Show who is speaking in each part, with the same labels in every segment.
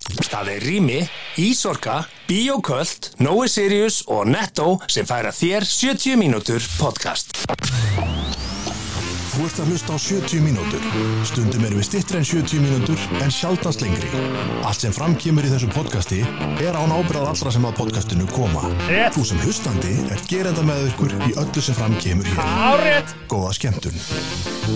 Speaker 1: Það er Rými, Ísorka, Bíoköld, Nói Sirius og Netto sem færa þér 70 mínútur podcast.
Speaker 2: Þú ert að hlusta á 70 mínútur. Stundum erum við stittri en 70 mínútur en sjaldast lengri. Allt sem framkýmur í þessu podcasti er án ábyrðað allra sem að podcastinu koma.
Speaker 3: Rétt.
Speaker 2: Þú sem hlustandi er gerenda með ykkur í öllu sem framkýmur hér.
Speaker 3: Árið
Speaker 2: Góða skemmtun.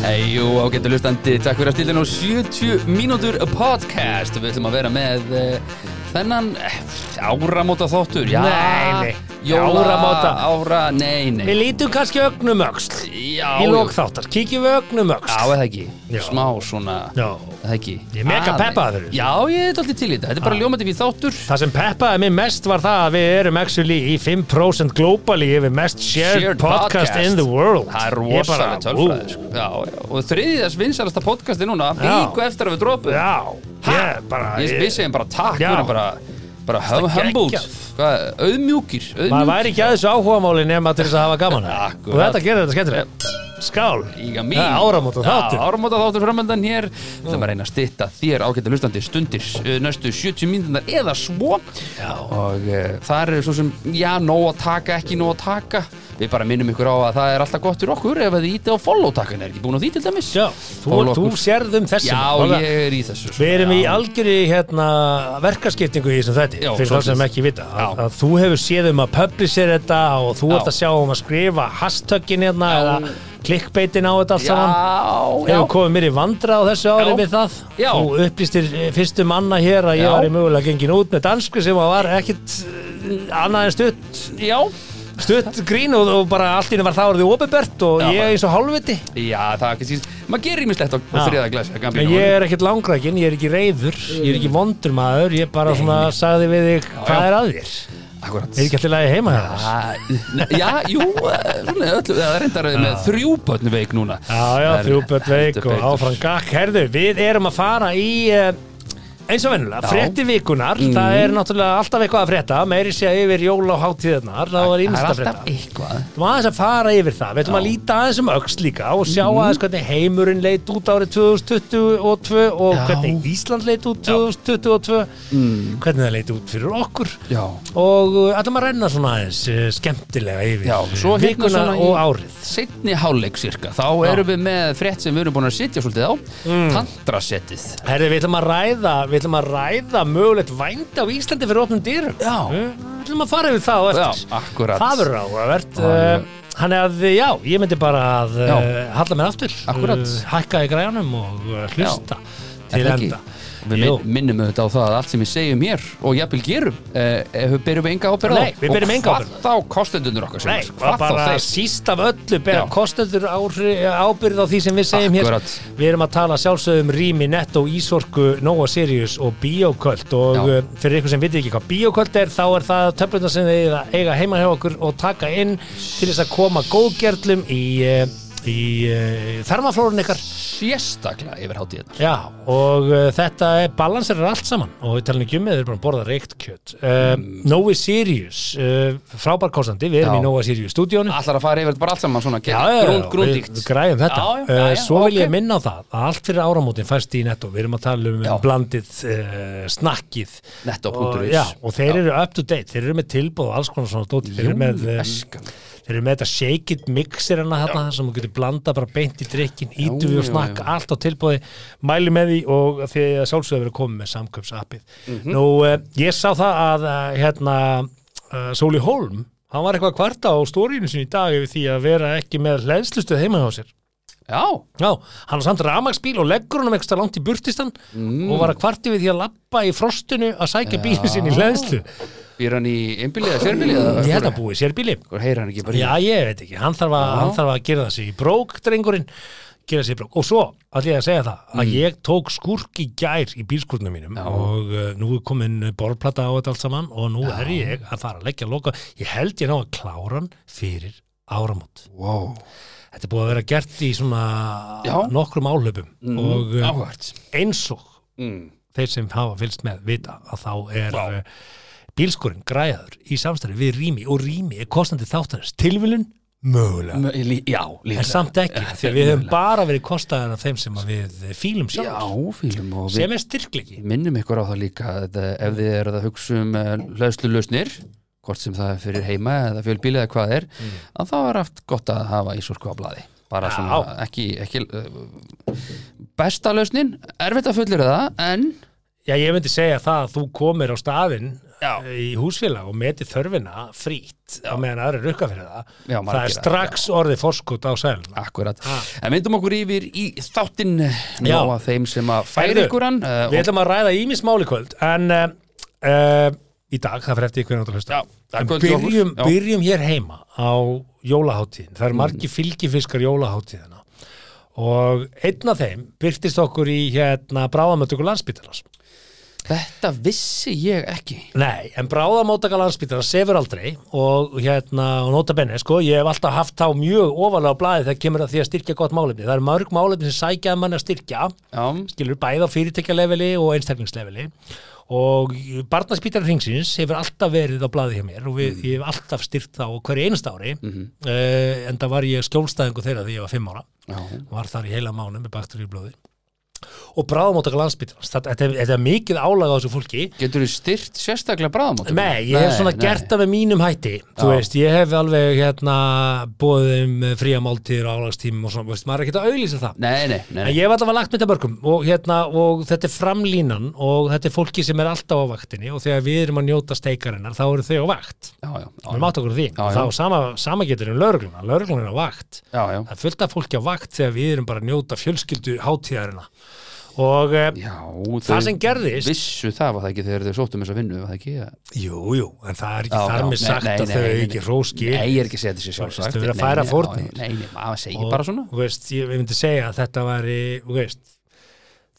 Speaker 4: Eyjú, ágættu hlustandi, takk fyrir að stilla nú 70 mínútur podcast Við ætlum að vera með uh, þennan uh, áramóta þáttur já,
Speaker 3: Nei, nei,
Speaker 4: jóla,
Speaker 3: áramóta.
Speaker 4: ára, nei, nei
Speaker 3: Við lítum kannski ögnum öxl
Speaker 4: Já,
Speaker 3: Í lók
Speaker 4: já.
Speaker 3: þáttar, kíkjum við ögnum
Speaker 4: Já,
Speaker 3: öxl
Speaker 4: eða ekki,
Speaker 3: Já.
Speaker 4: smá svona,
Speaker 3: Já.
Speaker 4: eða ekki
Speaker 3: Ég er mega
Speaker 4: Aðeins.
Speaker 3: peppaður fyrir þessu. Ah.
Speaker 4: Já, ég er alltaf til í þetta, þetta er bara ljómandi fyrir þáttur
Speaker 3: Það sem peppaði mig mest var það að við erum actually í 5% globally yfir mest shared, podcast, in the world
Speaker 4: Það er
Speaker 3: Ég bara,
Speaker 4: rosalega tölfræði,
Speaker 3: ú,
Speaker 4: sko Já, já, og þriðið þess vinsalasta podcasti núna,
Speaker 3: Já.
Speaker 4: viku eftir að við dropum
Speaker 3: Já,
Speaker 4: Ha?
Speaker 3: ég bara
Speaker 4: ég, við segjum bara takk
Speaker 3: Já.
Speaker 4: við erum bara, bara hum,
Speaker 3: geggjað.
Speaker 4: humbled Hvað, auðmjúkir,
Speaker 3: Maður
Speaker 4: auðmjúkir
Speaker 3: væri ekki aðeins áhugamáli nema til þess að hafa gaman að því.
Speaker 4: Akkurat.
Speaker 3: Og þetta gerir þetta skemmtilega Skál
Speaker 4: Íga mín
Speaker 3: Það er áramóta þáttur.
Speaker 4: Já, áramóta þáttur framöndan hér sem að reyna að stytta þér ágæta hlustandi stundir eh, næstu 70 mínúndar eða svo já. og uh, það er svo sem já, nóg að taka, ekki nóg að taka við bara minnum ykkur á að það er alltaf gott fyrir okkur ef að þið íti á follow takkan er ekki búin á því til dæmis
Speaker 3: Já, þú,
Speaker 4: Follow
Speaker 3: þú
Speaker 4: okkur.
Speaker 3: sérð um þessum
Speaker 4: Já, ég er í þessu sko.
Speaker 3: Við erum í
Speaker 4: Já.
Speaker 3: algjörði hérna, verkaskiptingu í þessum þætti
Speaker 4: Já,
Speaker 3: fyrir þá
Speaker 4: svolítið.
Speaker 3: sem ekki vita að,
Speaker 4: Já.
Speaker 3: að þú hefur séð um að publisera þetta og þú
Speaker 4: Já.
Speaker 3: ert að sjá um að skrifa hashtaggin hérna eða klikkbeitin á þetta allt saman
Speaker 4: Já, já
Speaker 3: Hefur komið mér í vandra á þessu ári
Speaker 4: Já.
Speaker 3: við það
Speaker 4: Já.
Speaker 3: Þú upplýstir eh, fyrstu manna hér að ég
Speaker 4: Já.
Speaker 3: var í mögulega gengin út með dansku sem var ekkit eh, annað en stutt,
Speaker 4: Já,
Speaker 3: stutt grín og, og bara allt í henni var það orðið opibert og
Speaker 4: Já, bara-
Speaker 3: ég eins og hálfviti
Speaker 4: Já, það er kannski, maður gerir ímislegt á
Speaker 3: Já.
Speaker 4: þriða glasi
Speaker 3: En ég er ekkert langrækin, ég er ekki reyður, ég er ekki vondur maður, ég bara svona sagði við þig hvað
Speaker 4: já.
Speaker 3: er að þér?
Speaker 4: Akkurat
Speaker 3: Er ekki allir lagi heima hjá þér?
Speaker 4: Já, jú, eh, svona, öllu, það er reyndar með þrjú börn veik núna
Speaker 3: Já, já,
Speaker 4: Það er
Speaker 3: þrjú börn veik
Speaker 4: heldur
Speaker 3: og
Speaker 4: betur.
Speaker 3: áfram gakk. Herðu, við erum að fara í, eh, eins og vennulega,
Speaker 4: Já. Mm.
Speaker 3: frétti vikunar, það er náttúrulega alltaf eitthvað að frétta, meiri sé að yfir jól og hátíðarnar, það var
Speaker 4: Það er
Speaker 3: ímest að
Speaker 4: alltaf
Speaker 3: frétta.
Speaker 4: eitthvað
Speaker 3: Við erum aðeins að fara yfir það, við ætlum að líta aðeins um öxt líka og sjá
Speaker 4: Mhm.
Speaker 3: aðeins hvernig heimurinn leit út árið 2022 og
Speaker 4: Já. Mm.
Speaker 3: hvernig Ísland leit út 2022, hvernig það leit út fyrir okkur.
Speaker 4: Já,
Speaker 3: og uh, ætlum að renna svona aðeins uh, skemmtilega yfir
Speaker 4: já,
Speaker 3: uh,
Speaker 4: svo hérna
Speaker 3: vikuna
Speaker 4: svona í
Speaker 3: og árið
Speaker 4: Seinni hálfleik cirka, þá erum við með frétt sem við erum búin að sitja svolítið á
Speaker 3: Mm.
Speaker 4: Tantrasettið
Speaker 3: Herri, við ætlum að ræða, við ætlum að ræða mögulegt vændi á Íslandi fyrir opnum dyrum
Speaker 4: Já.
Speaker 3: Við við ætlum að fara yfir það á eftir
Speaker 4: Já, akkúrat.
Speaker 3: Það verður áhugavert
Speaker 4: Já.
Speaker 3: uh, Þannig að, já, ég myndi bara að uh,
Speaker 4: Já.
Speaker 3: halla mér aftur Eh,
Speaker 4: Akkúrat.
Speaker 3: Hækka í græjanum og uh, hlusta
Speaker 4: Er
Speaker 3: til
Speaker 4: það ekki?
Speaker 3: enda
Speaker 4: Við
Speaker 3: Jú.
Speaker 4: minn- minnum auðvitað á það að allt sem við segjum hér og jafnvel gerum, eh, eh, við berum enga ábyrð á
Speaker 3: Nei, við berum enga ábyrgð á.
Speaker 4: Og hvað þá kostendunur okkar sem
Speaker 3: Nei,
Speaker 4: er?
Speaker 3: og
Speaker 4: hvað þá
Speaker 3: bara
Speaker 4: þeir?
Speaker 3: síst af öllu bera
Speaker 4: Já.
Speaker 3: kostendur áhri- ábyrgð á því sem við segjum
Speaker 4: Akkurat.
Speaker 3: hér Við erum að tala sjálfsögum Rými, Netto, Ísorku, Nóa Sirius og Bíoköld og
Speaker 4: Já.
Speaker 3: Já. fyrir ykkur sem vitir ekki hvað Bíoköld er þá er það töfluna sem þið eiga- eiga heima hjá okkur og taka inn til þess að koma góðgerlum í, eh, í eh, þarmaflórun ykkar
Speaker 4: sérstaklega yfir hátíðina
Speaker 3: Já, og uh, þetta er balansir er allt saman og við talum ekki um með þeir eru bara að borða reykt kjöt uh, Nóa Sirius uh, frábærkostandi, við erum
Speaker 4: Mm. Já.
Speaker 3: í Nóa Sirius stúdíónu
Speaker 4: Allar að fara yfir þetta bara allt saman svona grún, grúndíkt
Speaker 3: við græðum þetta
Speaker 4: Já, já, já,
Speaker 3: Eh,
Speaker 4: já,
Speaker 3: Svo vil ég
Speaker 4: ok.
Speaker 3: minna á það að allt fyrir áramótin fæst í netto Við erum að tala um
Speaker 4: Já.
Speaker 3: blandið uh, snakkið
Speaker 4: Netto.is.
Speaker 3: og, já, og þeir
Speaker 4: Já.
Speaker 3: eru up to date, þeir eru með tilbúð og alls konar svona dóti Þeir eru með,
Speaker 4: Jú,
Speaker 3: um,
Speaker 4: eskan.
Speaker 3: þeir eru með þetta shake it mixer hana þarna sem þú getur blanda bara beint í drikkin Ítu við
Speaker 4: já,
Speaker 3: og snakka,
Speaker 4: já.
Speaker 3: allt á tilbúði Mæli með því og því að sjálfsögðu verið komið með samköpsappið Nú, uh, ég sá það að uh, hérna uh, Sóli Holm Hann var eitthvað að kvarta á stóriðinu sinni í dag yfir því að vera ekki með hlæðslustuð heima hjá sér.
Speaker 4: Já,
Speaker 3: Já, hann á samt ramagsbíl og leggur honum ekstra langt í burtistan og var að kvarti við því að lappa í frostinu að sækja bílinn sinni í hlæðslu.
Speaker 4: býr hann í einbílið eða sérbílið eða
Speaker 3: Ég held að búi sér bíli.
Speaker 4: Hvor heyrir hann ekki bara í
Speaker 3: Já, ég veit ekki, hann þarf að, hann þarf að gera það sig í brók, drengurinn, gera sig í brók. Og svo, allir að segja það, að ég tók skúrk í gær í bílskúrnum mínum og uh, nú er komin borplata á þetta allt saman og nú er ég að fara að leggja að loka. Ég held ég ná að klára hann fyrir áramót.
Speaker 4: Wow,
Speaker 3: Þetta er búið að vera gert í svona
Speaker 4: Já.
Speaker 3: nokkrum álöpum og uh,
Speaker 4: áhvert
Speaker 3: eins og
Speaker 4: mm.
Speaker 3: þeir sem hafa fylgst með vita að þá er eh, wow. bílskurinn græður í samstæri við Rými og Rými er kostandi þáttanins tilvilun mögulega
Speaker 4: Mö- lí- Já, líka
Speaker 3: en samt ekki, því að við höfum bara verið kostaðar af þeim sem að við eh, fílum
Speaker 4: Já,
Speaker 3: sjálf
Speaker 4: fílum og við
Speaker 3: sem er styrklegi
Speaker 4: minnum ykkur á það líka að eh, ef þið eruð að hugsa um hlæðslu lausnir hvort sem það er fyrir heima eða fjölbíli eða hvað er að þá er aft gott að hafa ísorku á blaði
Speaker 3: Mm.
Speaker 4: bara
Speaker 3: Já.
Speaker 4: svona ekki, ekki eh, besta lausnin erfitt að fullir það en
Speaker 3: Já, ég myndi segja það að þú komir á staðinn eh,
Speaker 4: Já.
Speaker 3: í húsfélag og meti þörfina frýtt á meðan aðra rukka fyrir það
Speaker 4: Já,
Speaker 3: það
Speaker 4: margir
Speaker 3: er
Speaker 4: að-
Speaker 3: strax orðið forskot á sæluna
Speaker 4: akkurat en myndum okkur yfir í þáttinn ná
Speaker 3: Já.
Speaker 4: að þeim sem að færi
Speaker 3: Heyrðu,
Speaker 4: ykkur hann eh,
Speaker 3: Við
Speaker 4: og-
Speaker 3: ætlum að ræða ímismáli kvöld en uh, uh, í dag, það fyrir eftir ykkur náttúrulega hlusta
Speaker 4: Já, það er
Speaker 3: En
Speaker 4: kvöld hjá okkur.
Speaker 3: byrjum,
Speaker 4: Já. Mm.
Speaker 3: byrjum hér heima á jólaháttíðin það eru margi fylgifiskar jólaháttíðina og einn af þeim byrtist okkur í hérna bráðamöndöku landsbítalans
Speaker 4: þetta vissi ég ekki
Speaker 3: Nei, en bráðamóttaka landsbítalans sefur aldrei og hérna, og nota benni, sko, ég hef alltaf haft þá mjög ofalega á blaði þegar kemur að því að styrkja gott málefni. Það eru mörg málefni sem sækja að mann að styrkja
Speaker 4: já,
Speaker 3: skilur bæði á fyrirtækjaleveli og einstaklingsleveli og barnaspítar hringsins hefur alltaf verið á blaði hjá mér og við, ég hef alltaf styrt þá á hverju einast ári mm en það var ég skjólstæðingu þeirra því ég var fimm ára
Speaker 4: já,
Speaker 3: var þar í heila mánu með baktur í blóði og bráðumóttaka landsbítarans þetta, þetta, er- þetta er mikið álag á þessu fólki
Speaker 4: getur þið styrt sérstaklega bráðamótum
Speaker 3: Nei, ég hef svona gert það með mínum hætti Þú
Speaker 4: Já.
Speaker 3: veist, ég hef alveg hérna bóðið um fría máltíður og álagstímum og svona, veist, maður er ekkert að auðlýsa það
Speaker 4: nei, nei, nei,
Speaker 3: En
Speaker 4: nei.
Speaker 3: ég hef alltaf lagt mitt að mörgum og, hérna, og þetta er framlínan og þetta er fólki sem er alltaf á vaktinni og þegar við erum að njóta steikarinnar þá eru þau á vakt.
Speaker 4: Já, já, já,
Speaker 3: Við mátt okkur á því.
Speaker 4: Já, já.
Speaker 3: Þá sama, sama getur um lögregluna. Lögregluna er á vakt.
Speaker 4: já, já.
Speaker 3: Það er fullt af fólki á vakt þegar við erum bara að njóta fjölskyldu hátíðarina. Og eh,
Speaker 4: Já,
Speaker 3: það
Speaker 4: þau
Speaker 3: sem gerðist...
Speaker 4: vissu það var það ekki þegar þau sóttum þess að vinnu var það ekki, já,
Speaker 3: Jú, jú, en það er ekki
Speaker 4: já,
Speaker 3: þar með
Speaker 4: nei,
Speaker 3: sagt að
Speaker 4: nei, nei,
Speaker 3: þau
Speaker 4: nei,
Speaker 3: eru
Speaker 4: nei.
Speaker 3: ekki róski.
Speaker 4: Nei, ég er ekki að segja þessi sjálfsagt
Speaker 3: Þú veist, þau eru að færa
Speaker 4: Nei, nei,
Speaker 3: fórnir.
Speaker 4: já, já, Nei, nei, maður segir
Speaker 3: og,
Speaker 4: bara svona
Speaker 3: þú veist, ég, ég myndi segja að þetta væri þú veist,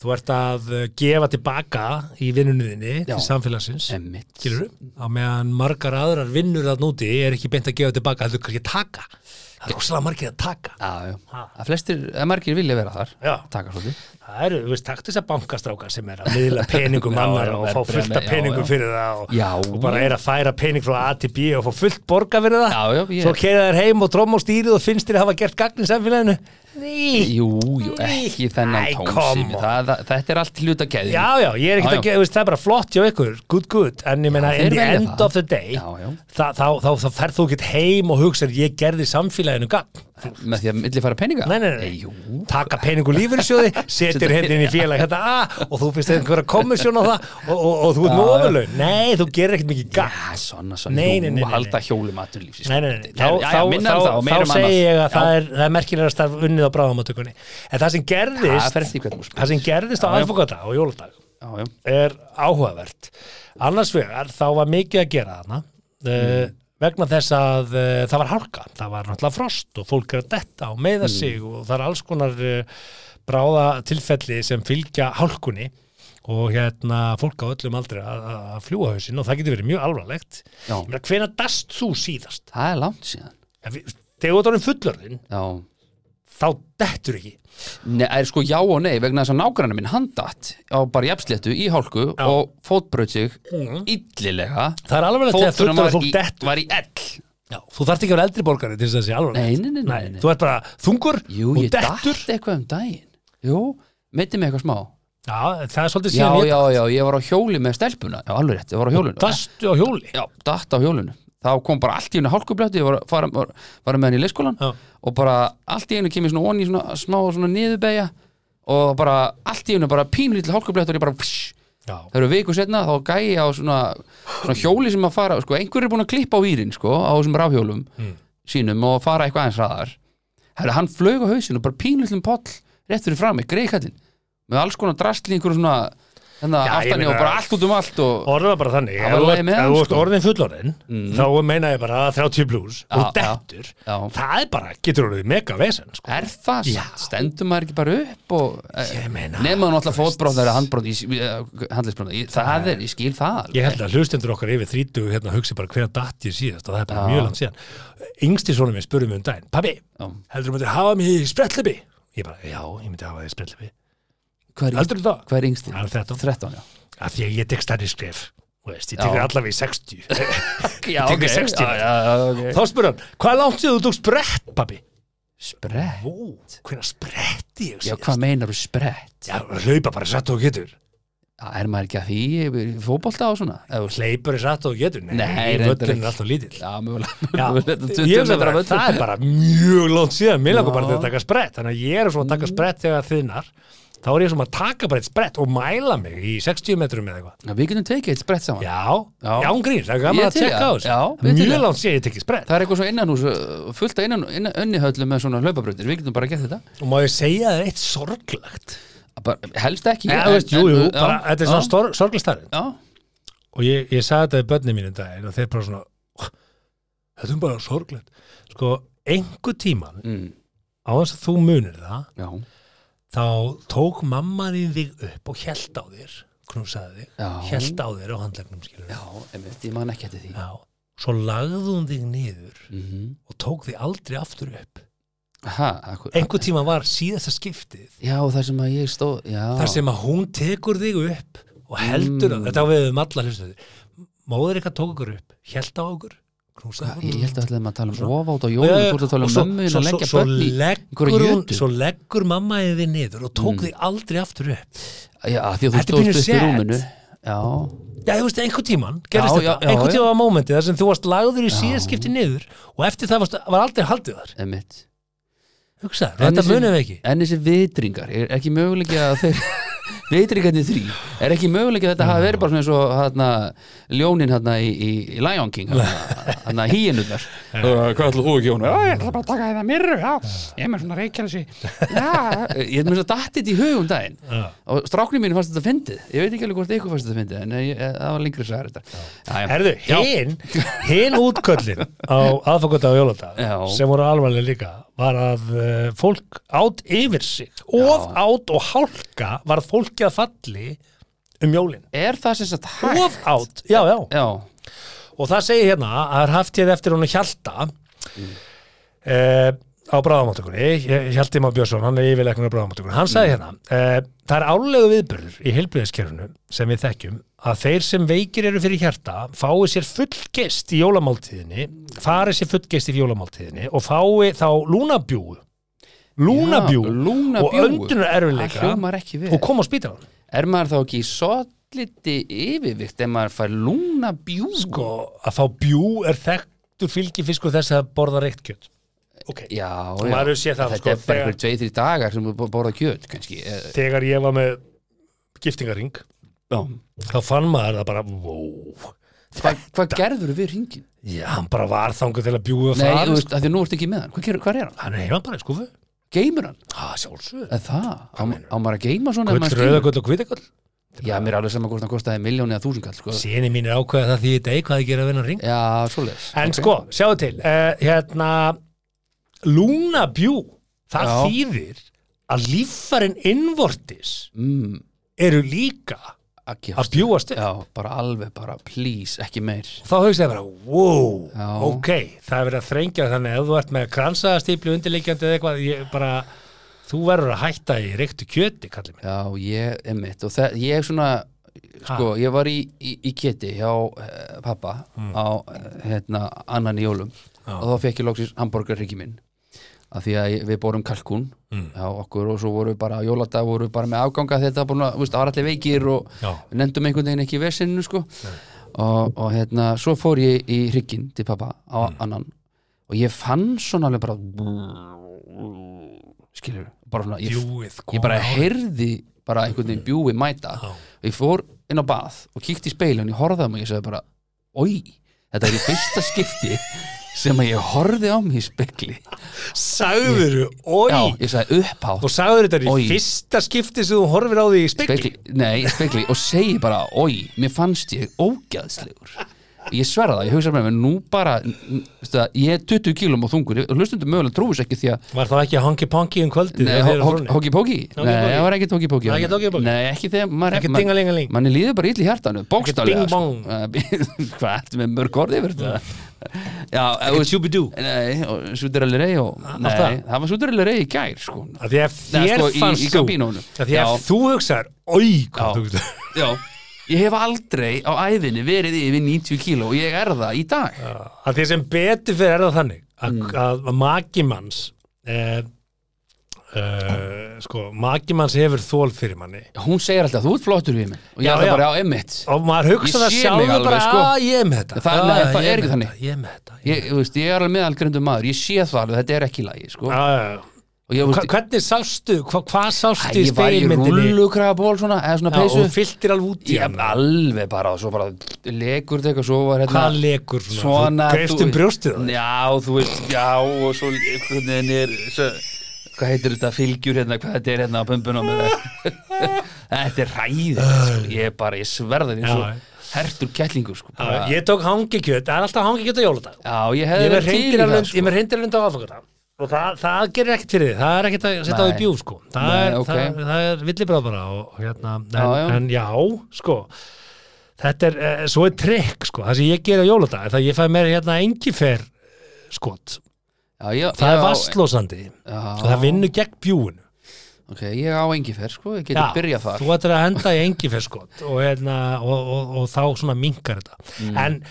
Speaker 3: þú ert að uh, gefa tilbaka í vinnunniðinni
Speaker 4: Já.
Speaker 3: til samfélagsins
Speaker 4: Emmitt
Speaker 3: skilur á meðan margar aðrar vinnur að núti er ekki beint að gefa tilbaka heldur kannski taka það er rosalega margir að taka
Speaker 4: Já, já,
Speaker 3: Ha.
Speaker 4: að flestir, að margir vilja vera þar
Speaker 3: Já.
Speaker 4: Taka svolítið
Speaker 3: það eru, þú veist, taktu þess að bankastrákar sem er að miðla peningum
Speaker 4: Já,
Speaker 3: annar
Speaker 4: já,
Speaker 3: og fá
Speaker 4: verðbréfa
Speaker 3: fullt
Speaker 4: með-
Speaker 3: af
Speaker 4: já,
Speaker 3: peningum
Speaker 4: já.
Speaker 3: fyrir það og,
Speaker 4: Já.
Speaker 3: og bara er að færa pening frá A til B og fá fullt borga fyrir það
Speaker 4: Já, já, ég-
Speaker 3: svo keira þær heim og tróma á stýrið og finnst þér að hafa gert gagn í samfélaginu Ný.
Speaker 4: Jú, jú, ekki þennan
Speaker 3: Æ,
Speaker 4: tónsimi
Speaker 3: come on.
Speaker 4: það, það, Þetta er allt hluta keðin
Speaker 3: Já, já, ég er ekkert
Speaker 4: Já,
Speaker 3: að gera, þú veist, það er bara flott hjá ykkur, good, good, en ég meina
Speaker 4: þeir
Speaker 3: in the
Speaker 4: velja
Speaker 3: end
Speaker 4: það.
Speaker 3: of the day,
Speaker 4: Já, já.
Speaker 3: Þá, þá, þá, þá ferð þú ekkert heim og hugsa ég gerði samfélaginu gagn.
Speaker 4: Með því að milli fara peninga
Speaker 3: Nei, nei, nei,
Speaker 4: Jú,
Speaker 3: taka peningu lífurinsjóði, setir henni inn í félag hérna, ah, og þú finnst einhver að komissjón á það og, og, og þú ert með ofurlaun. Nei, þú gerir ekkert mikið gagn.
Speaker 4: já, svona, svona
Speaker 3: Nei,
Speaker 4: jú,
Speaker 3: nei, nei, nei,
Speaker 4: Halda
Speaker 3: nei.
Speaker 4: hjólum aturlífsins
Speaker 3: Nei, nei, nei, þá,
Speaker 4: já, já,
Speaker 3: þá, þá,
Speaker 4: minna um það
Speaker 3: þá,
Speaker 4: og meira um
Speaker 3: segi
Speaker 4: annað.
Speaker 3: ég að
Speaker 4: Já.
Speaker 3: það er, það er merkilega starf unnið á bráðamáttökunni. En það sem
Speaker 4: Það fer
Speaker 3: gerðist,
Speaker 4: eftir hvernig þú spyrir.
Speaker 3: það sem gerðist á
Speaker 4: Já, já.
Speaker 3: aðfokadag og jóladag,
Speaker 4: Já, já,
Speaker 3: er áhugavert annars vegar þá var mikið að gera þarna mm. vegna þess að uh, það var hálka, það var náttúrulega frost og fólk er að detta og meða
Speaker 4: Mm.
Speaker 3: sig og það er alls konar uh, bráða tilfelli sem fylgja hálkunni og hérna fólk á öllum aldrei að, að fljúa hausinn og það getur verið mjög alvarlegt
Speaker 4: Já.
Speaker 3: Ég meina, hvenær dast þú síðast?
Speaker 4: það er langt síðan
Speaker 3: Ef við- Þegar þú ert orðin fullorðin
Speaker 4: Já
Speaker 3: þá dettur ekki
Speaker 4: Nei, er sko já og nei vegna þess að nágrannar minn hann datt á bara jafnsléttu í hálku og fótbraut sig illilega
Speaker 3: Það Mhm. er alveg þegar
Speaker 4: Fóturinn
Speaker 3: fullorðin
Speaker 4: var,
Speaker 3: fólk
Speaker 4: í-
Speaker 3: dettur
Speaker 4: var í ell
Speaker 3: Já, þú þarft ekki að vera eldri borgari til þess að það sé alveg
Speaker 4: Nei, nei, nei, nei, nei.
Speaker 3: Þú ert bara þungur
Speaker 4: Jú,
Speaker 3: og
Speaker 4: ég
Speaker 3: dettur
Speaker 4: datt eitthvað um daginn Jú, meiti mig eitthvað smá
Speaker 3: Já, það er svolítið
Speaker 4: Já,
Speaker 3: síðan
Speaker 4: já, já, ég var á hjóli með stelpuna Já, alveg rétt, ég var á
Speaker 3: ég
Speaker 4: hjólinu
Speaker 3: Dastu á hjóli
Speaker 4: Já, datt á hjólinu Þá kom bara allt í hennu hálkublötu Ég var, að fara, var, var með henni í leikskólan
Speaker 3: Já.
Speaker 4: og bara allt í hennu kemur svona onni svona, smá svona niðurbeigja og bara allt í hennu bara pínlítið hálkublötu og ég bara psh,
Speaker 3: Já,
Speaker 4: Það eru viku setna þá gæi ég á svona, svona hjóli sem að fara, sko, einhver er búin að klippa á výrin, sko, á þessum rafhjólum
Speaker 3: Hmm.
Speaker 4: sínum og fara eitthvað aðeins raðar. Herra, hann flög á hausinu, bara pínlutlum poll rétt fyrir fram, greiðkallinn, með alls konar drastli, einhverju svona, þannig
Speaker 3: Já,
Speaker 4: að
Speaker 3: ég
Speaker 4: aftan í og
Speaker 3: meina-
Speaker 4: bara allt út um allt og...
Speaker 3: orða bara þannig
Speaker 4: Það
Speaker 3: Ef
Speaker 4: var
Speaker 3: þú
Speaker 4: lagi
Speaker 3: ert-
Speaker 4: með
Speaker 3: ef
Speaker 4: hann,
Speaker 3: þú ert
Speaker 4: sko. Mm.
Speaker 3: orðin fullorinn þá meina ég bara 30 plus
Speaker 4: Já,
Speaker 3: og
Speaker 4: já.
Speaker 3: dettur
Speaker 4: Já.
Speaker 3: Það er bara, getur orðið mega vesen sko.
Speaker 4: Er það
Speaker 3: Já.
Speaker 4: satt? Stendur maður ekki bara upp og eh,
Speaker 3: Ég meina,
Speaker 4: nema hann alltaf fótbróðar að handbróð í handlisbróðar, það er, ég skil það alveg.
Speaker 3: Ég held að hlustendur okkar yfir 30 hérna hugsi bara hver að datt ég síðast og það er bara mjög langt síðan Yngsti svona minn spurði mig um daginn Pabbi,
Speaker 4: Já.
Speaker 3: heldur þú myndir hafa mig í sprettlibi? Ég bara, já, ég myndi hafa þig í sprettlibi
Speaker 4: Hvað er,
Speaker 3: Heldur þú það?
Speaker 4: hvað er yngstir?
Speaker 3: Hann er 13.
Speaker 4: 13, já.
Speaker 3: Af því að ég tek stærri skref Þú veist, ég tekur
Speaker 4: Já.
Speaker 3: allavega í 60
Speaker 4: Já,
Speaker 3: Ég tek
Speaker 4: ok,
Speaker 3: mig 60.
Speaker 4: já, já, ok
Speaker 3: Þá spyr hann, hvað er langt sér þú tókst brett, pabbi?
Speaker 4: Sprett,
Speaker 3: Vó, hvernig spretti ég
Speaker 4: já,
Speaker 3: síðast?
Speaker 4: hvað meinar þú sprett?
Speaker 3: Já, hlaupa bara satt og getur
Speaker 4: Já, Er maður ekki að því í fótbolta og svona? Eða, þú-
Speaker 3: Hleypur er satt og getur Nei,
Speaker 4: Nei, reyndar
Speaker 3: völlin
Speaker 4: ekki.
Speaker 3: er alltaf lítill
Speaker 4: Já, mögulega
Speaker 3: Já,
Speaker 4: mögulega, þetta
Speaker 3: ég
Speaker 4: 20
Speaker 3: hugsa
Speaker 4: metra
Speaker 3: bara,
Speaker 4: völlur.
Speaker 3: það er bara mjög langt síðan mér langar bara
Speaker 4: Já. Mm.
Speaker 3: til að taka sprett þannig að ég er svona að taka sprett þegar þinnar þá er ég svona að taka bara eitt sprett og mæla mig í 60 metrum eða eitthvað
Speaker 4: Já, Við getum tekið eitt sprett saman
Speaker 3: Já,
Speaker 4: Já.
Speaker 3: já, án gríns, það er
Speaker 4: Ég
Speaker 3: gaman að
Speaker 4: til í
Speaker 3: tjekka á
Speaker 4: það.
Speaker 3: þessu
Speaker 4: Já,
Speaker 3: Það
Speaker 4: ég
Speaker 3: er
Speaker 4: til í
Speaker 3: Mjög
Speaker 4: það.
Speaker 3: langt síðan ég tekið sprett
Speaker 4: Það er eitthvað svo innanhús, uh, fullt af innan, innan, önnihöllum með svona hlaupabrautir, við getum bara gert þetta.
Speaker 3: og má ég segja það eitt sorglagt
Speaker 4: Bara, helst ekki.
Speaker 3: Já,
Speaker 4: en-
Speaker 3: veist, jú, jú,
Speaker 4: en-
Speaker 3: bara,
Speaker 4: já,
Speaker 3: þetta er
Speaker 4: já,
Speaker 3: svona sorglistarinn
Speaker 4: Já,
Speaker 3: og ég, ég sagði þetta við börnum mínum daginn og þeir bara svona "Oh, þetta er bara sorglegt sko, einhver tíman
Speaker 4: mm,
Speaker 3: á þess að þú munir það
Speaker 4: já,
Speaker 3: þá tók mamma þín þig upp og held á þér knúsaði
Speaker 4: Já.
Speaker 3: þig, held á þér á handlegnum skilur
Speaker 4: já, einmitt, ég man ekki eftir því.
Speaker 3: Já. svo lagði hún þig niður
Speaker 4: Mm
Speaker 3: og tók þig aldrei aftur upp
Speaker 4: Aha, akkur,
Speaker 3: einhver tíma var síðasta skiptið
Speaker 4: já, þar sem að ég stóð, já. Mm.
Speaker 3: þar sem að hún tekur þig upp og heldur á, þetta á við um alla hlustuði móður ykkar tók ykkur upp, held á okkur knúsaði
Speaker 4: Ég
Speaker 3: okkur
Speaker 4: held að ætlaðum að tala
Speaker 3: Svo-
Speaker 4: um ofátt á
Speaker 3: Já,
Speaker 4: jólum,
Speaker 3: já,
Speaker 4: þú ert að tala
Speaker 3: og
Speaker 4: um
Speaker 3: svo-
Speaker 4: mömmu
Speaker 3: svo-
Speaker 4: og
Speaker 3: svo-
Speaker 4: leggja
Speaker 3: svo
Speaker 4: börn í.
Speaker 3: leggur
Speaker 4: einhverja
Speaker 3: hún-
Speaker 4: jötu. Mm.
Speaker 3: svo leggur mamma þið niður og tók þig aldrei aftur upp
Speaker 4: Já, því að þú
Speaker 3: Þetta er pínu
Speaker 4: stóðst upp í
Speaker 3: sad.
Speaker 4: rúminu. Já,
Speaker 3: já, þú veist, einhver tíman gerist
Speaker 4: Já,
Speaker 3: þetta,
Speaker 4: já, já,
Speaker 3: einhver
Speaker 4: já.
Speaker 3: tíma var mómenti þar sem þú varst lagður í síðaskipti niður og eftir það varst, var aldrei haldið þar
Speaker 4: einmitt.
Speaker 3: hugsaður,
Speaker 4: En
Speaker 3: þetta
Speaker 4: þessi-
Speaker 3: munum við ekki
Speaker 4: En þessi vitringar, er ekki möguleiki að þeir vitringarnir þrý, er ekki möguleiki að þetta hafi verið bara svona eins og hana, ljónin hana, í, í, í Lion King hana, híinunar uh, Hvað ætlaðu þú ekki hún? Já, ég ætla bara að taka þetta mirru, já, ég er með svona reykjalsi Já, ég er með svo dattið í hugum daginn
Speaker 3: Já.
Speaker 4: og stráknir mínu fannst þetta fyndið ég veit ekki alveg hvort eitthvað fannst þetta fyndið en ég, eh, það var lengri sæðar þetta já, já.
Speaker 3: Herðu,
Speaker 4: Já.
Speaker 3: hinn, hinn útköllin á aðfangönda og jólandag
Speaker 4: Já.
Speaker 3: sem voru alvarlega líka var að uh, fólk átt yfir sig of átt og hálka var fólki að falli um jólin
Speaker 4: Er það sem sagt hægt?
Speaker 3: of átt, já, já
Speaker 4: Já,
Speaker 3: og það segir hérna að það er haft ég eftir hún Hjalta mm. á bráðamáttökunni Hjalti Má Björnsson, hann er yfirleiknur á bráðamáttökunni hann
Speaker 4: Mm.
Speaker 3: sagði hérna eh, það er álegu viðbörður í heilbriðiskerfunu sem við þekkjum að þeir sem veikir eru fyrir hjarta fái sér fullgest í jólamáltíðinni fari sér fullgest í jólamáltíðinni og fái þá lúnabjúu lúnabjúu
Speaker 4: Já, lúnabjúgu.
Speaker 3: og öndunar
Speaker 4: það
Speaker 3: erfileika
Speaker 4: hljómar ekki við
Speaker 3: og koma á spítalan
Speaker 4: er maður þá ekki í sotliti yfirvikt ef maður fær lúna bjú
Speaker 3: sko, að fá bjú er þekktur fylgifiskur þess að borða reykt kjött okay.
Speaker 4: já,
Speaker 3: Og
Speaker 4: já.
Speaker 3: maður hefur séð það,
Speaker 4: þetta
Speaker 3: sko,
Speaker 4: er bara
Speaker 3: þegar-
Speaker 4: einhver tveið þrjú dagar sem þú borða kjöt kannski eh,
Speaker 3: þegar ég var með giftingaring
Speaker 4: já.
Speaker 3: þá fann maður það bara wow.
Speaker 4: Hva, hvað gerður við ringin?
Speaker 3: já, hann bara var þangað til að bjúga
Speaker 4: Nei, þú
Speaker 3: það
Speaker 4: veist, af því að nú ertu ekki með hann, hvað, gerur, hvað er hann?
Speaker 3: hann er heima bara í skúfu
Speaker 4: Geymur hann?
Speaker 3: ah, sjálfsögur,
Speaker 4: Er það? Á, á maður að geyma svona ef
Speaker 3: gull,
Speaker 4: maður skilur?
Speaker 3: rauðagull og hvítagull
Speaker 4: Já, mér er alveg saman hvort hann kostaði miljóni eða þúsundkall sko.
Speaker 3: síni mín er ákveða það því ég deg hvað ég gera að vinna ring
Speaker 4: Já, svoleiðis
Speaker 3: en
Speaker 4: Ok.
Speaker 3: sko, sjáðu til uh, hérna, lúna bjú það
Speaker 4: Já.
Speaker 3: þýðir að líffarinn innvortis
Speaker 4: mm,
Speaker 3: eru líka
Speaker 4: ekki,
Speaker 3: að bjúast upp
Speaker 4: Já, bara alveg bara, please, ekki meir
Speaker 3: þá hugsaði ég bara, wow,
Speaker 4: Já.
Speaker 3: ok það er verið að þrengja þannig ef þú ert með kransaðastýpli undirleikjandi eða eitthvað ég bara, þú verður að hætta í reyktu kjöti, kallið mér
Speaker 4: Já, ég, emmitt, og það, ég svona sko, ég var í, í, í keti hjá uh, pappa á, eh, hérna, annan í jólum og þá fekk ég loksins hamburgerryggi minn af því að ég- við borum kalkún á okkur og svo voru við bara á jóladag voru við bara með afganga þetta búin að, þú veist, það var allir veikir og
Speaker 3: Já.
Speaker 4: við nefndum einhvern veginn ekki í vesinu sko og, og hérna, svo fór ég í hrygginn til pappa á annan og ég fann svona alveg bara skilur, bara svona ég,
Speaker 3: bjúið,
Speaker 4: ég bara heyrði bara einhvern veginn bjúi mæta
Speaker 3: Já.
Speaker 4: og ég fór inn á bað og kíkti í speilin og ég horfði á mig og ég sagði bara oi, þetta er í fyrsta skipti sem að ég horfði á mig í spekli
Speaker 3: sagður, oi
Speaker 4: já, ég sagði upphátt
Speaker 3: og sagður þetta er í
Speaker 4: Oj.
Speaker 3: fyrsta skipti sem þú horfir á því í spekli
Speaker 4: spekli, nei, spekli og segi bara, oi, mér fannst ég ógæðslegur ég sverða það, ég hugsa með mér, nú bara n- veistu það, ég er 20 kílum á þungur og hlustundu mögulega trúis ekki því að
Speaker 3: var það ekki hangi-pangi um kvöldið
Speaker 4: Nei,
Speaker 3: þegar þið eru frá henni?
Speaker 4: hóki-póki Nei,
Speaker 3: Hóki-póki.
Speaker 4: það var ekkert hóki-póki
Speaker 3: Var ekkert hóki-póki?
Speaker 4: Nei, ekki þegar maður
Speaker 3: Ekkert
Speaker 4: maður-
Speaker 3: dingalingaling.
Speaker 4: Manni líður bara ill í hjartanu, bókstálega
Speaker 3: Ekkert bing-bong.
Speaker 4: Hvað, ertu með mörg orði yfir þetta? Já,
Speaker 3: Ah.
Speaker 4: eh,
Speaker 3: Ekkert Ah,
Speaker 4: og-
Speaker 3: sjúbidú.
Speaker 4: Nei, og Súderalli rey og Nei,
Speaker 3: það?
Speaker 4: það var Súderalli rey í gær, sko
Speaker 3: Af því að
Speaker 4: Nei,
Speaker 3: þér
Speaker 4: sko, í- í
Speaker 3: fannst þú
Speaker 4: kabínunum.
Speaker 3: af því að
Speaker 4: Já.
Speaker 3: þú hugsaður, oi
Speaker 4: Já.
Speaker 3: hvað þú
Speaker 4: Já, Ég hef aldrei á æðinni verið yfir 90 kíló og ég er það í dag
Speaker 3: að því sem betur fyrir er það þannig að,
Speaker 4: Mm.
Speaker 3: að magimanns eh, eh, sko, magimanns hefur þól fyrir manni
Speaker 4: Hún segir alltaf, þú ert flottur við minn og ég
Speaker 3: Já,
Speaker 4: er það
Speaker 3: já.
Speaker 4: bara á emmitt
Speaker 3: og maður hugsa
Speaker 4: Ég
Speaker 3: það
Speaker 4: sé mig
Speaker 3: sjálfur
Speaker 4: alveg,
Speaker 3: bara
Speaker 4: sko.
Speaker 3: að ég er með þetta
Speaker 4: Það-
Speaker 3: "Ah,
Speaker 4: nei, það
Speaker 3: ég
Speaker 4: er
Speaker 3: með
Speaker 4: ekki þannig.
Speaker 3: þetta, ég er með þetta ég-
Speaker 4: ég, þú veist, ég er alveg meðalgrindum maður, ég sé það alveg, þetta er ekki í lagi sko.
Speaker 3: Já, já, já.
Speaker 4: og ég,
Speaker 3: Hva-
Speaker 4: þú veist,
Speaker 3: hvernig sástu, hva, hvað
Speaker 4: æ,
Speaker 3: sástu í
Speaker 4: ég var í
Speaker 3: speilmyndinni
Speaker 4: rullukrafaból svona, eða svona
Speaker 3: Já,
Speaker 4: peysu
Speaker 3: og fylltir alveg út í
Speaker 4: ég
Speaker 3: hann
Speaker 4: er alveg bara, svo bara legur þetta eitthvað, svo var hérna
Speaker 3: hvað lekur svona,
Speaker 4: svona,
Speaker 3: þú greifst um brjóstið á þér?
Speaker 4: já, þú veist, já, og svo einhvern veginn er svo, hvað heitir þetta, fylgjur hérna, hvað þetta er hérna á pömbunum eða- þetta er ræðið sko. ég er bara, ég sverða því
Speaker 3: Já.
Speaker 4: svo hertur kettlingur sko,
Speaker 3: Já,
Speaker 4: bara,
Speaker 3: ég tók hangikjöt, það er alltaf hangikjöt á jóladag
Speaker 4: já, ég hefði
Speaker 3: ég verð
Speaker 4: verið til í það
Speaker 3: reyndiralund
Speaker 4: sko.
Speaker 3: sko. reyndir á aðfangata og það, það gerir ekkert fyrir því það er ekkert að setja á því
Speaker 4: Nei.
Speaker 3: bjúf sko. það,
Speaker 4: Nei,
Speaker 3: er,
Speaker 4: ok.
Speaker 3: það, það er villibráð bara og, og hérna, en,
Speaker 4: Já, já.
Speaker 3: en já sko þetta er, eh, svo er trikk sko, það sem ég gerir á jóladag er það að ég fæ mér hérna engifer eh, skot,
Speaker 4: Já, ég-
Speaker 3: það
Speaker 4: já,
Speaker 3: er vastlósandi
Speaker 4: Já.
Speaker 3: og það vinnur gegn bjúinu
Speaker 4: Ok, ég á engifer, sko, ég geti
Speaker 3: Já,
Speaker 4: byrjað þar
Speaker 3: þú ættir að henda í engifer skot og, hérna, og, og, og þá svona minkar þetta
Speaker 4: Mm.
Speaker 3: en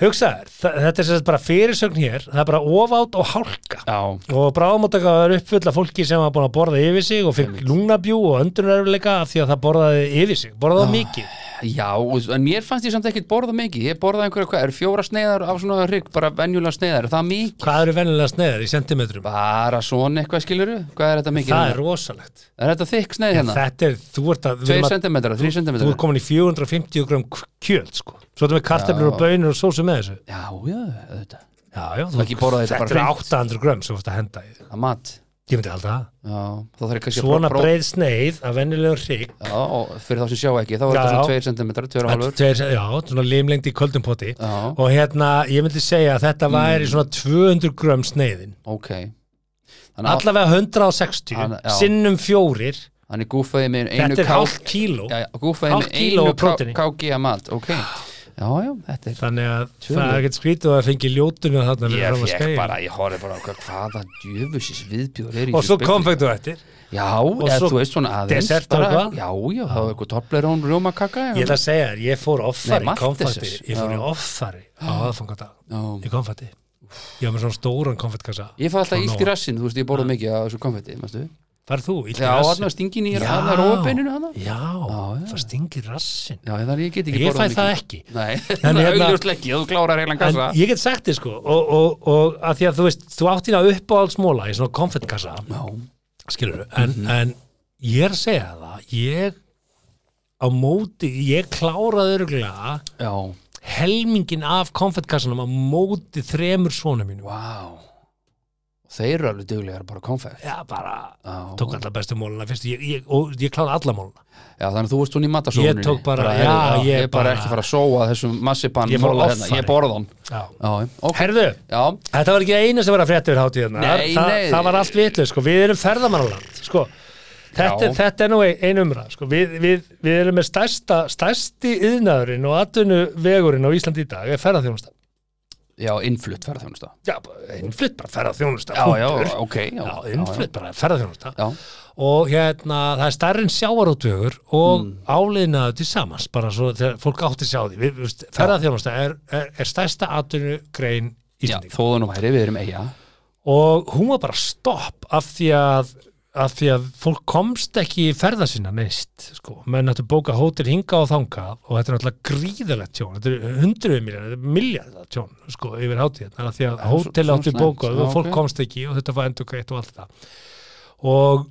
Speaker 3: hugsaður, þetta er sem sagt bara fyrirsögn hér það er bara ofátt og hálka
Speaker 4: Já,
Speaker 3: og bráðamóttaka var uppfull af fólki sem var búin að borða yfir sig og fikk lungnabjú og öndunaröfleika af því að það borðaði yfir sig, borðaði ah. mikið
Speaker 4: já, og- en mér fannst ég samt ekkert borða mikið Ég borðaði einhverja, hvað, er fjóra sneiðar af svona hrygg, bara venjulega sneiðar, er það mikið?
Speaker 3: hvað eru venjulega sneiðar í sentimetrum?
Speaker 4: Bara svona eitthvað skiluru, hvað er þetta mikið?
Speaker 3: það er
Speaker 4: hérna?
Speaker 3: rosalegt
Speaker 4: er þetta þykk sneið hérna?
Speaker 3: þetta er, þú ert að, við
Speaker 4: 2
Speaker 3: erum að
Speaker 4: cm, 3 cm
Speaker 3: þú ert komin í 450 gram k- kjöld sko. svo erum við karteflur og bönur og sósu með þessu
Speaker 4: Já, já, þetta
Speaker 3: já, já, þú,
Speaker 4: Ekki borða þetta bara
Speaker 3: þetta er
Speaker 4: hreint.
Speaker 3: 800 gram sem þú ert að henda í
Speaker 4: Það er mat
Speaker 3: ég myndi halda það,
Speaker 4: Já, þá þarf ég kannski að
Speaker 3: svona
Speaker 4: prófa-
Speaker 3: breið sneið af venjulega hrygg
Speaker 4: Já, og fyrir þá sem sjá ekki, þá er
Speaker 3: Já,
Speaker 4: þetta
Speaker 3: já.
Speaker 4: svona 2 cm, 2,5
Speaker 3: Tveir, já, svona limlengd í köldum poti
Speaker 4: Já. Mm.
Speaker 3: og hérna, ég myndi segja að þetta væri svona 200 grömm sneiðin
Speaker 4: Ok Þannig að
Speaker 3: allavega 160
Speaker 4: Hann- já.
Speaker 3: sinnum fjórir
Speaker 4: hann er gúfaði með einu
Speaker 3: þetta er
Speaker 4: kál
Speaker 3: hálft kíló
Speaker 4: Já, já, gúfaði
Speaker 3: Hálft
Speaker 4: með
Speaker 3: kíló
Speaker 4: einu
Speaker 3: af próteini.
Speaker 4: KG að mat, ok Já, já, þetta er
Speaker 3: þannig að
Speaker 4: Tjúlið.
Speaker 3: það er ekkert skrítið að það fengi ljótun og þarna
Speaker 4: Ég
Speaker 3: fyrir fram að
Speaker 4: fekk bara,
Speaker 3: skæja
Speaker 4: ég horfði bara á hvað, hvaða djöfusis viðbjóður er í
Speaker 3: og
Speaker 4: þessu
Speaker 3: svo
Speaker 4: spegli.
Speaker 3: konfektu eftir
Speaker 4: Já, eða
Speaker 3: svo
Speaker 4: þú veist svona aðeins
Speaker 3: dessert og
Speaker 4: bara-
Speaker 3: eitthvað.
Speaker 4: Já, já, þá er eitthvað topplerón rjómakaka
Speaker 3: ég ætla að segja þér, ég fór
Speaker 4: Nei,
Speaker 3: offari
Speaker 4: Maltesers.
Speaker 3: konfektir, ég fór í offari á aðfangadag
Speaker 4: Já.
Speaker 3: í konfekti ég var með svona stóran konfektkassa
Speaker 4: Ég fæ alltaf illt í rassinu, þú veist, ég
Speaker 3: Ah.
Speaker 4: borða mikið af þessu konfetti, mannstu?
Speaker 3: það er þú, illt í
Speaker 4: Já,
Speaker 3: rassin.
Speaker 4: hann stingin í
Speaker 3: Já.
Speaker 4: hann að rópeininu hann Já,
Speaker 3: já,
Speaker 4: já.
Speaker 3: það stingir rassin
Speaker 4: þannig að ég get ekki
Speaker 3: ég
Speaker 4: borða
Speaker 3: fæ
Speaker 4: mikið
Speaker 3: það ekki
Speaker 4: Nei,
Speaker 3: En
Speaker 4: það er
Speaker 3: hérna-
Speaker 4: augljóst ekki, þú klárar heilan
Speaker 3: En
Speaker 4: kassa
Speaker 3: ég get sagt þér sko og, og, og að því að þú veist, þú átt þína uppáhaldsmóla í svona konfettkassa
Speaker 4: Já,
Speaker 3: skilur, en,
Speaker 4: Mhm.
Speaker 3: en ég er að segja það, ég á móti, ég kláraði örgulega
Speaker 4: já,
Speaker 3: helmingin af konfettkassanum á móti þremur svona mínu
Speaker 4: vá Þeir eru alveg duglegar að borða konfekt
Speaker 3: já, bara,
Speaker 4: Já.
Speaker 3: tók alla bestu móluna fyrst, ég, ég, og ég kláraði alla móluna
Speaker 4: Já, þannig að þú varst hún í matasóuninni
Speaker 3: Ég tók bara- já,
Speaker 4: heyrðu,
Speaker 3: ég
Speaker 4: Ég er bara
Speaker 3: bara-
Speaker 4: ekki að fara að sóa þessum massipan
Speaker 3: Ég fór
Speaker 4: mola hérna,
Speaker 3: offari.
Speaker 4: Ég borða hann
Speaker 3: já.
Speaker 4: Já, ok
Speaker 3: herðu,
Speaker 4: Já,
Speaker 3: þetta var ekki eina sem var að frétta yfir hátíðina
Speaker 4: Nei,
Speaker 3: það,
Speaker 4: nei.
Speaker 3: það var allt vitlega, sko, við erum ferðamannaland sko, þetta,
Speaker 4: Já.
Speaker 3: er- þetta er nú ein, ein umræð, sko, við, við, við erum með stærsta, stærsti yðnaðurinn og atvinnuvegurinn á Íslandi í dag er ferðaþjónusta
Speaker 4: já, innflutt ferðarþjónusta
Speaker 3: já, bara innflutt bara ferðarþjónusta
Speaker 4: Já, já,
Speaker 3: punktur.
Speaker 4: ok Já,
Speaker 3: já, innflutt bara ferðarþjónusta
Speaker 4: Já,
Speaker 3: og hérna, það er stærri en sjávarótvegur og mm. áleinaðu til samans bara svo þegar fólk átti sjá því Við- við veist, ferðarþjónusta er, er, er stærsta atvinnugrein
Speaker 4: já,
Speaker 3: Íslandík
Speaker 4: þóðan og væri, við erum eiga
Speaker 3: og hún var bara stopp af því að af því að fólk komst ekki í ferða sinna neist, sko, menn hættu bóka hótel hinga og þanga og þetta er náttúrulega gríðalegt tjón, þetta er hundruð miljard þetta er miljardar tjón, sko, yfir hátíð þannig að því að
Speaker 4: svo-
Speaker 3: hótel
Speaker 4: svona
Speaker 3: áttu
Speaker 4: slæmt,
Speaker 3: bókað
Speaker 4: já,
Speaker 3: og fólk
Speaker 4: ok.
Speaker 3: komst ekki og þetta var endur greitt og allt það og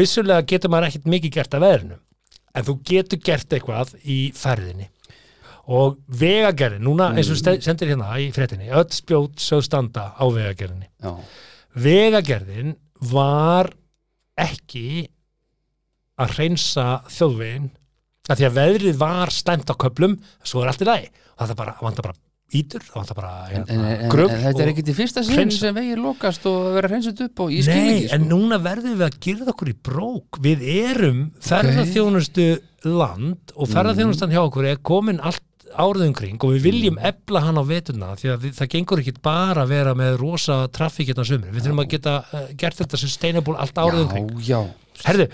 Speaker 3: vissulega getur maður ekkert mikið gert af veðrinu, en þú getur gert eitthvað í ferðinni og vegagerðin, núna eins og
Speaker 4: Mm.
Speaker 3: ste- sendir hérna í fréttinni, öll spjót sögð standa á vegagerðinni
Speaker 4: Já,
Speaker 3: vegagerðin var ekki að hreinsa þjóðvegin að því að veðrið var slæmt á köplum svo er allt í lagi og það bara, vantar bara ítur það vantar bara hérna,
Speaker 4: en, en, en, en
Speaker 3: gröfl
Speaker 4: þetta er
Speaker 3: og-
Speaker 4: ekki til fyrsta sinn
Speaker 3: hreinsa.
Speaker 4: sem vegið lokast og vera hreinsut upp og ég skil
Speaker 3: Nei,
Speaker 4: ekki
Speaker 3: en
Speaker 4: sko.
Speaker 3: núna verðum við að gyrða okkur í brók við erum ferðarþjónustu land og ferðarþjónustan hjá okkur er komin allt árið umkring og við viljum
Speaker 4: Mm.
Speaker 3: ebla hann á vetuna því að við, það gengur ekki bara að vera með rosa hérna eh,
Speaker 4: sko.
Speaker 3: traffíkirna sömur við þurfum að geta uh, gert þetta sustainable allt árið umkring
Speaker 4: Já, já,
Speaker 3: um Herðu,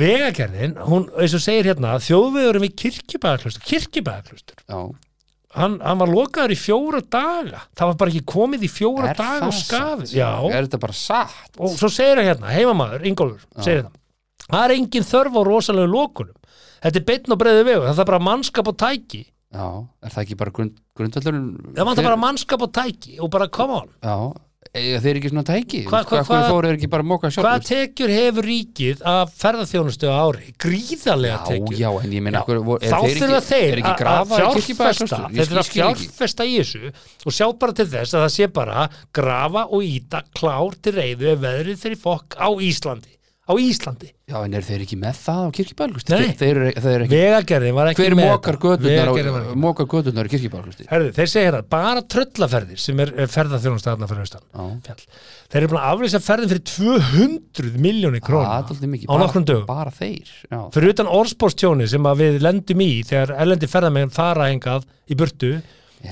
Speaker 3: vegagerðin, hún, eins og segir hérna þjóðvegurum í kirkjubæðaklustur kirkjubæðaklustur,
Speaker 4: já,
Speaker 3: hann, hann var lokaður í fjóra daga það var bara ekki komið í fjóra
Speaker 4: Er
Speaker 3: daga og
Speaker 4: það
Speaker 3: skafið,
Speaker 4: satt?
Speaker 3: já
Speaker 4: er þetta bara satt
Speaker 3: og svo segir það hérna, heimamaður, Ingólfur segir það, það er engin þörf á rosalegu lokunum, þetta er beinn og breiði vegu það er bara mannskap og tæki
Speaker 4: já, er það ekki bara grund, grundvöllurinn
Speaker 3: það vantar
Speaker 4: Þeir-
Speaker 3: bara mannskap og tæki og bara come on
Speaker 4: já, eiga þeir ekki svona tæki
Speaker 3: Hva-
Speaker 4: Hvað
Speaker 3: hva-
Speaker 4: hva, hva,
Speaker 3: hva-
Speaker 4: fóru þeir ekki bara að móka sjálfur
Speaker 3: Hvaða tekjur hefur ríkið af ferðarþjónustu á ári? Gríðarlega tekjur.
Speaker 4: Já, já, en ég meina
Speaker 3: Já,
Speaker 4: hver- vor- er
Speaker 3: þá
Speaker 4: þeir ekki-
Speaker 3: þurfa
Speaker 4: er
Speaker 3: þeir
Speaker 4: ekki
Speaker 3: að- að
Speaker 4: grafa í
Speaker 3: fjárfesta
Speaker 4: Kirkjubæjarklaustri? Ég
Speaker 3: þeir þurfa
Speaker 4: skil-
Speaker 3: að
Speaker 4: skil ekki.
Speaker 3: fjárfesta í þessu og sjá bara til þess að það sé bara grafa og íta klár til reyðu ef veðrið þeirri fokk á Íslandi á Íslandi,
Speaker 4: Já, en eru þeir ekki með það á kirkjubæðlusti?
Speaker 3: Nei.
Speaker 4: Þeir, eru- þeir eru ekki
Speaker 3: vegagerðin var ekki
Speaker 4: Hver
Speaker 3: með
Speaker 4: mókar
Speaker 3: þetta. Vegagerðin var
Speaker 4: gödurnar
Speaker 3: ekki
Speaker 4: á-
Speaker 3: með.
Speaker 4: mókar gödurnar í kirkjubæðlusti?
Speaker 3: Herðu, þeir segja hérna, bara tröllaferðir sem er eh, ferðarþjónusta þarna fyrir austan fjall. þeir eru búin að aflýsa ferðin fyrir 200 miljónir króna
Speaker 4: Það Ah, er aldrei mikið
Speaker 3: á
Speaker 4: bara-
Speaker 3: nokkrum dögum
Speaker 4: Bara þeir Já,
Speaker 3: fyrir utan orðspórstjóni sem að við lendum í þegar erlendi ferðamenn fara hengað í burtu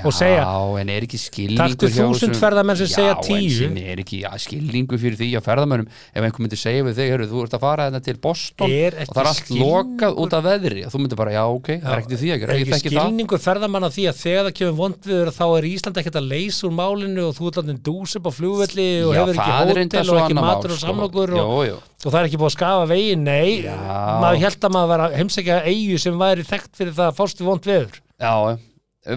Speaker 3: og segja
Speaker 4: Já, en er ekki skilningur
Speaker 3: Taktu
Speaker 4: hjá
Speaker 3: 1000
Speaker 4: þessum-
Speaker 3: ferðamenn sem segja
Speaker 4: Já,
Speaker 3: 10.
Speaker 4: en sem er ekki ja, skilningur fyrir því að ferðamönnum ef einhver myndi segja við þig, heyrðu, þú ert að fara þetta til Boston
Speaker 3: Er
Speaker 4: og
Speaker 3: ekki
Speaker 4: það er allt
Speaker 3: skilningur-
Speaker 4: lokað út af veðri og þú myndir bara, já, ok, það er ekkert í því að
Speaker 3: er
Speaker 4: gera Ég
Speaker 3: ekki
Speaker 4: þekki það
Speaker 3: skilningur ferðamann af því að þegar það kemur vondviður þá er Ísland ekkert að leysa úr málinu og þú ert landin dús upp á flugvelli og
Speaker 4: Já,
Speaker 3: hefur
Speaker 4: það er
Speaker 3: ekki
Speaker 4: reyndar
Speaker 3: hótel
Speaker 4: svo
Speaker 3: og ekki
Speaker 4: annað mál,
Speaker 3: matur og
Speaker 4: sko.
Speaker 3: samlokur og,
Speaker 4: Jú, jú.
Speaker 3: og það er ekki búið að skafa vegi, nei maður held að maður var að heimsækja eigu sem væri þekkt fyrir það að fást við vond veður
Speaker 4: Já,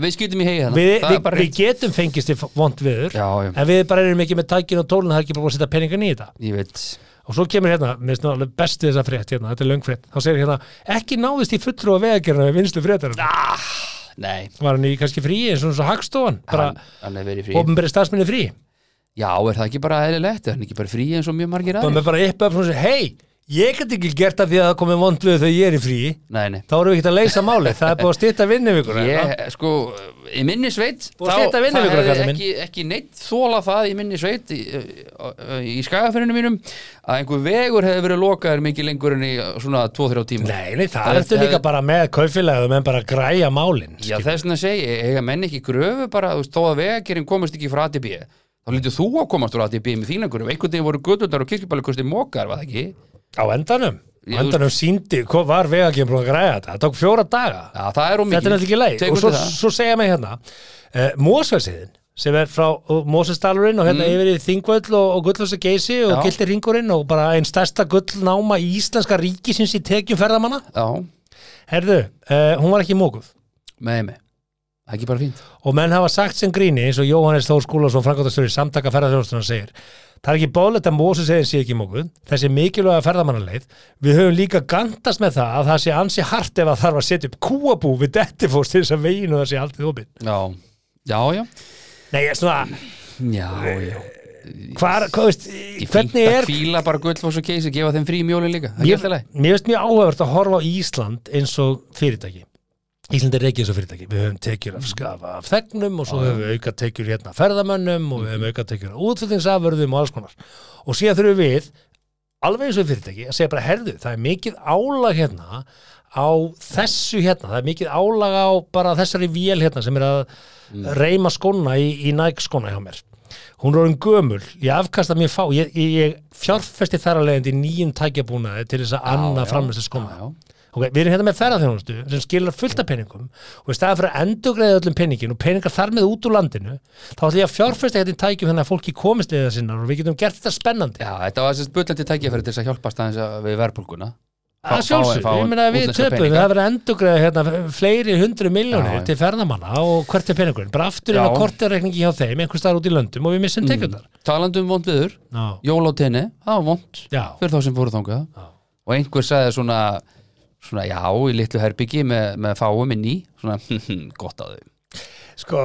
Speaker 4: við skýtum í hegi þannig
Speaker 3: við,
Speaker 4: Það er
Speaker 3: við,
Speaker 4: bara
Speaker 3: við
Speaker 4: rétt.
Speaker 3: getum fengist í vond veður
Speaker 4: Já, já.
Speaker 3: en við bara erum ekki með tækin og tólun það er ekki bara búið að setja peningan í þetta
Speaker 4: Ég veit
Speaker 3: og svo kemur hérna, minnst nú alveg besti þessa frétt hérna, þetta er löngfrétt, þá segir hérna ekki náðist í fulltrú að vegagerna við vinslu fréttarum
Speaker 4: Nei,
Speaker 3: var hann í kannski fríi eins og eins og hagstofan bara
Speaker 4: hann, hann er verið frí
Speaker 3: ofnbæri starfsmenni frí
Speaker 4: Já, er það ekki bara eðlilegt? Er hann ekki bara frí eins og mjög margir
Speaker 3: og
Speaker 4: aðeins?
Speaker 3: með bara upp upp svona sem, hei ég get ekki gert það því að það komið vondluðu þegar ég er í fríi
Speaker 4: Nei, nei
Speaker 3: þá erum við ekki að leysa málið, það er búið að stýta vinnum ykkur
Speaker 4: Ég, sko, í minni sveit
Speaker 3: Búið að stytta vinnu ykkur,
Speaker 4: hefði
Speaker 3: kallar minn.
Speaker 4: ekki, ekki neitt þóla það í minni sveit í, í, í skagafyrinu mínum að einhver vegur hefði verið lokaður mikið lengur en í uh, svona 2-3 tíma
Speaker 3: nei, nei,
Speaker 4: Það
Speaker 3: það ertu
Speaker 4: er-
Speaker 3: líka bara með kaufélagum en bara að græja málin
Speaker 4: Já, þess að segja, eiga menn ekki gröfu bara, þú veist, þó að vegagerinn komast ekki frá ATB þá lítið þú að komast frá ATB með þína gröfu, einhvern veginn voru gödurnar og kirkjubælukusti mókar, var það ekki?
Speaker 3: á endanum,
Speaker 4: Ég-
Speaker 3: á endanum síndi hvað var vegagjum búið að græja þetta, það tók fjóra daga
Speaker 4: Já, það er ómikið
Speaker 3: þetta er náttúrulega ekki leið og
Speaker 4: Tekur
Speaker 3: svo,
Speaker 4: þetta
Speaker 3: svo segja mig hérna uh, Mósvelsiðin sem er frá Mósestalurinn og hérna yfir í Þingvöll og, og Gullhúsa Geysi og
Speaker 4: Mm. Já.
Speaker 3: Gildi Ringurinn og bara einn stærsta gullnáma í íslenska ríkisins í tekjum ferðamanna
Speaker 4: Já,
Speaker 3: herðu, uh, hún var ekki mókuð
Speaker 4: með mig Það er ekki bara fínt
Speaker 3: og menn hafa sagt sem gríni eins og Jóhannes Þór Skúlason frangóttastöri samtaka ferðarþjónustuna segir það er ekki bóðlegt að Móseseiðin sé ekki mókuð þessi mikilvæga ferðamannaleið við höfum líka gandast með það að það sé ansi hart ef að þarf að setja upp kúabú við dettifóst til þess að veginu það sé aldrei opið
Speaker 4: Já, já, já
Speaker 3: Nei, ég er svona,
Speaker 4: Já, já
Speaker 3: hvar, hvað veist,
Speaker 4: Ég fínt
Speaker 3: hvernig
Speaker 4: að
Speaker 3: er
Speaker 4: kvíla bara gullfoss og keisi gefa þeim frí mjóli líka Það er
Speaker 3: mér,
Speaker 4: ekki alltaf
Speaker 3: mér veist mjög áhugavert að horfa á Ísland eins og fyrirtæki Ísland er ekki eins og fyrirtæki við höfum tekjur af skafa af þegnum og svo höfum við auka tekjur hérna af ferðamönnum og við höfum auka tekjur af útfylgningsaförðum og alls konar og síðan þurfum við alveg eins og fyrirtæki að segja bara herðu, það er mikið álag hérna á þessu hérna, það er mikið álag á bara þessari vél hérna sem er að
Speaker 4: Mm.
Speaker 3: reyma skóna í, í Nike skóna hjá mér hún er orðin gömul, ég afkasta mér fá ég, ég, ég fjárfesti þar að leiðandi í nýjum tækjabúnaði til þess að anna framlýsta skóna
Speaker 4: Já,
Speaker 3: Ok, við erum hérna með ferðarþjónustu sem skilar fullt af peningum og í staðan fyrir að endugreiða öllum peningin og peningar þar með út úr landinu þá ætlum ég að fjárfesta hérna í tækjum þannig að fólki komist leiða sinna og við getum gert þetta spennandi
Speaker 4: já þetta var sérst bullandi tækjafæri til þess að hjálpa staðins við verðbólguna
Speaker 3: að
Speaker 4: fá-
Speaker 3: sjálfsög,
Speaker 4: fá
Speaker 3: ég meina að við
Speaker 4: útlenska
Speaker 3: töpum
Speaker 4: peninga.
Speaker 3: það verður endugreiða hérna fleiri hundru
Speaker 4: Já, já.
Speaker 3: miljónir til ferðamanna og hvert er peningurinn bara aftur inn á
Speaker 4: Já. Mm.
Speaker 3: kortarekningi hjá þeim einhvers staðar út í löndum og við missum tekjundar
Speaker 4: Talandum vond viður, um jól á tenni Það var vond
Speaker 3: Já.
Speaker 4: fyrir þá sem fóru þangað Og einhver sagði svona, svona Já, í litlu herbyggi með, með fáum inn í Svona, gott á þau
Speaker 3: Sko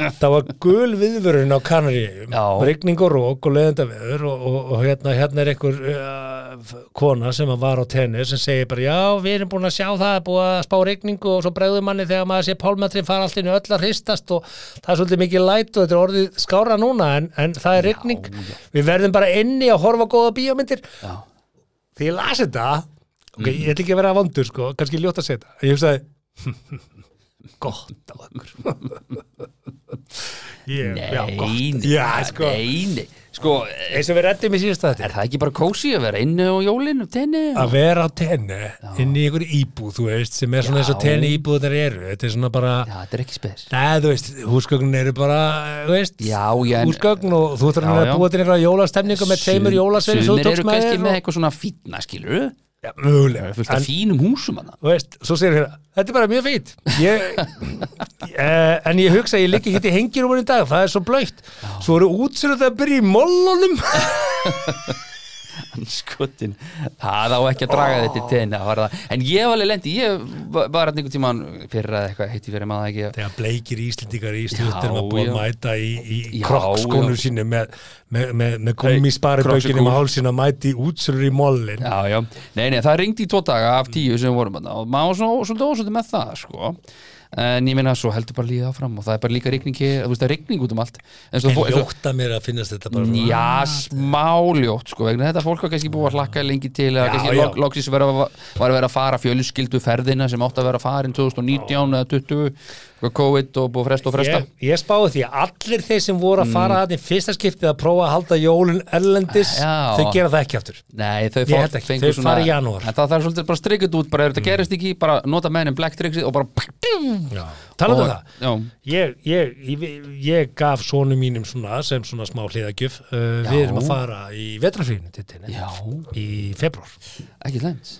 Speaker 3: Það var gul viðvörun á Kanaríum
Speaker 4: Já.
Speaker 3: Rigning og rók og leðendaveður og, og, og hérna, hérna er einhver uh, kona sem að var á tenni sem segir bara já, við erum búin að sjá það er búið að spá rigningu og svo bregður manni þegar maður sé pálmatrin fara allt inn öll að hristast og það er svolítið mikið læt og þetta er orðið skára núna en, en það er rigning Við verðum bara inni að horfa á góða bíómyndir
Speaker 4: Já.
Speaker 3: Því ég las þetta ok, ég ætla ekki að vera vondur sko, kannski ljótt að segja þetta en ég hugsaði gott á okkur ég, já, gott.
Speaker 4: Nei,
Speaker 3: já, sko,
Speaker 4: nei, nei. Sko,
Speaker 3: eins og við reddum í síðasta þetta
Speaker 4: er það ekki bara kósi að vera inni á jólinu, tenni?
Speaker 3: að vera á tenni inn í einhverju íbúð, þú veist, sem er svona eins og
Speaker 4: Já.
Speaker 3: tenni íbúð þar eru, þetta er svona bara
Speaker 4: Já, þetta er ekki spes.
Speaker 3: Nei, þú veist, húsgögnin eru bara, þú veist,
Speaker 4: Já, já, en-
Speaker 3: húsgögn og þú þarf
Speaker 4: Já,
Speaker 3: að
Speaker 4: já.
Speaker 3: búa til einhverja jólastemningu með tveimur jólasveinu sem þú
Speaker 4: Sumir
Speaker 3: tókst
Speaker 4: eru
Speaker 3: með
Speaker 4: kannski
Speaker 3: þér
Speaker 4: með
Speaker 3: og-
Speaker 4: eitthvað svona fítna, skilur við?
Speaker 3: Já, mögulega.
Speaker 4: Fullt af
Speaker 3: En,
Speaker 4: fínum húsum að það.
Speaker 3: þú veist, svo segir hérna, þetta er bara mjög fýtt. En ég hugsa, ég liggi hitt í hengjurúmur í dag, það er svo blöitt. Svo eru útsöruð að byrja í mollunum.
Speaker 4: Skotin, það á ekki að draga oh. þetta tenni að fara það. En ég var alveg lendi, ég var var hérna einhvern tímann fyrir að eitthvað heitti fyrir maður ekki.
Speaker 3: Þegar bleikir íslendingar í stjórnum að
Speaker 4: Já,
Speaker 3: búa að
Speaker 4: já.
Speaker 3: mæta í, í
Speaker 4: Já,
Speaker 3: krokskónu
Speaker 4: já.
Speaker 3: sínu með, með, með, með gummisparibökinu
Speaker 4: Crocs er
Speaker 3: með
Speaker 4: cool.
Speaker 3: hálsinn að mæta í útsöruð í mollin.
Speaker 4: Já, já, nei, nei, það ringdi í tvo daga af tíu sem við vorum þarna og maður var svona svolítið ósvöldi með það, sko en ég meina svo heldur bara líða áfram og það er bara líka rigningi, þú veist það er rigning út um allt en svo,
Speaker 3: En
Speaker 4: fó- svo-
Speaker 3: ljótt að mér að finnast þetta bara svona.
Speaker 4: Já, smáljótt sko vegna þetta fólk var kannski búið að hlakka lengi til eða
Speaker 3: Já,
Speaker 4: kannski
Speaker 3: já.
Speaker 4: lok, loksins vera, var að vera að fara fjölskyldu ferðina sem átt að vera að fara inn 2019 eða 20 sko, COVID og búið að fresta og fresta
Speaker 3: Ég, ég spáði því að allir þeir sem voru að fara mm. í fyrsta skiptið að prófa að halda jólun erlendis,
Speaker 4: Já.
Speaker 3: þau gera það ekki aftur.
Speaker 4: Nei, þau
Speaker 3: Ég held
Speaker 4: fá-
Speaker 3: ekki,
Speaker 4: fengu
Speaker 3: þau fara í janúar. Mm.
Speaker 4: En það þarf svolítið bara strikut út, bara ef þetta gerist ekki bara nota menn en black tricksið og bara
Speaker 3: Já. Talaðu um það.
Speaker 4: Já,
Speaker 3: Ég, ég, ég, ég gaf sonu mínum svona, sem svona smá hliðagjöf. Uh, við
Speaker 4: Já.
Speaker 3: erum að fara í vetrafríðinu til tenni
Speaker 4: Já.
Speaker 3: í februar.
Speaker 4: ekki lengt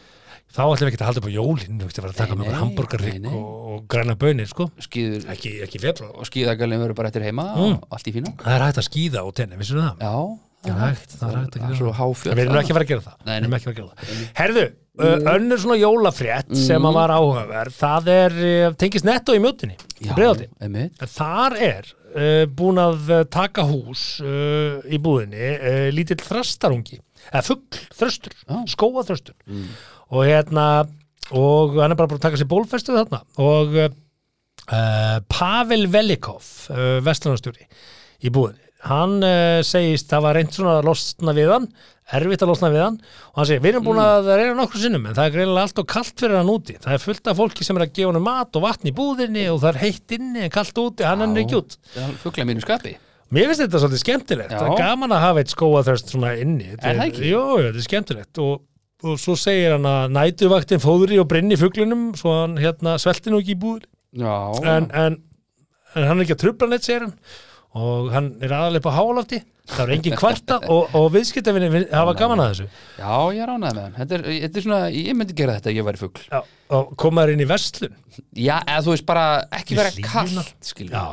Speaker 3: Þá ætlum við ekki að halda upp á jólin, við ætlum að taka
Speaker 4: Nei,
Speaker 3: með okkur
Speaker 4: nei,
Speaker 3: hamburgarrygg
Speaker 4: nei, nei.
Speaker 3: og, og græna bönir, sko.
Speaker 4: Skýður
Speaker 3: Ekki, Mm. ekki í februar.
Speaker 4: og skýðagalinn verður bara eftir heima og allt í fína
Speaker 3: Það er hægt að skýða á tenni, vissum það?
Speaker 4: Já,
Speaker 3: Það er hægt, það er hægt að
Speaker 4: það
Speaker 3: gera
Speaker 4: er svo háfjöld
Speaker 3: En Við erum ekki að fara að gera það,
Speaker 4: Nei, Mhm. nei.
Speaker 3: Við erum ekki að fara að gera það. Herðu, ö, önnur svona jólafrétt sem að var áhugaverð það er, ö, tengist netto í mjótinni breyðaldi,
Speaker 4: einmitt.
Speaker 3: þar er uh, búin að ö, taka hús uh, í búðinni, uh, lítill þrastarungi, eða fugl þröstur,
Speaker 4: Já.
Speaker 3: skóaþröstur og hérna og hann er bara búin að taka sér bólfestu þarna og uh, Eh, Pavel Velikov uh, vestlunarstjóri í búðinni hann uh, segist það var reynd svona að losna við hann erfitt að losna við hann og hann segir við erum búin
Speaker 4: Mm.
Speaker 3: að reyna nokkru sinnum en það er greinilega allt og kalt fyrir hann úti það er fullt af fólki sem er að gefa hann mat og vatn í búðinni og það er heitt inni en kalt úti hann er ekki út
Speaker 4: Fugla mínu skapi
Speaker 3: Mér finnst þetta svolítið skemmtilegt,
Speaker 4: Já.
Speaker 3: það er gaman að hafa eitt skóaþörst svona inni. Þetta
Speaker 4: Er það ekki?
Speaker 3: Jó, jó, þetta er skemmtilegt og, og svo segir hann að nætuvaktin fóðri og brinni fuglunum svo hann hérna svelti nú ekki í búður
Speaker 4: Já,
Speaker 3: en, en, en hann er ekki að trubla neitt, segir hann og hann er aðalega upp á hálafti það er engin kvarta og, og viðskiptafinni hafa gaman að þessu
Speaker 4: já ég ránaði með hann þetta er, þetta er svona, ég myndi gera þetta ef ég væri fugl
Speaker 3: Já, og komaður inn í verslun
Speaker 4: Já, eða þú veist bara ekki
Speaker 3: Í
Speaker 4: vera
Speaker 3: hlýjuna.
Speaker 4: kallt
Speaker 3: Já,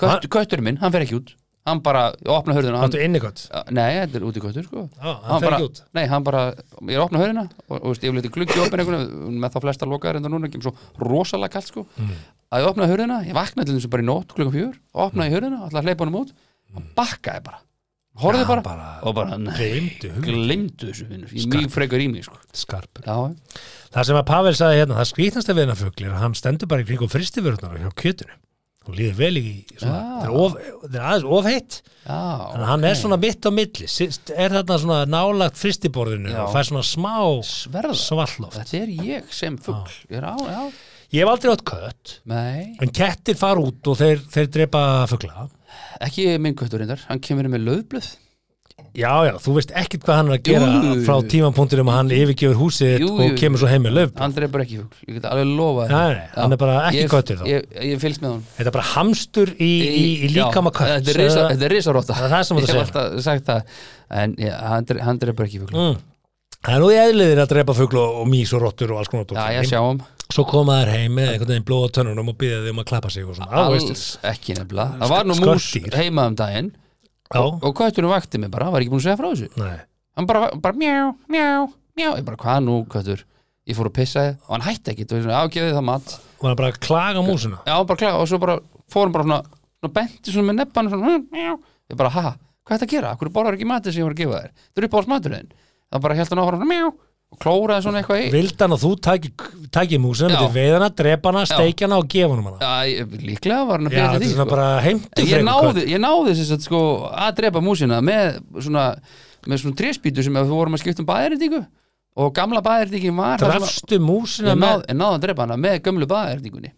Speaker 4: Kött, Kötturinn minn, hann fer ekki út Hann bara, ég opna hörðuna hann,
Speaker 3: áttu innikott
Speaker 4: Nei, þetta er út í köttur sko
Speaker 3: Já, hann fer
Speaker 4: bara,
Speaker 3: ekki út.
Speaker 4: Nei, hann bara, ég opna hörðina og, og veist, ég vil eitthvað gluggi opna einhvern með þá flesta lokaðar en það núna ekki svo rosalega kallt sko að ég opnaði hörðina, ég vaknaði til þessu bara í nótt klukkan fjör, opnaði hörðina, alltaf að hleypa honum út hann bakkaði bara, horfði bara,
Speaker 3: bara-
Speaker 4: og bara, nei,
Speaker 3: Gleymdu hug,
Speaker 4: glimtu þessu vinnur ég mjög frekar í mig sko
Speaker 3: skarpur
Speaker 4: Já,
Speaker 3: Það sem að Pavel sagði hérna, það skrýtnasta við hennar fuglir að hann stendur bara í kringum fristiförðnar og hjá kjötinu. Hún líður vel í, svona, það,
Speaker 4: Já.
Speaker 3: er of, það er aðeins of heitt,
Speaker 4: já,
Speaker 3: þannig að hann er svona mitt á milli, Sist, er þarna svona nálagt fristiborðinu
Speaker 4: Já.
Speaker 3: og fær svona smá
Speaker 4: sverða
Speaker 3: svalloft.
Speaker 4: Þetta er ég sem fugl, ég er á, já
Speaker 3: Ég hef aldrei átt kött,
Speaker 4: Nei,
Speaker 3: en kettir fara út og þeir, þeir drepa fugla.
Speaker 4: ekki minn köttur reyndar, hann kemur með löðblöð
Speaker 3: Já, já, þú veist ekkit hvað hann er að gera
Speaker 4: Jú, jú, jú.
Speaker 3: frá tímapunktinum að hann yfirgefur húsið
Speaker 4: Jú,
Speaker 3: jú,
Speaker 4: jú, jú.
Speaker 3: og kemur svo heim með löf.
Speaker 4: Hann dreipur ekki fugl, ég get alveg lofa
Speaker 3: Nei, nei, hann er bara ekki köttur þá.
Speaker 4: Ég, ég fylgst með hann
Speaker 3: Þetta er bara hamstur í, í, í líkama kött.
Speaker 4: Þetta er risa- þetta er risaróta
Speaker 3: Það er það sem þú
Speaker 4: Ég hef
Speaker 3: segir.
Speaker 4: alltaf sagt það En já, hann dre- hann dreipur ekki fugl
Speaker 3: Mm. Það er nú í eðliðir að drepa fugl og, og mís og rottur og alls konar
Speaker 4: Já,
Speaker 3: dót.
Speaker 4: ég sjá um. hann
Speaker 3: Svo koma þær heim með einhvern veginn blóða tönnunum og byrja þeim að klappa sig og svona. Á, veistu.
Speaker 4: Alls ekki nefnilega Það var nú mús
Speaker 3: Skordýr.
Speaker 4: heima um daginn
Speaker 3: Já,
Speaker 4: Og kötturinn vakti mig bara, hann var ekki búin að segja frá þessu
Speaker 3: nei.
Speaker 4: Hann bara, bara mjá, mjá, mjá Ég bara, hvað nú köttur? Ég fór að pissa þið og hann hætti ekki Þú veist, ágefið það mat
Speaker 3: Var hann bara að klaga músina?
Speaker 4: Já, bara klæða og svo bara fór hann bara svona, svona benti svona með nebban svona, "Mm, mjá." ég bara, ha, hvað er þetta að gera? Akkur borðar ekki matið sem ég var að gefa þér? Það er upp á alls maturinn Það bara held hann áfram svona, mjá og klóraði svona eitthvað í
Speaker 3: Vildi hann að þú tæki, tæki músina,
Speaker 4: Já.
Speaker 3: myndi veið hana, drepa hana, steikja hana og gefa hana hana?
Speaker 4: Æ, líklega var hann að
Speaker 3: Já,
Speaker 4: byrja
Speaker 3: þetta
Speaker 4: til
Speaker 3: er
Speaker 4: því
Speaker 3: svona
Speaker 4: sko.
Speaker 3: bara heimtu
Speaker 4: En ég, náði, ég náði þess að sko að drepa músina með svona með svona tréspýtu sem við vorum að skipta um baðerindingu og gamla baðerindingin var það sem að-
Speaker 3: Drafstu músina
Speaker 4: ég
Speaker 3: með...
Speaker 4: náði, ég náði að drepa hana með gömlu baðerindingunni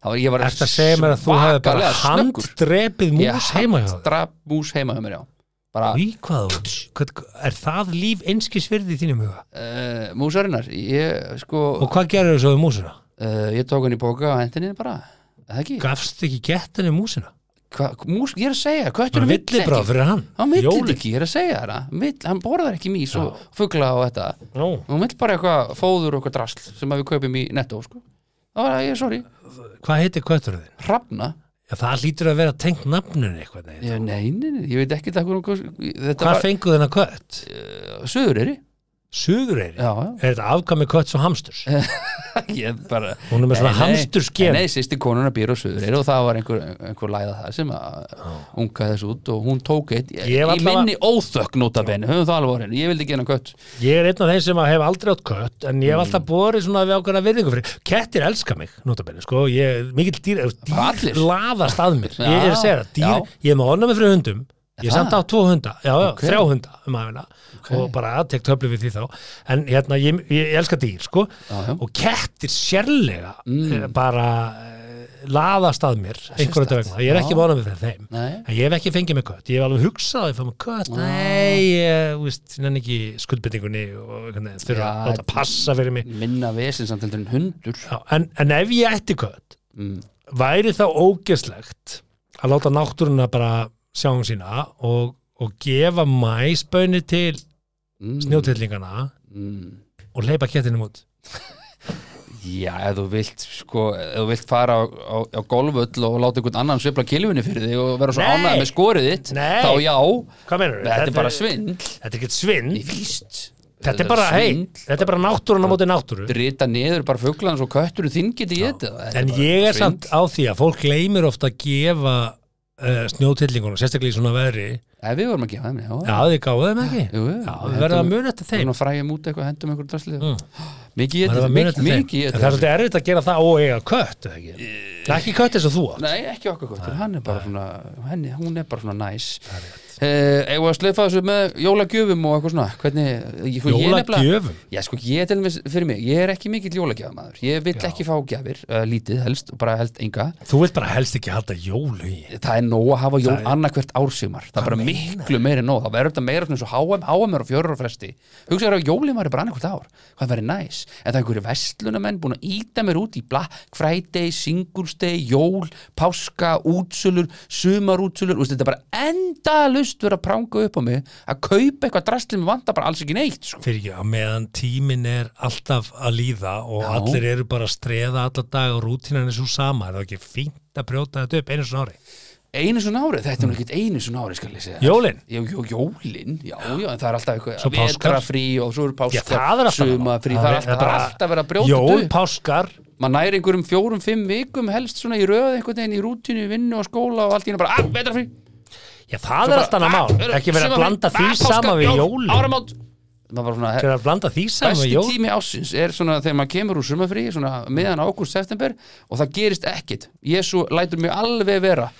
Speaker 4: Það var, ég var
Speaker 3: Ertu að segja mér að þú hefði bara
Speaker 4: svakalega snöggur.
Speaker 3: handdrepið
Speaker 4: Ég
Speaker 3: mús heima hjá þér?
Speaker 4: draf mús heima hjá mér já bara
Speaker 3: Í hvað, hvað, er það líf einskis virði í þínum huga?
Speaker 4: uh, músarinnar ég, sko,
Speaker 3: Og hvað gerir þessu við músina?
Speaker 4: uh, ég tók hann í bóka og hentinni bara Er það ekki,
Speaker 3: Gafst ekki gettinni músina?
Speaker 4: Hva, mús, ég er að segja
Speaker 3: Það
Speaker 4: köttur
Speaker 3: er villi bráð fyrir hann
Speaker 4: hann vill þetta
Speaker 3: Jólin.
Speaker 4: ekki, ég er að segja það vill, hann borðar ekki mís og fugla og þetta
Speaker 3: Nú,
Speaker 4: hann vill bara eitthvað fóður og eitthvað drasl sem að við kaupum í netto sko. það var að ég, sorry,
Speaker 3: Hvað heitir kötturinn þinn?
Speaker 4: hrafna
Speaker 3: Já, það hlýtur að vera tengt nafninu eitthvað neginn.
Speaker 4: ég, nei, nei, nei, ég veit ekki það hvað þetta
Speaker 3: Hvað
Speaker 4: var
Speaker 3: fenguð þennan kött?
Speaker 4: söðureyri
Speaker 3: Suðureyri?
Speaker 4: já, já,
Speaker 3: Er þetta afkvæmi kött svo hamsturs?
Speaker 4: ég bara
Speaker 3: Hún er með svona
Speaker 4: Nei, nei.
Speaker 3: hamsturskef.
Speaker 4: Nei, sýsti konuna býr á Suðureyri og það var einhver, einhver læða það sem að unga þess út og hún tók eitt ég,
Speaker 3: Ég var
Speaker 4: í
Speaker 3: allavega-
Speaker 4: minni óþökk notabenni, höfum það alveg orðinu, ég vildi ekki hennar kött
Speaker 3: Ég er einn af þeim sem að hef aldrei átt kött en
Speaker 4: Mm.
Speaker 3: ég hef alltaf borið svona við ákveðna virðingu fyrir kettir elska mig, notabene, sko ég, mikill dýr,
Speaker 4: Bara
Speaker 3: dýr
Speaker 4: allir.
Speaker 3: laðast að mér ég er að segja það,
Speaker 4: Já.
Speaker 3: dýr, ég er með honum fyrir hundum ég er
Speaker 4: það?
Speaker 3: samt á tvo hunda, já, já,
Speaker 4: Ok.
Speaker 3: þrjá hunda um aðeina og bara aðtekt höflu við því þá en hérna, ég, ég elska dýr, sko
Speaker 4: Já, já.
Speaker 3: og kettir sérlega mm. bara eh, laðast að mér einhverjum
Speaker 4: sérstakt.
Speaker 3: vegna, ég er ekki
Speaker 4: Já.
Speaker 3: með honum fyrir þeim
Speaker 4: Nei. Ah.
Speaker 3: En ég hef ekki fengið mig kött, ég hef alveg hugsað að ég fá mig kött, nei, ég, þú veist, nenn ekki skuldbyttingunni og hvernig, þurfa
Speaker 4: Já,
Speaker 3: að láta passa fyrir mig.
Speaker 4: minna vesins samt heldur en hundur
Speaker 3: Já, en, en ef ég ætti kött,
Speaker 4: Mm.
Speaker 3: væri þá ógeslegt að láta náttúruna bara sjá um sína og, og gefa mæsbönni til
Speaker 4: Mm,
Speaker 3: snjótillingana
Speaker 4: mm.
Speaker 3: og leipa kettinum út.
Speaker 4: Já, ef þú vilt sko, ef þú vilt fara á, á, á golföll og láta einhvern annan sveifla kilvinu fyrir þig og vera svo
Speaker 3: Nei.
Speaker 4: ánægð með skorið þitt
Speaker 3: Nei.
Speaker 4: þá já,
Speaker 3: Hvað menur
Speaker 4: þetta er bara svindl
Speaker 3: Þetta er ekki svindl.
Speaker 4: Í víst
Speaker 3: Þetta er bara, hei,
Speaker 4: svindl.
Speaker 3: þetta er bara náttúruna móti náttúru.
Speaker 4: drita niður bara fugglan svo köttur þinn geti ég þetta
Speaker 3: En ég er samt á því að fólk gleymir ofta að gefa uh, snjótillingunum, sérstaklega í svona veðri
Speaker 4: Ef við vorum að gefa þeim, já
Speaker 3: Já, þið gáðu þeim ekki
Speaker 4: Jú, jú.
Speaker 3: Já, við verðum að muna eftir þeim
Speaker 4: Svona frægjum um út eitthvað, hendum einhverju drasli mm. Mikið ég
Speaker 3: Verðum að muna
Speaker 4: þetta,
Speaker 3: eftir þeim
Speaker 4: mikið ég
Speaker 3: En það er svolítið erfitt að gera það og eiga kött eða ekki? Það er ekki kött eins og þú átt
Speaker 4: Nei, ekki okkur gott, hann er bara svona henni, hún er bara svona næs Eh, Eigum við að slaufa þessu með jólagjöfum og eitthvað svona, hvernig ég- sko, ég nefnilega-
Speaker 3: Jólagjöfum?
Speaker 4: Já, sko, ég til mér fyrir mig, ég er ekki mikill jólagjafamaður Ég vil ekki fá gjafir, uh, lítið helst og bara helst enga
Speaker 3: Þú vilt bara helst ekki halda jólugi
Speaker 4: það er nóg að hafa jól annarkvert ársumar það er bara miklu meiri nóg það verður þetta meira svona eins og HM, HM er á fjörur og fresti hugsaður að jólið maður er bara annarkvert ár hvað verður næs, en það er einhverju vestlunamenn búin að íta mér út í Black Friday Singulsteg, jól, páska útsölur, sumarútsölur Þú veist, þetta er bara endalust verið að pranga upp á mig að kaupa eitthvað drastlið með vanda bara alls ekki neitt sko.
Speaker 3: Fyrir ekki, á meðan tíminn er alltaf að líða og
Speaker 4: Já.
Speaker 3: allir eru bara að streða alla dag og rútínan er svo sama er það ekki fínt að brjóta þetta upp einu svona ári
Speaker 4: einu svona árið, þetta er nú ekki einu svona árið skal ég segja
Speaker 3: Mm. Jólin?
Speaker 4: Jú, jú, jólin, já, já, en það er alltaf eitthvað
Speaker 3: Svo páskar.
Speaker 4: vetrafrí og svo eru
Speaker 3: Já,
Speaker 4: páskar
Speaker 3: það er alltaf
Speaker 4: sumafrí, það er alltaf, það er
Speaker 3: bara-
Speaker 4: alltaf verið að brjóta
Speaker 3: Jól,
Speaker 4: þetta upp
Speaker 3: páskar,
Speaker 4: maður næri einhverjum fjórum, fimm vikum helst svona í röð einhvern veginn í rútínu, vinnu og skóla og allt í hérna bara, að, vetrafrí
Speaker 3: Já, það er allt annað
Speaker 4: "Ah,
Speaker 3: mál, ekki verið að blanda því sama við jólin
Speaker 4: áramót maður bara svona,
Speaker 3: Ekki verið að blanda því sama við
Speaker 4: besti
Speaker 3: jólin
Speaker 4: tími ásins er svona þegar maður kemur úr sumafrí svona meðan ágúst september og það gerist ekkit Jésu lætur mig alveg vera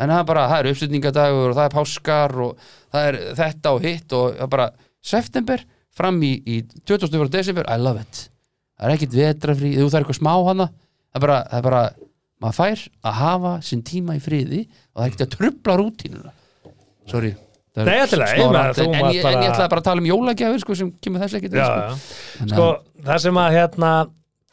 Speaker 4: en það er bara, það er uppstutningadagur og það er páskar og það er þetta og hitt og það er bara september fram í, í 24. desember I love it, það er ekkit vetrafrí þú það er eitthvað smá hana það er bara, það er bara maður fær að hafa sinn tíma í friði og það er ekkit að trubla rútínuna sorry það er
Speaker 3: Nei, allt í lagi,
Speaker 4: smá
Speaker 3: maður,
Speaker 4: rant,
Speaker 3: þú
Speaker 4: en, en,
Speaker 3: mátt
Speaker 4: ég, en ég
Speaker 3: bara-
Speaker 4: ætlaði bara að tala um jólagjafir sko, sem kemur þess ekkit
Speaker 3: Já, já. Sko, það sem að hérna,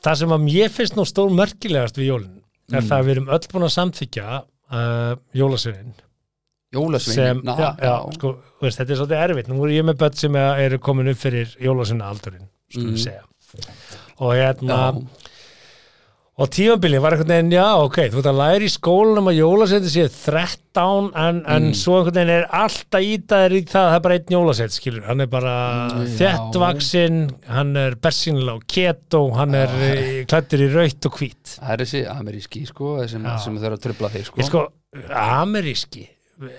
Speaker 3: það sem að mér finnst nú stór mörkilegast við jólin er
Speaker 4: Mm.
Speaker 3: það að við erum öll búin að samþykja uh, jólasveinin sem,
Speaker 4: Jólasveinin ná,
Speaker 3: já, já, sko, þú veist, þetta er svolítið erfitt nú er ég með börn sem eru komin upp fyrir jólasveina aldurinn, skulum við segja og hérna
Speaker 4: Mm. Já.
Speaker 3: og tímabilið var einhvern veginn, já, ok þú ert að læra í skólanum að jólasveiti séu 13 en,
Speaker 4: Mm.
Speaker 3: en svo einhvern veginn er alltaf ítaðir í það það er bara einn jólasveit, skilur, hann er bara
Speaker 4: já.
Speaker 3: þjettvaksin, hann er bersinilega og keto, hann
Speaker 4: Ah.
Speaker 3: er eh, klæddur í rautt og hvít
Speaker 4: það er þessi ameríski sko, sem, sem þau eru að trubla þig sko.
Speaker 3: Ég sko, ameríski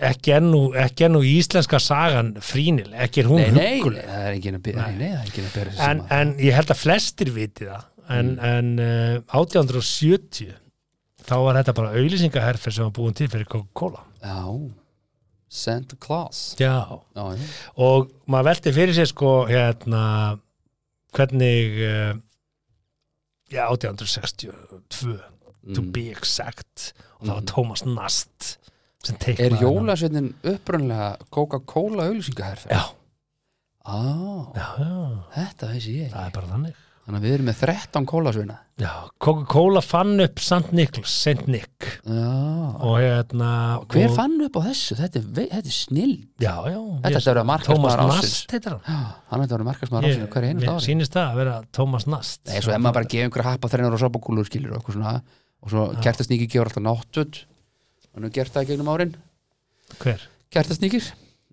Speaker 3: ekki ennú, ekki ennú íslenska sagan frínil, ekki er hún
Speaker 4: nei, nei,
Speaker 3: hugguleg
Speaker 4: það er engin að byrja nei, nei, það er engin að byrja þessi
Speaker 3: en, en ég held að Mm. flestir viti það en, en uh, 1870 þá var þetta bara auðlýsingaherfer sem var búin til fyrir Coca-Cola
Speaker 4: já, Santa Claus
Speaker 3: Já.
Speaker 4: já, já.
Speaker 3: og maður velti fyrir sér sko hérna hvernig uh, já Mm.
Speaker 4: Mm.
Speaker 3: 1862 to be exact og það var Thomas Nast sem teiknaði
Speaker 4: Er
Speaker 3: hann.
Speaker 4: jólasveitin upprunlega Coca-Cola auðlýsingaherferð?
Speaker 3: Já,
Speaker 4: Á,
Speaker 3: já, já,
Speaker 4: þetta veist ég
Speaker 3: það
Speaker 4: ekki.
Speaker 3: er bara þannig
Speaker 4: Þannig að við erum með 13 kólasveina.
Speaker 3: Já, Coca-Cola fann upp St. Nichols, St. Nick
Speaker 4: Já.
Speaker 3: og hérna
Speaker 4: Hver
Speaker 3: og,
Speaker 4: fann upp á þessu? Þetta er, ve- þetta er snill.
Speaker 3: Já, já
Speaker 4: Þetta ætti að vera
Speaker 3: Thomas
Speaker 4: markaðsmaður ásins.
Speaker 3: Nast heitir hann
Speaker 4: Já, hann ætti að vera markaðsmaður ásins hverja einu
Speaker 3: Mér
Speaker 4: ári.
Speaker 3: sýnist það að vera Thomas Nast
Speaker 4: Nei, svo ef maður bara gefið einhverja happa þreinar og sábakúlur skilur og eitthvað svona og svo kertasníki gefur alltaf náttut og nú gert það í gegnum árin
Speaker 3: Hver?
Speaker 4: kertasníkir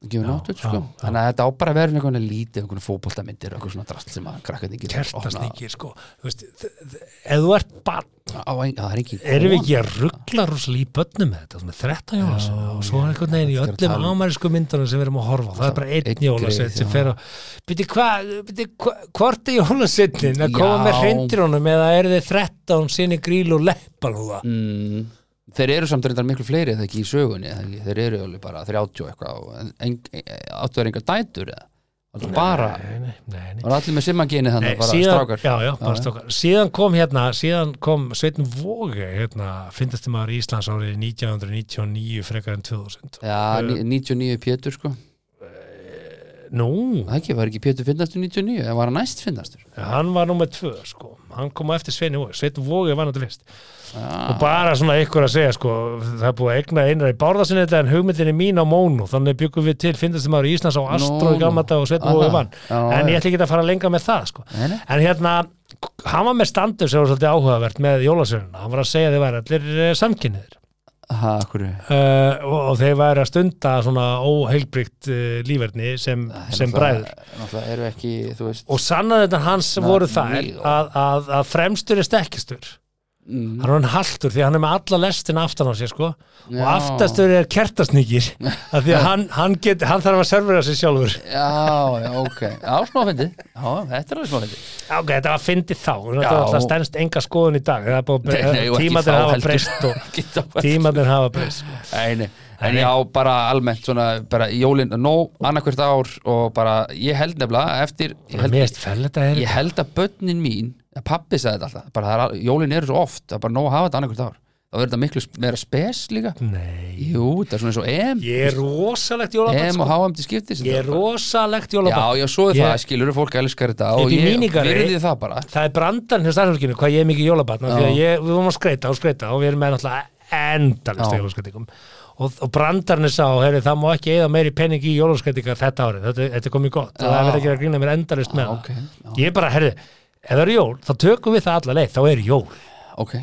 Speaker 4: og gefur náttut
Speaker 3: já,
Speaker 4: sko
Speaker 3: já.
Speaker 4: þannig að þetta á bara að vera einhvern veginn lítið einhvern fótboltamyndir og eitthvað svona drast sem að krakkaðni getur
Speaker 3: Kertasníkir, sko Þú veist, þ- þ- Ef þú ert barn
Speaker 4: opnað. á, ein, á, það er ekki
Speaker 3: Erum við ekki að ruggla rosalega í börnum með þetta, svona 13 jólas og svo er einhvern veginn í
Speaker 4: þetta er að
Speaker 3: öllum
Speaker 4: tala um-
Speaker 3: ámærisku myndunum sem við erum að horfa á. það er bara
Speaker 4: Einn
Speaker 3: einn jólasett
Speaker 4: greið,
Speaker 3: sem
Speaker 4: já.
Speaker 3: fer að byrju hvað, byrju hvort er jólasettin að koma
Speaker 4: Já.
Speaker 3: með hreindrónum eða eru þið 13 sinni gríl og leppalúða
Speaker 4: mm, þeir eru samt reyndar miklu fleiri eða ekki í sögunni eða ekki, þeir eru alveg bara 30 og eitthvað og en- en- áttu er engar dætur eða Allt bara,
Speaker 3: Nei, nei, nei, nei.
Speaker 4: var allir með simmaginni
Speaker 3: Nei,
Speaker 4: þannig bara
Speaker 3: síðan,
Speaker 4: strákar
Speaker 3: já, já, bara strákar síðan kom hérna, síðan kom Sveitin Vóge, hérna, fyndasti maður í Íslands árið 1999 frekar en 2000
Speaker 4: Já, ní- 99 Pétur sko
Speaker 3: Nú,
Speaker 4: Það ekki, var ekki Pétur finnastur 99 eða var hann næst finnastur
Speaker 3: hann var nummer tvö, sko hann kom á eftir Sveinu Vóge, Sveitin Vóge var náttúrulega fyrst og
Speaker 4: ah,
Speaker 3: bara svona ykkur að segja sko, það er búið að egna einar í bárðarsinni þetta en hugmyndin er mín á mónu þannig byggum við til, finnast þið maður í Íslands á Astro
Speaker 4: Nú,
Speaker 3: í gamla
Speaker 4: nú.
Speaker 3: dag og Sveitn Vói
Speaker 4: Aha.
Speaker 3: vann
Speaker 4: Ah, Já,
Speaker 3: en
Speaker 4: já.
Speaker 3: ég ætla ekki að fara lengra með það sko.
Speaker 4: Nei, nei.
Speaker 3: en hérna, hann var með standur sem var svolítið áhugavert með jólasveinuna hann var að segja að þeir væri allir samkynniðir
Speaker 4: ha, hverju?
Speaker 3: uh, og, og þeir væri að stunda svona óheilbrygt uh, líferni sem, sem bræður
Speaker 4: Náttúrulega eru ekki, þú veist
Speaker 3: og sannaði þetta hans
Speaker 4: Nei,
Speaker 3: voru þær
Speaker 4: mjög.
Speaker 3: að, að, að fremstur er stekkistur
Speaker 4: mm,
Speaker 3: hann er hann haltur því að hann er með alla lestin aftan á sér sko og
Speaker 4: Já.
Speaker 3: aftastur er kertasnýkir af því að hann, hann, get, hann þarf að servera sér sjálfur
Speaker 4: Já, já, ok Já, smáfindi, já, þetta er alveg smáfindi
Speaker 3: ok, þetta var fyndið þá þetta
Speaker 4: Já.
Speaker 3: var alltaf stennst enga skoðun í dag Það er búið að-
Speaker 4: Nei, nei, og ekki
Speaker 3: tímarnir
Speaker 4: þá
Speaker 3: hafa
Speaker 4: heldur.
Speaker 3: breyst og
Speaker 4: Ekki þá heldur.
Speaker 3: tímarnir hafa breyst sko.
Speaker 4: Nei, nei, en já, bara almennt svona, bara í jólin, nóg, annarkvært ár og bara, ég held nefnilega eftir, ég
Speaker 3: mér
Speaker 4: held,
Speaker 3: veist fel þetta er
Speaker 4: ég held að börnin mín að pappi sagði þetta alltaf, bara það er, al- jólin eru svo oft, það er bara nóg að hafa þetta annarkvært ár þá verður þetta miklu sp- meira spes líka
Speaker 3: nei,
Speaker 4: Jú, það er svona eins og EM
Speaker 3: ég er rosalegt jólabann
Speaker 4: EM
Speaker 3: sko.
Speaker 4: og HM til skiptis
Speaker 3: ég er rosalegt jólabann
Speaker 4: Já, já, svo er það,
Speaker 3: Ég-
Speaker 4: skilur fólk elskar þetta
Speaker 3: Ég
Speaker 4: og
Speaker 3: er í
Speaker 4: ég
Speaker 3: mínigari.
Speaker 4: virði það bara
Speaker 3: það er brandan hjá starfsfólkinu hvað ég er mikið jólabann af því að
Speaker 4: Já.
Speaker 3: ég, við vorum að skreita og skreita og við erum með náttúrulega endalist
Speaker 4: Já.
Speaker 3: jólaskreitingum og, og brandarnir sá, heyri, það má ekki eða meiri penning í jólaskreitingar þetta árið þetta, þetta er komið gott, það
Speaker 4: Já.
Speaker 3: verður ekki að grína mér endalist með
Speaker 4: Já,
Speaker 3: það
Speaker 4: ok, já.
Speaker 3: ég bara, herri, ef það eru jól þá tökum við það alla leið, þá er jól
Speaker 4: Ok,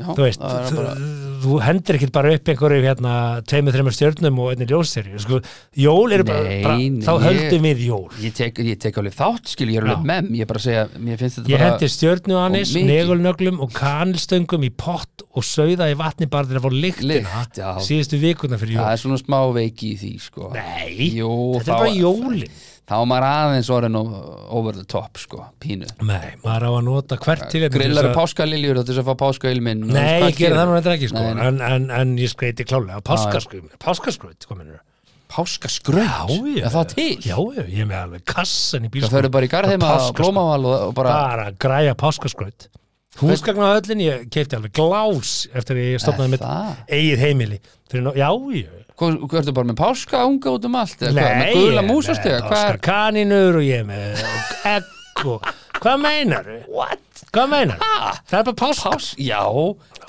Speaker 4: já,
Speaker 3: þú veist,
Speaker 4: það er
Speaker 3: þú,
Speaker 4: bara
Speaker 3: þú hendur ekkert bara upp einhverju hérna, tveimur, þreimur stjörnum og einnig ljósserju, sko, jól eru bara,
Speaker 4: Nei,
Speaker 3: bara
Speaker 4: nei,
Speaker 3: þá
Speaker 4: ég-
Speaker 3: höldum við jól
Speaker 4: Ég tek, ég tek alveg þátt, skilur, ég er alveg
Speaker 3: Já.
Speaker 4: mem Ég er bara að segja, mér finnst þetta
Speaker 3: Ég
Speaker 4: bara
Speaker 3: hendi stjörnu anis,
Speaker 4: og mikið.
Speaker 3: negulnöglum og kanilstöngum í pott og sauða í vatni bara til að fá lyktina
Speaker 4: Lykt, já.
Speaker 3: síðustu vikuna fyrir
Speaker 4: Það
Speaker 3: jól.
Speaker 4: er svona smá veiki í því, sko
Speaker 3: Nei,
Speaker 4: Jú,
Speaker 3: þetta er
Speaker 4: þá-
Speaker 3: bara jólin.
Speaker 4: Þá er maður aðeins orðin o- over the top, sko, pínu
Speaker 3: Nei, maður á að nota hvert til
Speaker 4: Grillar páskaliljur til þess að fá páskailminn
Speaker 3: Nei, ég gera það nú eitthvað ekki sko,
Speaker 4: Nei,
Speaker 3: en, en, en ég skreiti klálega. Páskaskröð, páskaskröð, hvað minnur það?
Speaker 4: Páskaskraut, er það til?
Speaker 3: Já, já, ég er með alveg kassan í bílskröð.
Speaker 4: Það fyrir bara í garðheima, blómaval og, og bara
Speaker 3: Bara að græja páskaskröð. Húsgagnahöllin, ég keipti alveg glás eftir að ég stopnaði mitt
Speaker 4: það?
Speaker 3: eigið heimili. Fyrir nó- Já, já,
Speaker 4: Hvað hvað ertu bara með páskaunga út um allt? eða hvað,
Speaker 3: Nei,
Speaker 4: með gula
Speaker 3: ég er
Speaker 4: músastega,
Speaker 3: með
Speaker 4: hvað er
Speaker 3: páska kaninur og ég er með egg og hvað meinar What? Hvað meinar Það er bara páska
Speaker 4: Pás, já,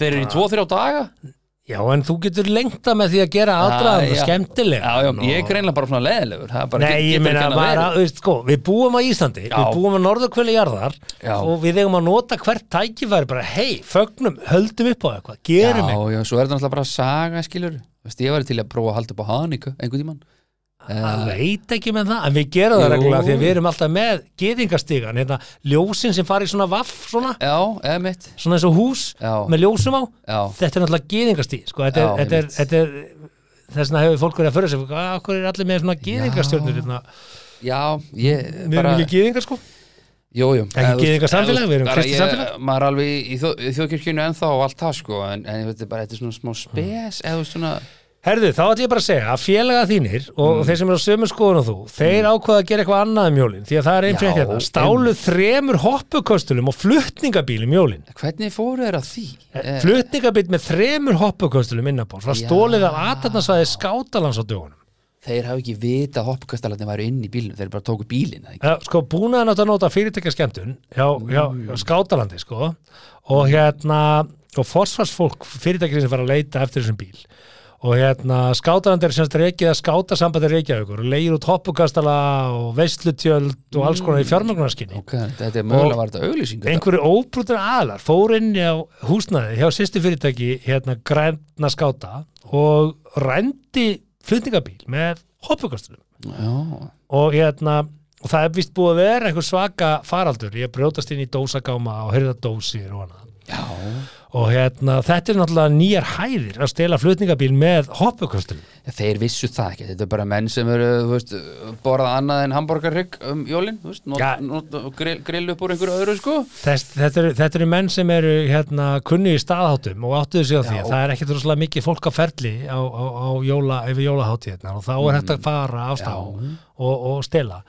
Speaker 4: þeir eru í 2-3 daga
Speaker 3: Já, en þú getur lengta með því að gera aðdraðan
Speaker 4: já.
Speaker 3: skemmtilega
Speaker 4: Já, já, ég er greinlega bara svona leðilegur það er bara,
Speaker 3: Nei,
Speaker 4: get-
Speaker 3: ég
Speaker 4: getur
Speaker 3: meina
Speaker 4: ekki annað
Speaker 3: bara,
Speaker 4: verið.
Speaker 3: þú veist, sko, við búum á Íslandi,
Speaker 4: Já.
Speaker 3: við búum á norðurkvöli jarðar
Speaker 4: Já.
Speaker 3: og við eigum að nota hvert tækifæri bara, hei, fögnum, höldum upp á eitthvað, gerum eitthvað.
Speaker 4: Já, já, svo er það náttúrulega bara saga, skilur Vist, Ég var til að prófa að halda upp á Hanika einhvern tímann
Speaker 3: Það veit ekki með það, en við gerum það
Speaker 4: Jú.
Speaker 3: reglulega því að við erum alltaf með geðingastigan, hérna, ljósin sem fara í svona vaff, svona,
Speaker 4: Já, eða mitt
Speaker 3: svona eins og hús
Speaker 4: Já.
Speaker 3: með ljósum á
Speaker 4: Já.
Speaker 3: þetta er náttúrulega gýðingastí sko. þetta,
Speaker 4: Já,
Speaker 3: er- þetta, er- þetta er þess vegna hefur fólk verið að föru sig sko, "Ah, hvað er allir með svona gýðingastjörnur hérna?
Speaker 4: Já, ég
Speaker 3: við
Speaker 4: bara
Speaker 3: erum ekki gýðingar sko
Speaker 4: Jú, jú
Speaker 3: Ekki gyðingasamfélag, við erum kristið samfélag.
Speaker 4: Maður er alveg í, þjó, í þjóðkirkjunu ennþá og allt það, sko En, en þetta er bara, þetta er svona smá spes Eða þú veist, svona
Speaker 3: Herðu, þá ætlum ég bara að segja að félaga þínir og
Speaker 4: Mm.
Speaker 3: þeir sem eru á sömu skoðun og þú, þeir mm. ákvaða að gera eitthvað annað um hjólinn, því að það er einn
Speaker 4: Já,
Speaker 3: frétt hérna. Stálu þremur hoppuköstulum og flutningabílum hjólinn.
Speaker 4: Hvernig fóru þeir að því?
Speaker 3: Eh. Flutningabíl með þremur hoppuköstulum innanbóls var
Speaker 4: Já.
Speaker 3: stólið af aðtarnasvæði skátalans á dögunum.
Speaker 4: Þeir hafa ekki vita að hoppkastalarnir væru inn í bílnum Þeir bara tóku bílinn eða ekki?
Speaker 3: Já, sko, búnaðan átt að nota fyrirtækjaskemmtun hjá, hjá, hjá skátalandi, sko og hérna, og forsvarsfólk fyrirtækjir sem fara að leita eftir þessum bíl og hérna, skátalandi er semst reikið að skátasambandi reikjaðugur og leigir út hoppukastala og veistlutjöld og alls konar í fjármögnarskinni
Speaker 4: Ok, Þetta er mögulega var þetta auglýsing þetta.
Speaker 3: einhverju óbrútur aðlar fór inn á húsnaði hjá sýstu fyrirtæki hérna grænna skáta og rændi flutningabíl með hoppukastalum
Speaker 4: Já,
Speaker 3: og hérna og það er vist búið að vera einhver svaka faraldur ég brjótast inn í dósagáma og hyrða dósir og hana
Speaker 4: já
Speaker 3: og hérna þetta er náttúrulega nýjar hæðir að stela flutningabíl með hoppukostum
Speaker 4: Þeir vissu það ekki, þetta er bara menn sem eru, þú veist, borða annað en hambúrgarrygg um jólinn, þú veist, not,
Speaker 3: Já.
Speaker 4: not, grill, grill upp úr einhverju öðru, sko.
Speaker 3: Þess, þetta, eru, þetta eru menn sem eru hérna kunni í staðháttum og áttuðu sig á því
Speaker 4: Já.
Speaker 3: að það er ekkit rosalega mikið fólk á ferli á, á, á jóla, yfir jólaháttíðna og þá er
Speaker 4: Mm.
Speaker 3: hægt að fara á stafum og, og stela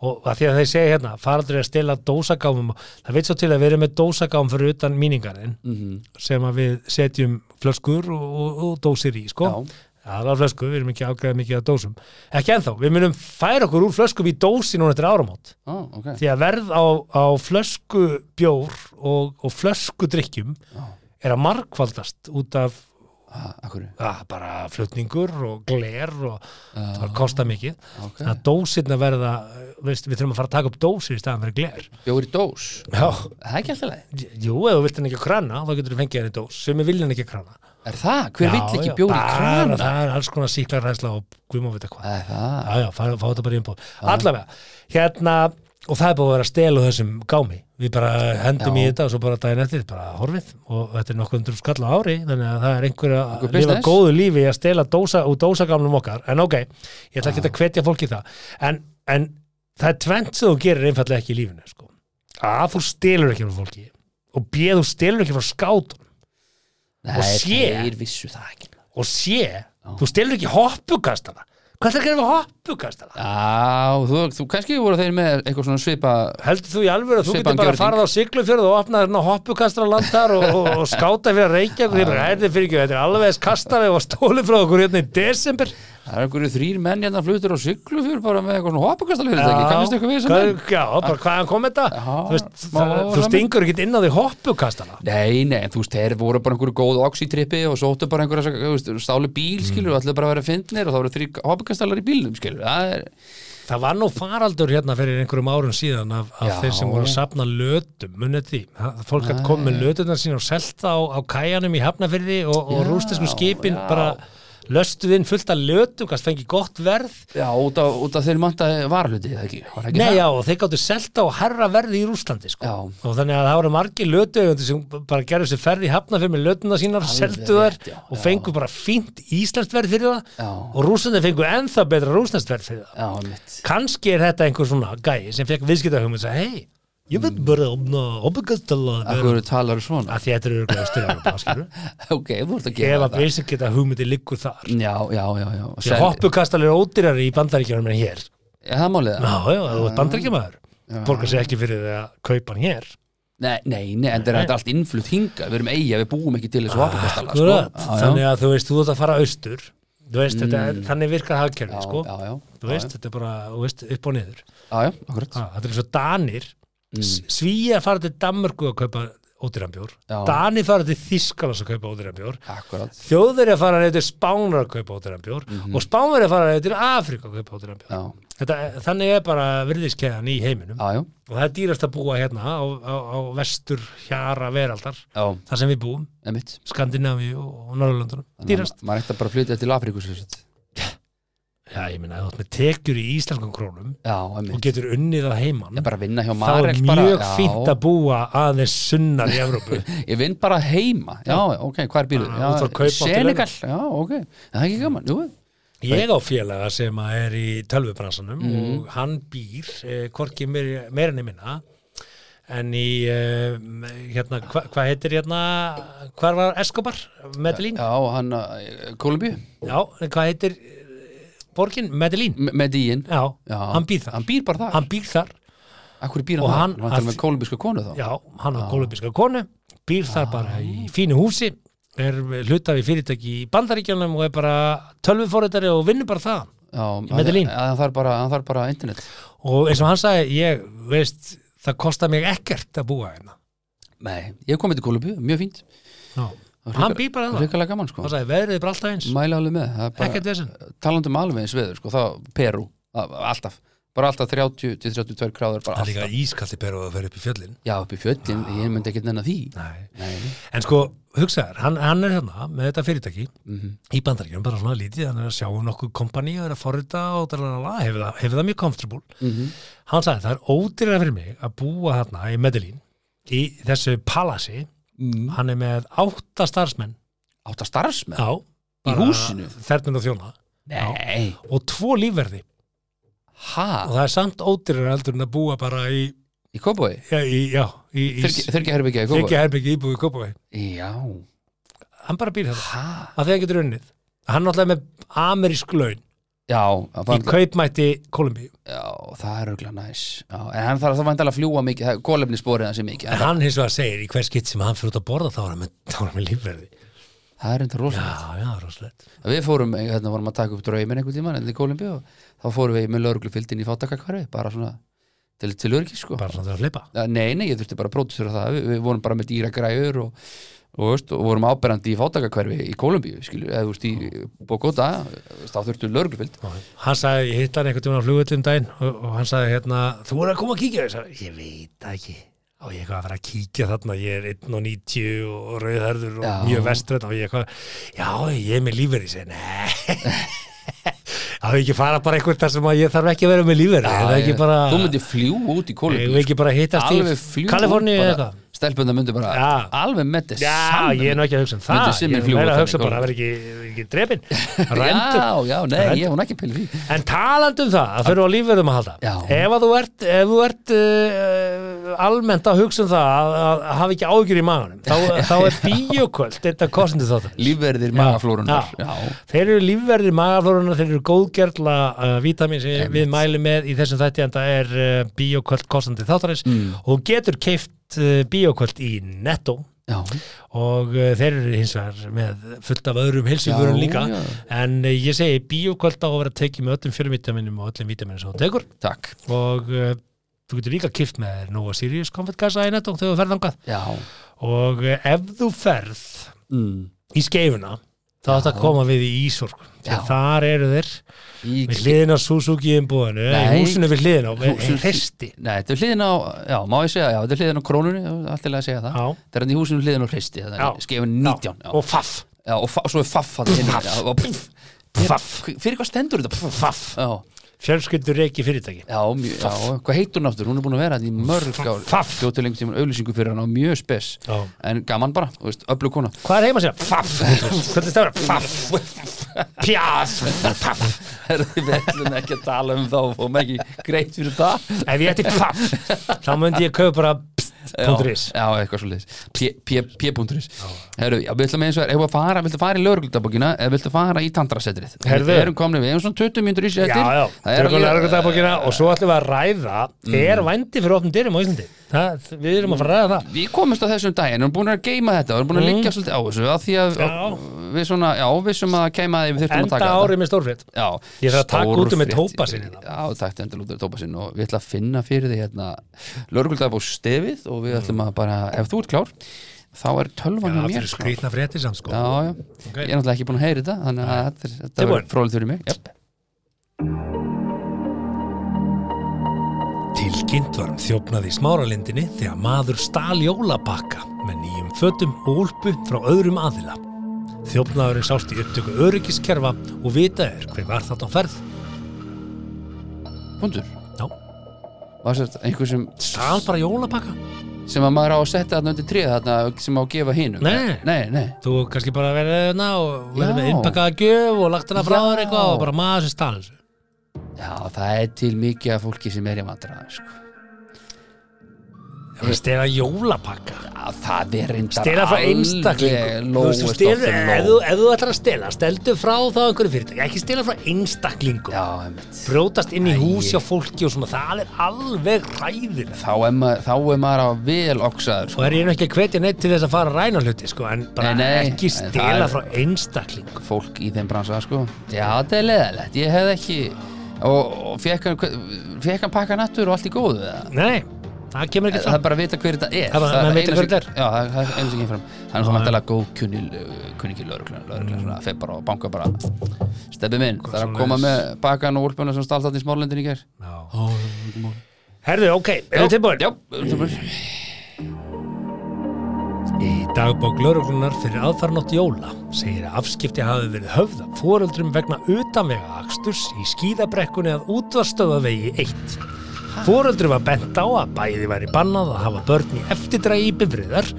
Speaker 3: og að því að þeir segja hérna, faraldur er að stela dósagámum, það veit svo til að við erum með dósagám fyrir utan míningarinn
Speaker 4: Mhm.
Speaker 3: sem að við setjum flöskur og, og, og dósir í sko
Speaker 4: Já.
Speaker 3: aðlar flösku, við erum ekki ágreða mikið að dósum ekki ennþá, við munum færa okkur úr flöskum í dósi núna eftir áramót
Speaker 4: Ó, ok.
Speaker 3: því að verð á, á flösku bjór og, og flösku drikkjum er að markvaldast út af
Speaker 4: Ha, akkur,
Speaker 3: að, bara flutningur og gler og það var kosta mikið
Speaker 4: ok.
Speaker 3: þannig að dósirna verða eh, veist, við þurfum að fara að taka upp dósir í staðan fyrir gler
Speaker 4: Bjóri dós,
Speaker 3: Já.
Speaker 4: það er ekki alltaf leið.
Speaker 3: Jú, ef þú vilt hann ekki að krana þá getur þú fengið hann í dós sem við vilja hann ekki að krana
Speaker 4: Er það? Hver vill ekki bjóri
Speaker 3: bara,
Speaker 4: krana? Það.
Speaker 3: Það er alls konar síklarhæsla og við má vita hvað
Speaker 4: er það.
Speaker 3: já, já, fá, fá þetta bara í umbúð allavega, hérna og það er búið að vera að stela úr þessum gámi við bara hendum
Speaker 4: Já.
Speaker 3: í þetta og svo bara daginn eftir bara horfið og þetta er nokkuð undur skall á ári þannig að það er einhver að
Speaker 4: Einhver
Speaker 3: lifa
Speaker 4: business.
Speaker 3: góðu lífi að stela dósa, úr dósagamlum okkar en ok, ég ætla ekki að hvetja fólk í það en, en það er tvent sem þú gerir einfallega ekki í lífinu sko. að þú stelur ekki frá fólki og b, þú stelur ekki frá skátum
Speaker 4: Nei,
Speaker 3: Og sé.
Speaker 4: þeir vissu það ekki.
Speaker 3: og c, þú stelur ekki hoppukastana hvað það gerir við hoppukastana?
Speaker 4: Já, þú, þú kannski voru þeir með eitthvað svona svipa,
Speaker 3: Heldur þú í alvöru að þú
Speaker 4: Svipaðan
Speaker 3: getur bara að
Speaker 4: gjörning.
Speaker 3: fara á Siglufjörð og opna þarna hoppukastarland þar og, og, og skáta fyrir að reykja og þeir eru fyrir ekki, þetta er alveg eins kastarið og stóli frá okkur hérna í desember
Speaker 4: það er einhverju þrýr menn hérna flutur á syklufjör bara með eitthvað svona hoppakastalfyrir, ekki? Kannist eitthvað við þessum
Speaker 3: Hvað-
Speaker 4: menn?
Speaker 3: Já, bara hvaðan kom þetta?
Speaker 4: Já,
Speaker 3: þú veist,
Speaker 4: má-
Speaker 3: það, þú
Speaker 4: má-
Speaker 3: stingur ekkert inn á því hoppukastana
Speaker 4: Nei, nei, en þú veist, þeir voru bara einhverju góð oxytrippi og sóttu bara einhverja, þú veist, stálu
Speaker 3: Mm.
Speaker 4: bíl, skilur, og allir bara að vera fyndnir og þá voru þrý hoppakastalar í bílnum, skilur, það er,
Speaker 3: Það var nú faraldur hérna fyrir einhverjum árum síðan af, af
Speaker 4: Já.
Speaker 3: þeir sem voru að sapna lötum, munið því. Það- Fólk hatt komið með lötunar sín og selta á, á kæjanum í Hafnafyrði og, og
Speaker 4: Já,
Speaker 3: rústisku skipin
Speaker 4: já.
Speaker 3: bara löstuð inn fullt af lötum, gast fengið gott verð
Speaker 4: já, út af, út af þeir manta varluti, það ekki, var ekki
Speaker 3: Nei,
Speaker 4: það?
Speaker 3: já, og þeir gáttu selta og herra verði í Rúslandi sko.
Speaker 4: Já.
Speaker 3: og þannig að það voru margir lötuðugundir sem bara gerðu sér ferði hafna fyrir með lötuna sínar,
Speaker 4: Alveg
Speaker 3: seldu þær
Speaker 4: rétt, já,
Speaker 3: og
Speaker 4: já.
Speaker 3: fengu bara fínt íslenskt verð fyrir það
Speaker 4: Já.
Speaker 3: og Rúslandi fengu ennþá betra rúslenskt verð fyrir það
Speaker 4: Já, mitt,
Speaker 3: kannski er þetta einhver svona gæi sem fekk viðskiptahugum og sagði, hei, ég
Speaker 4: Mm.
Speaker 3: veit bara um, opna opakastala
Speaker 4: af
Speaker 3: að
Speaker 4: hverju talar svona,
Speaker 3: því þetta eru örugglega Austur-Evrópa, skilurðu.
Speaker 4: ok, þú ert að
Speaker 3: ef
Speaker 4: gera
Speaker 3: að
Speaker 4: það,
Speaker 3: viðskiptahugmyndi liggur þar
Speaker 4: já, já, já, já,
Speaker 3: Því að hoppukastal er ódýrari í bandaríkjörnum en hér
Speaker 4: já, það málið,
Speaker 3: Já, já, þú ert bandaríkjamaður Borgar sér ekki fyrir því að kaupa hann hér
Speaker 4: nei, nei, nei, en þetta er alltaf allt innflutt hinga, við erum eiga, við búum ekki til þessu hoppakastala, sko,
Speaker 3: Ah, Akkurat, þannig að þú veist, þú ert að fara austur þú veist, þetta, er- þannig virkar
Speaker 4: Mm. já,
Speaker 3: hagkerfi, sko
Speaker 4: já, já,
Speaker 3: þú veist, þetta er bara, þú veist, upp og niður ha,
Speaker 4: já, já, akkurat,
Speaker 3: þetta er eins og Danir mm. svíja fara til Danmörku að kaupa ódýranbjór,
Speaker 4: Já.
Speaker 3: Danir fara til Þískalands að kaupa ódýranbjór
Speaker 4: akkurat,
Speaker 3: þjóðverja fara neyð til Spánar að kaupa ódýranbjór
Speaker 4: Mhm.
Speaker 3: og Spánverja fara neyð til Afríka að kaupa ódýranbjór
Speaker 4: já,
Speaker 3: þetta, þannig er bara virðiskeðan í heiminum
Speaker 4: já, já,
Speaker 3: og það er dýrast að búa hérna á, á, á vestur hjara veraldar
Speaker 4: já,
Speaker 3: þar sem við búum,
Speaker 4: emitt,
Speaker 3: Skandinavíu og Norrlöndunum, dýrast
Speaker 4: maður ætti að bara flytja til Afríku, sem sagt.
Speaker 3: Já, ég meina, ef þú ert með tekjur í íslenskum krónum
Speaker 4: Já,
Speaker 3: og
Speaker 4: einmitt.
Speaker 3: getur unnið að heiman
Speaker 4: Ég bara vinna hjá
Speaker 3: þá er
Speaker 4: Marel
Speaker 3: mjög
Speaker 4: bara,
Speaker 3: fínt að búa aðeins sunnar í Evrópu
Speaker 4: Ég vinn bara heima, já, ok, hvað er bílur?
Speaker 3: Já, þú þarf að kaupa átti
Speaker 4: Senegal, já, ok Það er ekki gaman, jú
Speaker 3: Ég á félaga sem að er
Speaker 4: Mhm.
Speaker 3: í tölvubransanum og hann býr, eh, hvorki meir, meirinni minna en í uh, hérna, hva- hvað heitir hérna hvar var Escobar, Medellín já,
Speaker 4: Já, hann eh, að Kolumbíu
Speaker 3: en hvað heitir eh, borgin, Medellín
Speaker 4: M- Medellín
Speaker 3: já, hann býr þar
Speaker 4: Mm. Hann býr bara þar
Speaker 3: Hann býr þar,
Speaker 4: Akkur býr
Speaker 3: Og
Speaker 4: hann
Speaker 3: hann-
Speaker 4: þar Hann talar
Speaker 3: að-
Speaker 4: með kolumbísku konu þá
Speaker 3: já, hann á kolumbíska konu býr þar bara í fínu húsi er hlutafi fyrirtæki í bandaríkjanum og er bara tölvufóriðari og vinnur bara það
Speaker 4: Já,
Speaker 3: Medellín.
Speaker 4: að- að Hann þarf bara, hann þarf bara internet
Speaker 3: og eins og hann sagði, ég veist það kostar mig ekkert að búa hérna
Speaker 4: Nei, ég kom til Kolumbíu, mjög fínt
Speaker 3: Já.
Speaker 4: Það er
Speaker 3: hann
Speaker 4: hrikal-
Speaker 3: býr bara það,
Speaker 4: Hrikalega gaman sko
Speaker 3: hann sagði, veðrið er bara alltaf eins
Speaker 4: Mæla alveg með það er bara-
Speaker 3: ekkert þessin
Speaker 4: talandi um alveg eins veður sko, þá Peru, a- alltaf bara alltaf 30 til 32 gráður bara
Speaker 3: Það er
Speaker 4: alltaf,
Speaker 3: líka ískalli beru að vera upp í fjöllin
Speaker 4: já upp í fjöldin, ég myndi ekki nennan því
Speaker 3: Nei.
Speaker 4: Nei, nei.
Speaker 3: En sko, hugsaður, hann, hann er hérna með þetta fyrirtæki
Speaker 4: Mhm.
Speaker 3: í bandaríkjum, bara svona lítið, hann er að sjá um nokkuð kompaní og er að forrita og dralala, hefur það, hefur það mjög comfortable.
Speaker 4: Mhm.
Speaker 3: Hann sagði, það er ódýrara fyrir mig að búa hérna í Medellín, í þessu palasi,
Speaker 4: mm.
Speaker 3: hann er með átta starfsmenn
Speaker 4: átta starfsmenn,
Speaker 3: á
Speaker 4: húsinu?
Speaker 3: Þernun og þjóna
Speaker 4: nei
Speaker 3: og tvo lífverði og
Speaker 4: ha,
Speaker 3: það er samt ódýrara heldur en að búa bara í,
Speaker 4: í Kópói
Speaker 3: já, í, já, í, í
Speaker 4: þurrkja herbyggja í
Speaker 3: þryggja
Speaker 4: Kópói
Speaker 3: herbyggi íbúið í Kópavei.
Speaker 4: já,
Speaker 3: Hann bara býr þetta.
Speaker 4: ha
Speaker 3: að þegar getur unnið hann náttúrulega er með amerísk laun
Speaker 4: já, það
Speaker 3: í
Speaker 4: var-
Speaker 3: kaupmætti Kolumbíu
Speaker 4: já, það er auðvitað næs já, en hann þarf það vantilega að fljúa mikið, kólefni sporið hans er mikið,
Speaker 3: en
Speaker 4: en
Speaker 3: hann hins vegar segir í hver skitt sem hann fyrir út að borða þá er hann með, þá er hann með lífverði
Speaker 4: það er enda rosa
Speaker 3: já, já, rosalegt
Speaker 4: Við fórum, eh, hérna vorum að taka upp draumin einhvern tímann en í Kólimbi og þá fórum við með lögreglufildin í fátakakvarfi, bara svona til, til örgis sko.
Speaker 3: bara svona til að hleypa
Speaker 4: Ja, Nei, nei, ég þurfti bara að pródusera það við, við vorum bara með dýra græður og, og, veist, og vorum áberandi í fátakakvarfi í Kólimbi, skilur, eða þú veist í Bogota, þá þurftu lögreglufild
Speaker 3: hann sagði, ég hitt hann einhvern tímann á flugullum daginn og, og hann sagði hérna, þú voru að koma að kíkja ég, sagði, ég veit það ekki og ég eitthvað að vera að kíkja þarna, ég er 1.90 og rauðherður og
Speaker 4: Já.
Speaker 3: mjög vestrætt og ég eitthvað, já, ég er með lífverði ég segi, nei það er ekki að fara bara einhvern þar sem að ég þarf ekki að vera með lífverði það er ekki bara
Speaker 4: Þú myndir fljú út í sko.
Speaker 3: Eigum við
Speaker 4: Kólimbi
Speaker 3: ekki bara að hittast í Kaliforníu eða eitthvað?
Speaker 4: Stelpunda myndir bara
Speaker 3: Já.
Speaker 4: alveg með þess
Speaker 3: Já, ég er nú ekki að hugsa um það,
Speaker 4: Myndi Simmi
Speaker 3: ég er
Speaker 4: fljúga
Speaker 3: meira að
Speaker 4: þarna
Speaker 3: hugsa
Speaker 4: í
Speaker 3: bara að
Speaker 4: golf?
Speaker 3: vera ekki, vera ekki drefin, rændur.
Speaker 4: Já, já, nei, ég hún ekki pilið því
Speaker 3: En talandi um það, að þurfa á lífverðum að halda.
Speaker 4: Já.
Speaker 3: Ef að þú ert, ef þú ert uh, almennt að hugsa um það að, að, að hafa ekki ágjur í maganum, þá, þá er bíoköld þetta kostandi þáttar.
Speaker 4: Lífverðir magaflórunar Já,
Speaker 3: Þeir eru lífverðir magaflórunar, þeir eru góðgerla uh, vítamin sem við mælum með í þessum þætti en það er uh, bíoköld kostandi þáttarins
Speaker 4: Mm.
Speaker 3: og þú getur keift uh, bíoköld í netto
Speaker 4: já.
Speaker 3: og uh, þeir eru hins vegar með fullt af öðrum helsingurinn
Speaker 4: Já,
Speaker 3: líka
Speaker 4: já.
Speaker 3: en uh, ég segi bíókvöld á að vera tekið með öllum fjölvitaminum og öllum vitaminum sem þú tekur
Speaker 4: Takk
Speaker 3: og uh, þú getur líka kift með þér Nova Sirius konfettkassa í netto þegar þú ferð þangað
Speaker 4: Já
Speaker 3: og uh, ef þú ferð
Speaker 4: mm.
Speaker 3: í skeifuna þá ætti að koma við í Ísorg
Speaker 4: Já.
Speaker 3: þegar þar eru þeir
Speaker 4: Í
Speaker 3: við hliðina á Suzuki umbúðinu í
Speaker 4: Nei.
Speaker 3: húsinu við hliðina á
Speaker 4: Húsinu-
Speaker 3: hristi
Speaker 4: Nei, þetta er hliðin á, já, má ég segja, já, þetta er hliðin á krónunni, allt til að segja það.
Speaker 3: Já.
Speaker 4: Þetta er hann í húsinu hliðin á hristi, þetta
Speaker 3: Já.
Speaker 4: er skefin 19. Já,
Speaker 3: og faff
Speaker 4: já, og, fa, og svo er faff hann inn.
Speaker 3: Faff.
Speaker 4: Já, og pff,
Speaker 3: faff,
Speaker 4: fyrir hvað stendur þetta? Pff,
Speaker 3: faff.
Speaker 4: Já,
Speaker 3: fjölskyldur reiki fyrirtæki
Speaker 4: já, mjö, já, hvað heitur hún aftur? Hún er búin að vera hann í mörg á
Speaker 3: Faff.
Speaker 4: til lengur tíma auðlýsingu fyrir hann á mjög spes.
Speaker 3: Já.
Speaker 4: En gaman bara, þú veist, öflug kona.
Speaker 3: Hvað er heima sér? Faff Hvernig stafur? Faff Pjás Faff
Speaker 4: Herðu, Við ætlum ekki að tala um þá og fórum ekki greitt fyrir það.
Speaker 3: Ef ég ætti faff þá myndi ég kaupa bara pst.is
Speaker 4: Já, já, eitthvað svo leiðis P.is Herru, já, við ætlum eins og er Ef að fara, viltu fara í lögreglutabokkina eða viltu fara í tandrasetrið
Speaker 3: Heyrðu.
Speaker 4: Við erum komni, við erum svona 20 mínútur í
Speaker 3: Já,
Speaker 4: séttir
Speaker 3: já, tökum lærgöldabókina og svo ætlum við að ræða
Speaker 4: Mm.
Speaker 3: er vændi fyrir opnum dyrum á Íslandi það, Við erum að fara að ræða það
Speaker 4: Við komumst á þessum daginn, við erum búin að geima þetta Við erum búin að liggja svolítið á þessu að Því að
Speaker 3: Mm. Já.
Speaker 4: við svona, já, við sem að keima því við þurftum að
Speaker 3: Enda
Speaker 4: taka
Speaker 3: árið með stórfrétt
Speaker 4: Já,
Speaker 3: Ég þarf að taka út um með
Speaker 4: stórfrétt.
Speaker 3: tóbasinn hérna.
Speaker 4: Já, takk endur út um tópasinn og við ætlum að finna fyrir því hérna Lörguldabók stefið og
Speaker 3: Mm.
Speaker 4: við ætlum að bara, ef þú ert klár þá er tölvan hjá
Speaker 3: Það
Speaker 4: mér
Speaker 3: fyrir
Speaker 4: klár.
Speaker 3: skrýtna fréttir samt sko
Speaker 4: Já, já,
Speaker 3: Ok.
Speaker 4: ég er náttúrulega ekki búin að heyra þetta þannig að þetta er- þetta
Speaker 3: Tilbúin?
Speaker 4: var fróðið fyrir mig yep.
Speaker 3: Tilkynnt var um þjófnað í smáralindinni þegar maður stal jólabakka með nýjum fötum og úlpu frá öðrum aðila. Þjófnaðurinn sást í upptöku öryggiskerfa og vitað er hver var þarna á ferð.
Speaker 4: Pundur,
Speaker 3: Já,
Speaker 4: var þetta einhver sem
Speaker 3: stal bara jólabakka.
Speaker 4: sem að maður á að setja þarna undir tréð þarna sem á að gefa hinum
Speaker 3: Nei.
Speaker 4: nei, nei.
Speaker 3: Þú kannski bara verið hérna og verið
Speaker 4: Já.
Speaker 3: með innpakkaða gjöf og lagt hérna frá
Speaker 4: Já.
Speaker 3: þér eitthvað og bara maður sem stal þessu.
Speaker 4: Já, það er til mikið af fólki sem er í vandræða sko.
Speaker 3: Já, að stela jólapakka
Speaker 4: að það er reyndar
Speaker 3: stela frá einstaklingum Þú veist, þú stelur- ef þú- ef þú ætlar að stela, steldu frá þá einhverju fyrirtæki, ekki stela frá einstaklingum
Speaker 4: já, einmitt
Speaker 3: brjótast inn í
Speaker 4: Æi.
Speaker 3: hús hjá fólki og svona, það er alveg ræðilegt
Speaker 4: þá er maður, þá er maður á vel oksaður
Speaker 3: og
Speaker 4: sko.
Speaker 3: er ég nú ekki að hvetja neitt til þess að fara að ræna hluti sko, en bara
Speaker 4: Nei, nei,
Speaker 3: ekki
Speaker 4: en það
Speaker 3: stela
Speaker 4: er-
Speaker 3: frá einstaklingum
Speaker 4: fólk í þeim bransa sko. já, þetta er leðalegt, ég hefði ekki og, og fekk hann, fekk hann pakka nattur og allt í góðu eða?
Speaker 3: nei, það kemur ekki
Speaker 4: það
Speaker 3: fram
Speaker 4: er bara að vita hver þetta er
Speaker 3: Það er bara- menn vita
Speaker 4: eina
Speaker 3: hver
Speaker 4: sem-
Speaker 3: þetta
Speaker 4: já, það það er einu sem kemur fram hann er svo mættalega góð eh, kunningi lauruglan lauruglan fer bara og bankar bara steppi minn, það er að koma með bakkan og úlpunum sem stáltatni í smárlendin í ger
Speaker 3: Já. Herðu, ok, erum við tilbúin?
Speaker 4: já, erum tilbúin
Speaker 3: Í dagbók lauruglunar fyrir aðfarnótt jóla segir að afskipti hafi verið höfða fóreldrum vegna utanvega aksturs í skíðabrekkunni að útvarstöðavegi 1. Fóreldrum var bent á að bæði væri bannað að hafa börn í eftirdrægi í bifriðar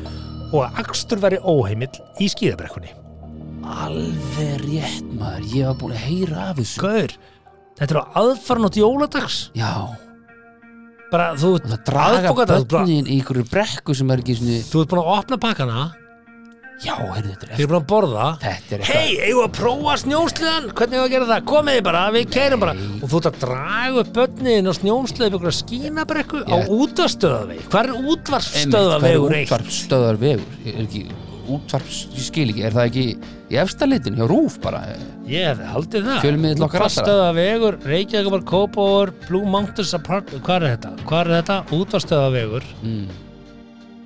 Speaker 3: og að akstur væri óheimill í skíðabrekkunni.
Speaker 4: alveg rétt maður, ég var búin að heyra af þessu
Speaker 3: Gaur, þetta er á aðfarnótt jóladags.
Speaker 4: já,
Speaker 3: Bara þú
Speaker 4: og það
Speaker 3: ert
Speaker 4: draga
Speaker 3: aðfokata, þú ert bara-
Speaker 4: börnin í einhverju brekku sem er ekki svona
Speaker 3: þú ert búin að opna pakkana,
Speaker 4: já, heyrðu þetta er
Speaker 3: þið
Speaker 4: eftir
Speaker 3: er búin að borða.
Speaker 4: þetta er
Speaker 3: Hei, eigum við að prófa snjósliðan? Hvernig eigum við að gera það? Komiði bara, við kærum bara Og þú ert að draga upp börniðin á snjósliði við einhverja skínabrekku á
Speaker 4: Ég-
Speaker 3: útastöðavegi Hvar er útvarstöðavegur eitt?
Speaker 4: útvarpstöðar vegur er ekki, útvarps, ég skil ekki, er það ekki í efstalitin hjá Rúf bara
Speaker 3: Ég hefði haldið það
Speaker 4: Fjölmiðill okkar allra.
Speaker 3: Útvarstöðavegur, Reykjavík Kópavor, Blue Mountains Apart Hvar er þetta? Hvar er þetta? Útvarstöðavegur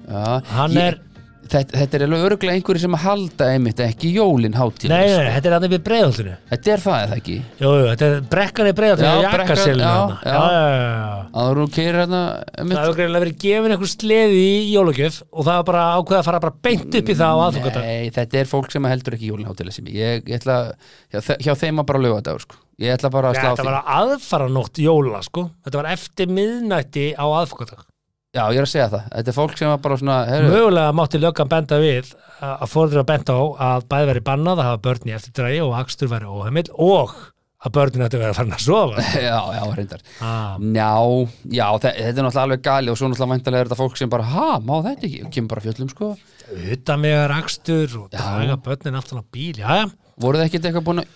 Speaker 4: ja,
Speaker 3: Hann er-
Speaker 4: þetta, þetta er alveg örglega einhverju sem að halda einmitt ekki jólin hátíð
Speaker 3: Nei, nei, þetta er hann við breiðhaldinu
Speaker 4: þetta er það eða ekki
Speaker 3: Jú, jú, þetta er brekkan í breiðhaldinu
Speaker 4: Já, brekkan, já, já.
Speaker 3: já, já
Speaker 4: að þú keirir hérna
Speaker 3: Það
Speaker 4: einmitt
Speaker 3: hefur greinilega verið gefin einhver sleði í jólagjöf og það var bara ákveða að fara bara beint upp í það á aðfungata.
Speaker 4: Nei, þetta er fólk sem heldur ekki jólin hátíð sem ég, ég ætla, hjá, þe- hjá þeim að bara löga þetta sko. ég ætla bara að slá
Speaker 3: Þetta
Speaker 4: því
Speaker 3: var aðfara nótt jóla, sko. Þetta var eftir miðnætti á aðfungata.
Speaker 4: já, ég er að segja það, þetta er fólk sem að bara svona heru,
Speaker 3: Mögulega mátti löggan benda við að að fórður að benda á að bæði veri bannað að hafa börn í eftirdrægi og akstur veri óheimill og að börnin ætti að vera farin að sofa.
Speaker 4: já, já, reyndar
Speaker 3: Ah,
Speaker 4: Já, já, þe þetta er náttúrulega alveg gali og svo náttúrulega væntalega er þetta fólk sem bara, ha, má þetta ekki, og kemur bara fjöllum sko.
Speaker 3: utan megar akstur og daga börnin aftan á bíl, já, já.
Speaker 4: Voruð þið ekkert eitthvað búin að,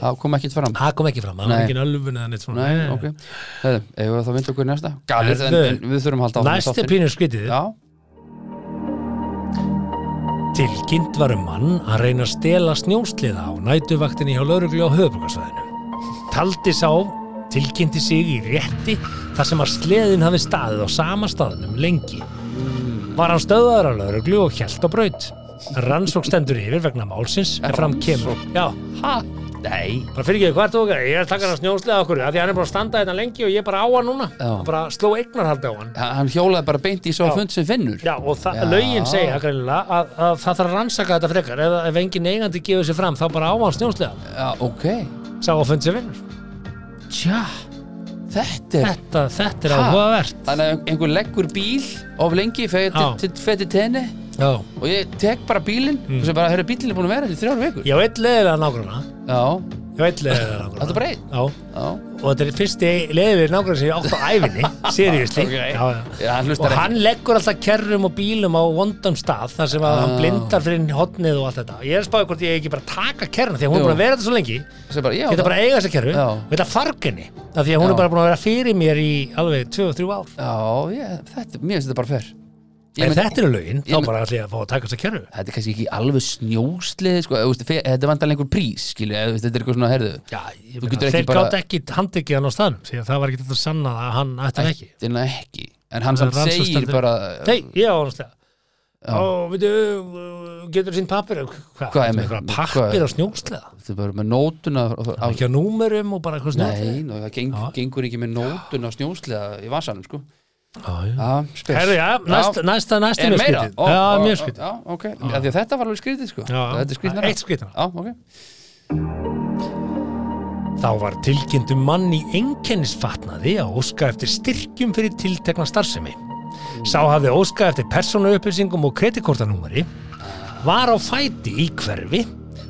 Speaker 4: það kom ekkert fram.
Speaker 3: Það kom ekki fram, það var
Speaker 4: Nei.
Speaker 3: ekki ölfun eða neitt svona.
Speaker 4: Nei, ok. Hefðu, eigum við þá að vinda okkur í næsta? Galið, en,
Speaker 3: Heyrðu,
Speaker 4: en við þurfum að halda á
Speaker 3: Næsti pínur skytið.
Speaker 4: Já,
Speaker 3: Tilkynnt var um mann að reyna að stela snjósliða á nætuvaktinni hjá lauruglu á höfugasvæðinu. Taldi sá tilkynnti sig í rétti þar sem að sleðin hafi staðið á sama staðnum lengi. Var hann stöðaður á lauruglu og hjælt á braut. Rannsók stendur yfir vegna málsins en fram kemur. Já,
Speaker 4: ha, nei,
Speaker 3: bara fyrir ekki, hvað er þú okkar? Ég er að taka hann snjósliða okkur af því að hann er búin að standa þetta lengi og ég er bara á hann núna.
Speaker 4: Já.
Speaker 3: Og Bara sló eignarhaldi á hann.
Speaker 4: Ha- hann hjólaði bara beint í svo
Speaker 3: Já.
Speaker 4: fund sem finnur.
Speaker 3: Já, og það,
Speaker 4: Já.
Speaker 3: lögin segja greinilega að, að það þarf að rannsaka þetta frekar ef, ef engin eigandi gefur sér fram þá bara á hann snjónslega
Speaker 4: Já, ok.
Speaker 3: sá að fundi sér vinnur
Speaker 4: Tja, þetta er,
Speaker 3: þetta, þetta er
Speaker 4: Ha?
Speaker 3: áhugavert
Speaker 4: þannig að einhver leggur bíl of lengi, fer
Speaker 3: Já.
Speaker 4: til- til- fer til tenni
Speaker 3: Já.
Speaker 4: og ég tek bara bílinn
Speaker 3: Mm.
Speaker 4: og sem bara, heyrðu, bílinn er búin að vera þetta í þrjár vikur.
Speaker 3: ég á eitt leiðilega nágrunna
Speaker 4: Já,
Speaker 3: ég á eitt leiðilega nágrunna
Speaker 4: Þetta er bara einn?
Speaker 3: Já,
Speaker 4: já.
Speaker 3: og þetta er fyrsti leiðilega nágrunna sem ég átt á æfinni seriously
Speaker 4: Ok.
Speaker 3: já, já.
Speaker 4: Já,
Speaker 3: og
Speaker 4: hann hlustar ekki
Speaker 3: hann leggur alltaf kerrum og bílum á vondum stað þar sem að
Speaker 4: Ah.
Speaker 3: hann blindar fyrir hotnið og allt þetta ég er að spáði hvort ég ekki bara taka kerruna því að hún er
Speaker 4: Jú.
Speaker 3: búin að vera þetta svo lengi
Speaker 4: Svo bara,
Speaker 3: Ég
Speaker 4: já,
Speaker 3: ætla
Speaker 4: það-
Speaker 3: bara að eiga þessa kerru
Speaker 4: Já.
Speaker 3: og ég ætla að farga henni af því að hún
Speaker 4: Já.
Speaker 3: er bara búin að vera fyrir mér í alveg 2-3 ár
Speaker 4: Já, ég, þetta, mér finnst þetta bara fer Ég
Speaker 3: Ef
Speaker 4: meina,
Speaker 3: þetta eru lögin, þá
Speaker 4: ég meina-
Speaker 3: bara ætla ég að fá að taka þessa kerru
Speaker 4: Þetta er kannski ekki alveg snjóslið sko, eða, þú veist, fe- Þetta er vandalega einhver prís skilju, eða, þú veist, Þetta er eitthvað svona, herðu
Speaker 3: Já, ég
Speaker 4: Þú
Speaker 3: meina,
Speaker 4: getur ekki
Speaker 3: þeir
Speaker 4: bara-
Speaker 3: gátt ekki handtekið hann á staðnum því að það var ekki þetta sannað að hann ætti hann ekki
Speaker 4: Þetta er nú ekki En hann
Speaker 3: Það er
Speaker 4: samt segir
Speaker 3: rannsóknarstendur.
Speaker 4: bara
Speaker 3: Nei, ég á hann stað Ó, veitu, uh, getur sýnt pappir Hvað,
Speaker 4: Hvað er með- hvað
Speaker 3: Pappir
Speaker 4: er-
Speaker 3: á snjókslega
Speaker 4: Þetta er bara með nótuna á- á-
Speaker 3: Ekki á númerum og bara eitthvað snjókslega
Speaker 4: Nei, nú, það geng,
Speaker 3: Já.
Speaker 4: gengur ekki með nótuna á snjósliða í vasanum sko.
Speaker 3: Já, já.
Speaker 4: Já, spes
Speaker 3: Herru, já, næsta, næsta, næsta
Speaker 4: Er
Speaker 3: mjög
Speaker 4: meira?
Speaker 3: skrítið Já, mjög skrítið
Speaker 4: Já, ok, Af því að þetta var alveg skrítið sko.
Speaker 3: Já,
Speaker 4: Þetta er skrítið
Speaker 3: eitt skrítnara.
Speaker 4: Já, ok
Speaker 3: Þá var tilkynntum mann í einkennisfatnaði að óska eftir styrkjum fyrir tiltekna starfsemi. Sá hafði óska eftir persónuupplýsingum og kreditkortanúmeri, var á fæti í hverfi,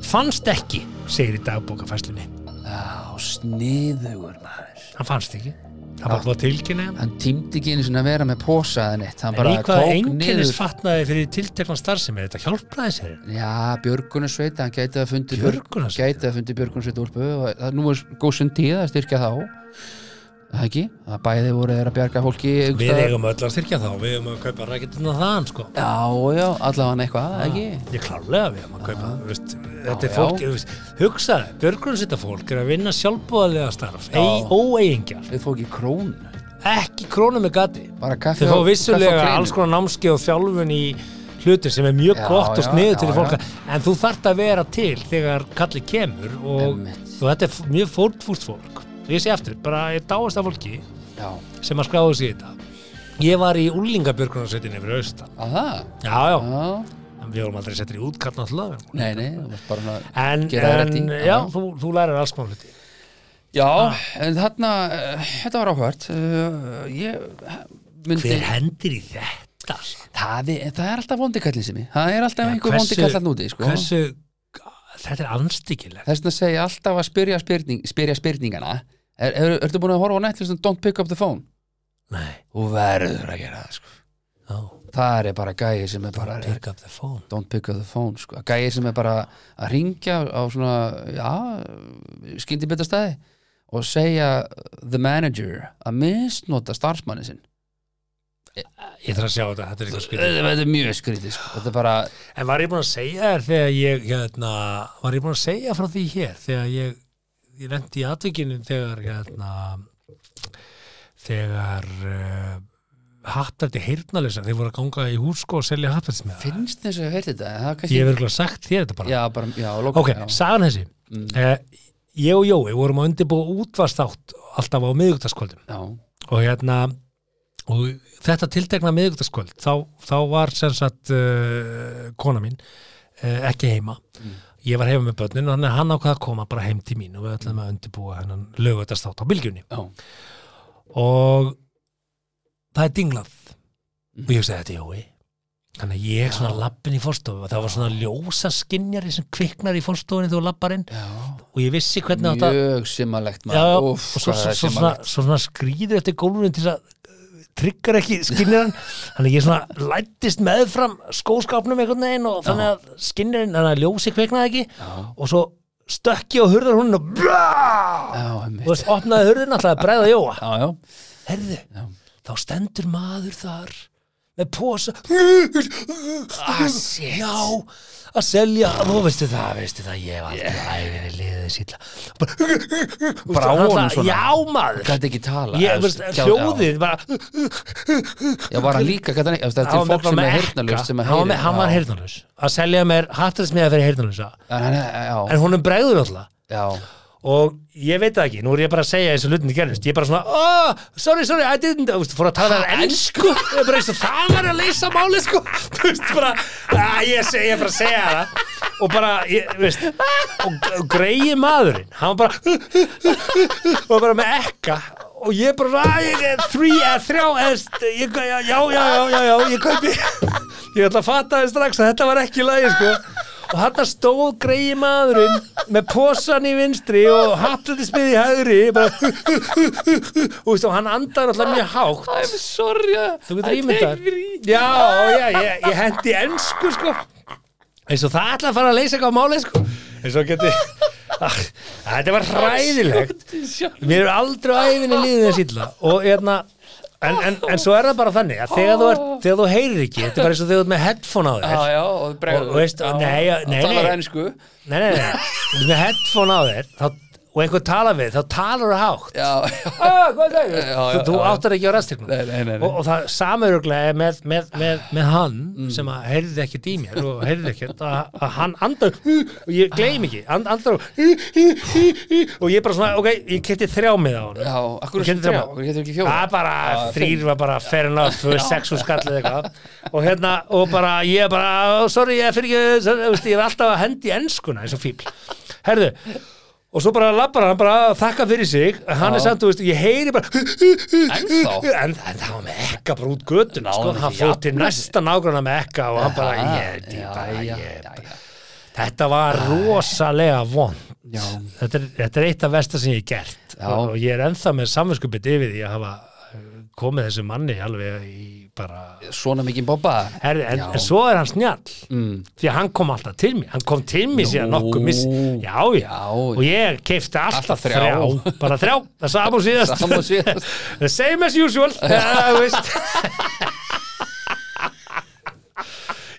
Speaker 3: fannst ekki, segir í dagbókafæslunni.
Speaker 4: Já, sniðugur maður
Speaker 3: hann fannst ekki hann bara búið að tilkynna hann
Speaker 4: Hann tímdi ekki einu sinni að vera með posaðan eitt Hann
Speaker 3: en
Speaker 4: bara
Speaker 3: í hvað
Speaker 4: tók niður
Speaker 3: einkennis fatnaði fyrir tiltekna starfsemi þetta hjálpraði sér
Speaker 4: Já, Björgunarsveit, hann gæti að fundi
Speaker 3: Björgunarsveit?
Speaker 4: gæti að fundi Björgunarsveit úlpu og það- nú er góð sem tíð að styrkja þá Það ekki, það bæði voru þeir að bjarga fólki einhvers
Speaker 3: við
Speaker 4: staðar.
Speaker 3: eigum öll að styrkja þá við eigum að kaupa rækituna þaðan sko
Speaker 4: Já, já, allavega eitthvað, það ekki
Speaker 3: Ég klálega við erum að kaupa þú veist, Þetta er
Speaker 4: Ah. já.
Speaker 3: fólk, þú veist, hugsaði Björgrunnsita fólk er að vinna sjálfbúðarlega starf ei, óeigingjar,
Speaker 4: Við fók í krón
Speaker 3: ekki krónu með gati
Speaker 4: Bara
Speaker 3: Þau
Speaker 4: kaffi
Speaker 3: fá
Speaker 4: og- kaffi og
Speaker 3: vissulega
Speaker 4: kleinu.
Speaker 3: alls konar námskeið og þjálfun í hlutir sem er mjög
Speaker 4: Já,
Speaker 3: gott og
Speaker 4: já,
Speaker 3: sniðu
Speaker 4: já,
Speaker 3: til
Speaker 4: já.
Speaker 3: fólk en þú þarft að vera til þegar kalli kemur og,
Speaker 4: Einmitt.
Speaker 3: og þetta er f- mjög fórtfúrt fólk ég sé aftur, bara ég dáist að fólki
Speaker 4: Já,
Speaker 3: sem að skráðu sig í þetta ég var í úlingabjörgrunnsveitinni fyrir austan
Speaker 4: að það
Speaker 3: já, já,
Speaker 4: Já,
Speaker 3: en við vorum aldrei settir í útkall náttúrulega við vorum
Speaker 4: nei, nei, það var bara svona
Speaker 3: en,
Speaker 4: Gera það rétt í,
Speaker 3: en
Speaker 4: já.
Speaker 3: já, þú, þú lærir alls konar hluti
Speaker 4: Já, en þarna, eh, þetta var áhvert Ég eh, myndi
Speaker 3: hendir í þetta?
Speaker 4: það er, það er alltaf vondikallin sem ég Það er alltaf einhver vondikall að núti sko.
Speaker 3: hversu, þetta er anstíkilegt
Speaker 4: Þess vegna segja ég alltaf að spyrja, spyrning, spyrja spurningana er, er, Ertu búin að horfa á Netflix og Don't Pick Up The Phone?
Speaker 3: nei,
Speaker 4: Þú verður að gera það sko.
Speaker 3: oh,
Speaker 4: Það er bara gæi sem er bara
Speaker 3: pick up the phone
Speaker 4: Don't Pick Up The Phone sko. Gæi sem er bara að ringja á svona já, skyndi betur staði og segja the manager að misnota starfsmanni sinn
Speaker 3: ég þarf að sjá þetta, þetta er eitthvað skrið
Speaker 4: Þetta er mjög skrítið sko. Þetta er bara,
Speaker 3: Eh, en var ég búin að segja þér þegar ég hérna, var ég búin að segja frá því hér þegar ég, ég lendi í atvikinu þegar hérna, þegar uh, hattandi heyrnalisa, þeir voru að ganga í hús sko og selja hattandi með
Speaker 4: finnst þess að ég heyrt þetta Það er kannski-
Speaker 3: ég hef verið sagt þér þetta bara
Speaker 4: Já, bara, já, loka,
Speaker 3: Ok,
Speaker 4: já.
Speaker 3: sagan þessi eh, Ég og Jói vorum að undirbúa útvarstátt alltaf á miðugtaskvöldum
Speaker 4: já,
Speaker 3: og hérna og þetta tiltekna miðugtaskvöld þá, þá var sem sagt uh, kona mín uh, ekki heima ég var heima með börnin og hann, hann ákvað að koma bara heim til mín og við ætlum að undirbúa hennan lögutastátt á bylgjunni
Speaker 4: já,
Speaker 3: og það er dinglað og ég segi þetta er Jói þannig að ég svona lappin í fórstofu og það var svona ljósa skinjari sem kviknar í fórstofunni þegar þú lappar inn
Speaker 4: já.
Speaker 3: og ég vissi hvernig átt að
Speaker 4: mjög simalegt
Speaker 3: Já,
Speaker 4: maður.
Speaker 3: og
Speaker 4: Úff,
Speaker 3: svo,
Speaker 4: hvað
Speaker 3: svo,
Speaker 4: það er
Speaker 3: svo, svona,
Speaker 4: simalegt.
Speaker 3: svo svona skrýður eftir gólfinu til þess að tryggar ekki skinnirann þannig að ég svona lættist meðfram skóskápnum einhvern veginn og þannig að skinnirann, þannig að ljósi kviknaði ekki og svo stökki á hurðar hún og brá!
Speaker 4: já,
Speaker 3: og
Speaker 4: einmitt.
Speaker 3: þess opnaði hurðin alltaf að bræða Jóa
Speaker 4: já, já,
Speaker 3: herðu, þá stendur maður þar með posa ah, já, að selja þú veistu það, veistu það, ég hef alltaf æfinni liðið sýtla
Speaker 4: Brá honum svona.
Speaker 3: já maður
Speaker 4: gæti ekki tala
Speaker 3: ég,
Speaker 4: þú
Speaker 3: veist,
Speaker 4: já,
Speaker 3: hljóðið bara,
Speaker 4: já, já, var hann líka, gæti hann ekki þú veist, þetta er
Speaker 3: var
Speaker 4: fólk sem er
Speaker 3: með ekka.
Speaker 4: heyrnalust sem að
Speaker 3: hann var, með-
Speaker 4: heyrir,
Speaker 3: hann var
Speaker 4: já.
Speaker 3: heyrnalus að selja mér hattarsmiða fyrir heyrnalusa
Speaker 4: En hann- já,
Speaker 3: en honum bregður alltaf
Speaker 4: já,
Speaker 3: og ég veit það ekki, nú er ég bara að segja eins og hlutinni gerðist, ég er bara svona oh, sorry, sorry, I didn't, þú veist, fór að tala það ennsku, ég er bara eins og það var að leysa máli sko, þú veist, bara að, ég, seg, ég er bara að segja það og bara, ég, þú veist og, og greiði maðurinn, hann var bara og bara með ekka og ég bara, að, ég er þrý eða þrjá, eða, st- ég, já, já, já, já, já, já, ég kaupi ég ætla að fatta það strax að þetta var ekki lagi sko og hann stóð greiði maðurinn með posan í vinstri og hattandi smið í hægri bara, og, veist, og hann andar alltaf mjög hátt
Speaker 4: I'm sorry uh,
Speaker 3: þú getur ímyndar já, já, ég, ég hendi ensku sko eins og það ætla að fara að leysa eitthvað máli sko eins og geti Ah, þetta var hræðilegt mér er aldrei á æfinni líðið þess illa og hérna En, en, en svo er það bara þannig að þegar þú, ert, þegar þú heyrir ekki, þetta er bara eins og þegar þú ert með headphone á þér
Speaker 4: Ah, já, já, og bregður
Speaker 3: Og- og veist, nei, já, nei,
Speaker 4: talar
Speaker 3: nei.
Speaker 4: ennsku
Speaker 3: Nei, nei, nei, þú ert með headphone á þér þá, og einhver tala við, þá talar þú hátt
Speaker 4: já, já,
Speaker 3: ah, hvað er það?
Speaker 4: Já, já,
Speaker 3: Þú, þú
Speaker 4: já, já.
Speaker 3: áttar ekki á
Speaker 4: Nei, nei,
Speaker 3: rastirknum
Speaker 4: nei, nei.
Speaker 3: og, og það samuruglega er með, með, með, með hann
Speaker 4: Mm.
Speaker 3: sem að heyrði ekkert í mér og heyrði ekkert að, að hann andar og ég gleym ekki, and, andar og og ég bara svona, ok, ég keti þrjámið á hann
Speaker 4: já,
Speaker 3: Ég
Speaker 4: akkur er
Speaker 3: keti
Speaker 4: þrjá,
Speaker 3: þrjá
Speaker 4: akkur getur ekki
Speaker 3: Það
Speaker 4: fjóra
Speaker 3: er bara, þrýr var bara fair enough, þú veist, sex og skallið eitthvað og hérna, og bara, ég er bara "Oh, sorry, ég fyrir ekki, sorry, þú veist, ég er alltaf að hendi enskuna eins og fíbl herðu, og svo bara labbar hann bara að þakka fyrir sig, hann
Speaker 4: Já.
Speaker 3: er samt, þú veist ég heyri bara
Speaker 4: Ennþá?
Speaker 3: en, en það var með ekka bara út götun
Speaker 4: Náði
Speaker 3: sko,
Speaker 4: ekki
Speaker 3: hann fór til
Speaker 4: jafna sig.
Speaker 3: næsta nágrunna með ekka og hann bara,
Speaker 4: Ah,
Speaker 3: ég, ég,
Speaker 4: já,
Speaker 3: bara,
Speaker 4: já,
Speaker 3: ég
Speaker 4: já, já.
Speaker 3: þetta var rosalega vond
Speaker 4: Já.
Speaker 3: þetta er, þetta er eitt af versta sem ég hef gert
Speaker 4: Já.
Speaker 3: og ég er ennþá með samvinskupið yfir því að hafa eh, komið þessu manni alveg í bara
Speaker 4: Svona mikið bobba
Speaker 3: er, en,
Speaker 4: Já.
Speaker 3: en svo er hann snjall mm. því að hann kom alltaf til mér hann kom til mér síðan
Speaker 4: Nú.
Speaker 3: nokkuð miss já, já,
Speaker 4: Já.
Speaker 3: og ég keifti alltaf,
Speaker 4: Alltaf
Speaker 3: þrjá.
Speaker 4: þrjá.
Speaker 3: bara þrjá, það er saman síðast
Speaker 4: Saman síðast
Speaker 3: The same as usual Já, þú veist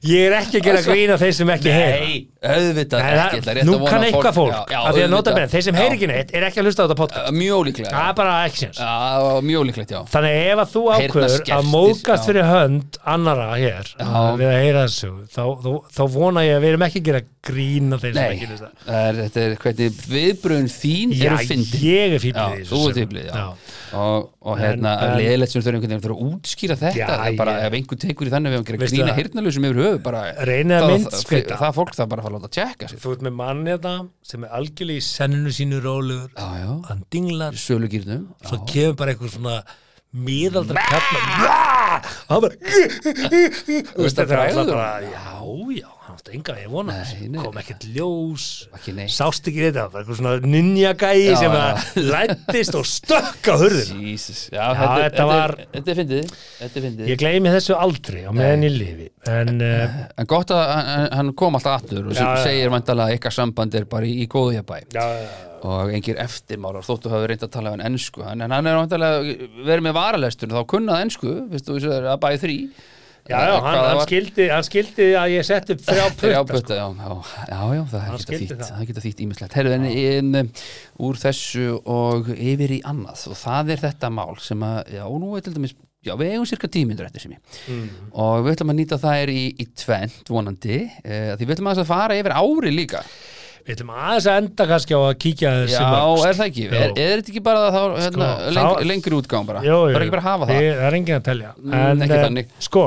Speaker 3: Ég er ekki að gera grín af þeir sem ekki heyra
Speaker 4: Nei, auðvitað
Speaker 3: Nei,
Speaker 4: ekki
Speaker 3: það- Nú kann eitthvað fólk af því að nota með þeir sem heyri ekki Ah. neitt er ekki að hlusta á þetta podcast
Speaker 4: Mjög líklega
Speaker 3: Það er bara ekki séns
Speaker 4: Já, mjög líklegt, já
Speaker 3: Þannig ef að þú ákveður að
Speaker 4: Heyrnarskertir,
Speaker 3: móðgast
Speaker 4: já.
Speaker 3: fyrir hönd annara hér uh, við að heyra þessu þá, þá, þá vona ég að við erum ekki að gera grín af þeir sem
Speaker 4: Nei,
Speaker 3: ekki hlusta
Speaker 4: það er- þetta er hvernig viðbrun þín
Speaker 3: Já,
Speaker 4: eru fyndin
Speaker 3: ég er fíblið í
Speaker 4: Já,
Speaker 3: þessu
Speaker 4: þú ert
Speaker 3: sem-
Speaker 4: fíblið,
Speaker 3: Já.
Speaker 4: já Og, og hérna,
Speaker 3: En- en-
Speaker 4: leðilegt sem þau eru einhvern veginn þau eru að útskýra þetta,
Speaker 3: Já,
Speaker 4: það er bara,
Speaker 3: ég-
Speaker 4: ef einhver tekur í þannig við að gera
Speaker 3: Veistu
Speaker 4: grína
Speaker 3: það-
Speaker 4: hirtnalusum yfir höfu, bara
Speaker 3: Reynið að
Speaker 4: það-
Speaker 3: myndskreyta.
Speaker 4: það- Það fólk það bara að fara að láta að tjekka sér
Speaker 3: Þú ert með manni þetta sem er algjörlega í senninu sínu rólegur
Speaker 4: Já, já,
Speaker 3: hann dinglar
Speaker 4: sölugýrnum
Speaker 3: svo kemur bara einhver svona miðaldra kalla og hann bara Þú veist, þetta er alltaf
Speaker 4: bregður.
Speaker 3: bara já, já, hann átti enga ég vona
Speaker 4: Nei, nei.
Speaker 3: kom ekkert ljós
Speaker 4: Ekki neitt.
Speaker 3: sást ekki þetta, bara einhver svona ninjagæi
Speaker 4: Já,
Speaker 3: sem
Speaker 4: já.
Speaker 3: að lættist og stökk á hurðin
Speaker 4: Jesus, já,
Speaker 3: Já,
Speaker 4: þetta,
Speaker 3: þetta
Speaker 4: þetta
Speaker 3: var-
Speaker 4: er, þetta er fyndið, þetta er fyndið
Speaker 3: ég gleymi þessu aldrei á meðan ég lifi en uh,
Speaker 4: En gott að hann- hann kom alltaf aftur og
Speaker 3: Já, já.
Speaker 4: segir vandalega að ykkar samband er bara í, í góðu jafnbæ
Speaker 3: já, já,
Speaker 4: og engir eftirmálar þóttu hafa reynd að tala um ennsku en en hann er vantilega verið með varalestur þá kunnað ennsku, veistu, þessu er að bæði þrý
Speaker 3: já, já hann, hann, skildi, hann skildi að ég setti upp þrjá
Speaker 4: Já,
Speaker 3: putta
Speaker 4: bötta, já, já, já, já, það
Speaker 3: Hann
Speaker 4: er geta
Speaker 3: skildi
Speaker 4: þýtt
Speaker 3: það.
Speaker 4: það geta þýtt ímislegt, herðu en, en um, úr þessu og yfir í annað og það er þetta mál sem að já, nú er til dæmis, já, við eigum cirka tímyndur eftir sem ég,
Speaker 3: Mhm.
Speaker 4: og við ætlum að nýta þær í, í tvent vonandi e, því við ætlum aðeins að fara yfir ári líka
Speaker 3: við ætlum aðeins að enda kannski á að kíkja að þessu
Speaker 4: Já,
Speaker 3: mörgst.
Speaker 4: er það ekki, er,
Speaker 3: Jú.
Speaker 4: er þetta ekki bara þá, hérna,
Speaker 3: Sko,
Speaker 4: leng,
Speaker 3: þá-
Speaker 4: lengri útgáðum bara,
Speaker 3: Jú, jú,
Speaker 4: bara ekki bara að hafa það
Speaker 3: Ég- Það er enginn að telja
Speaker 4: Mm, ekki
Speaker 3: eh,
Speaker 4: þannig.
Speaker 3: Sko,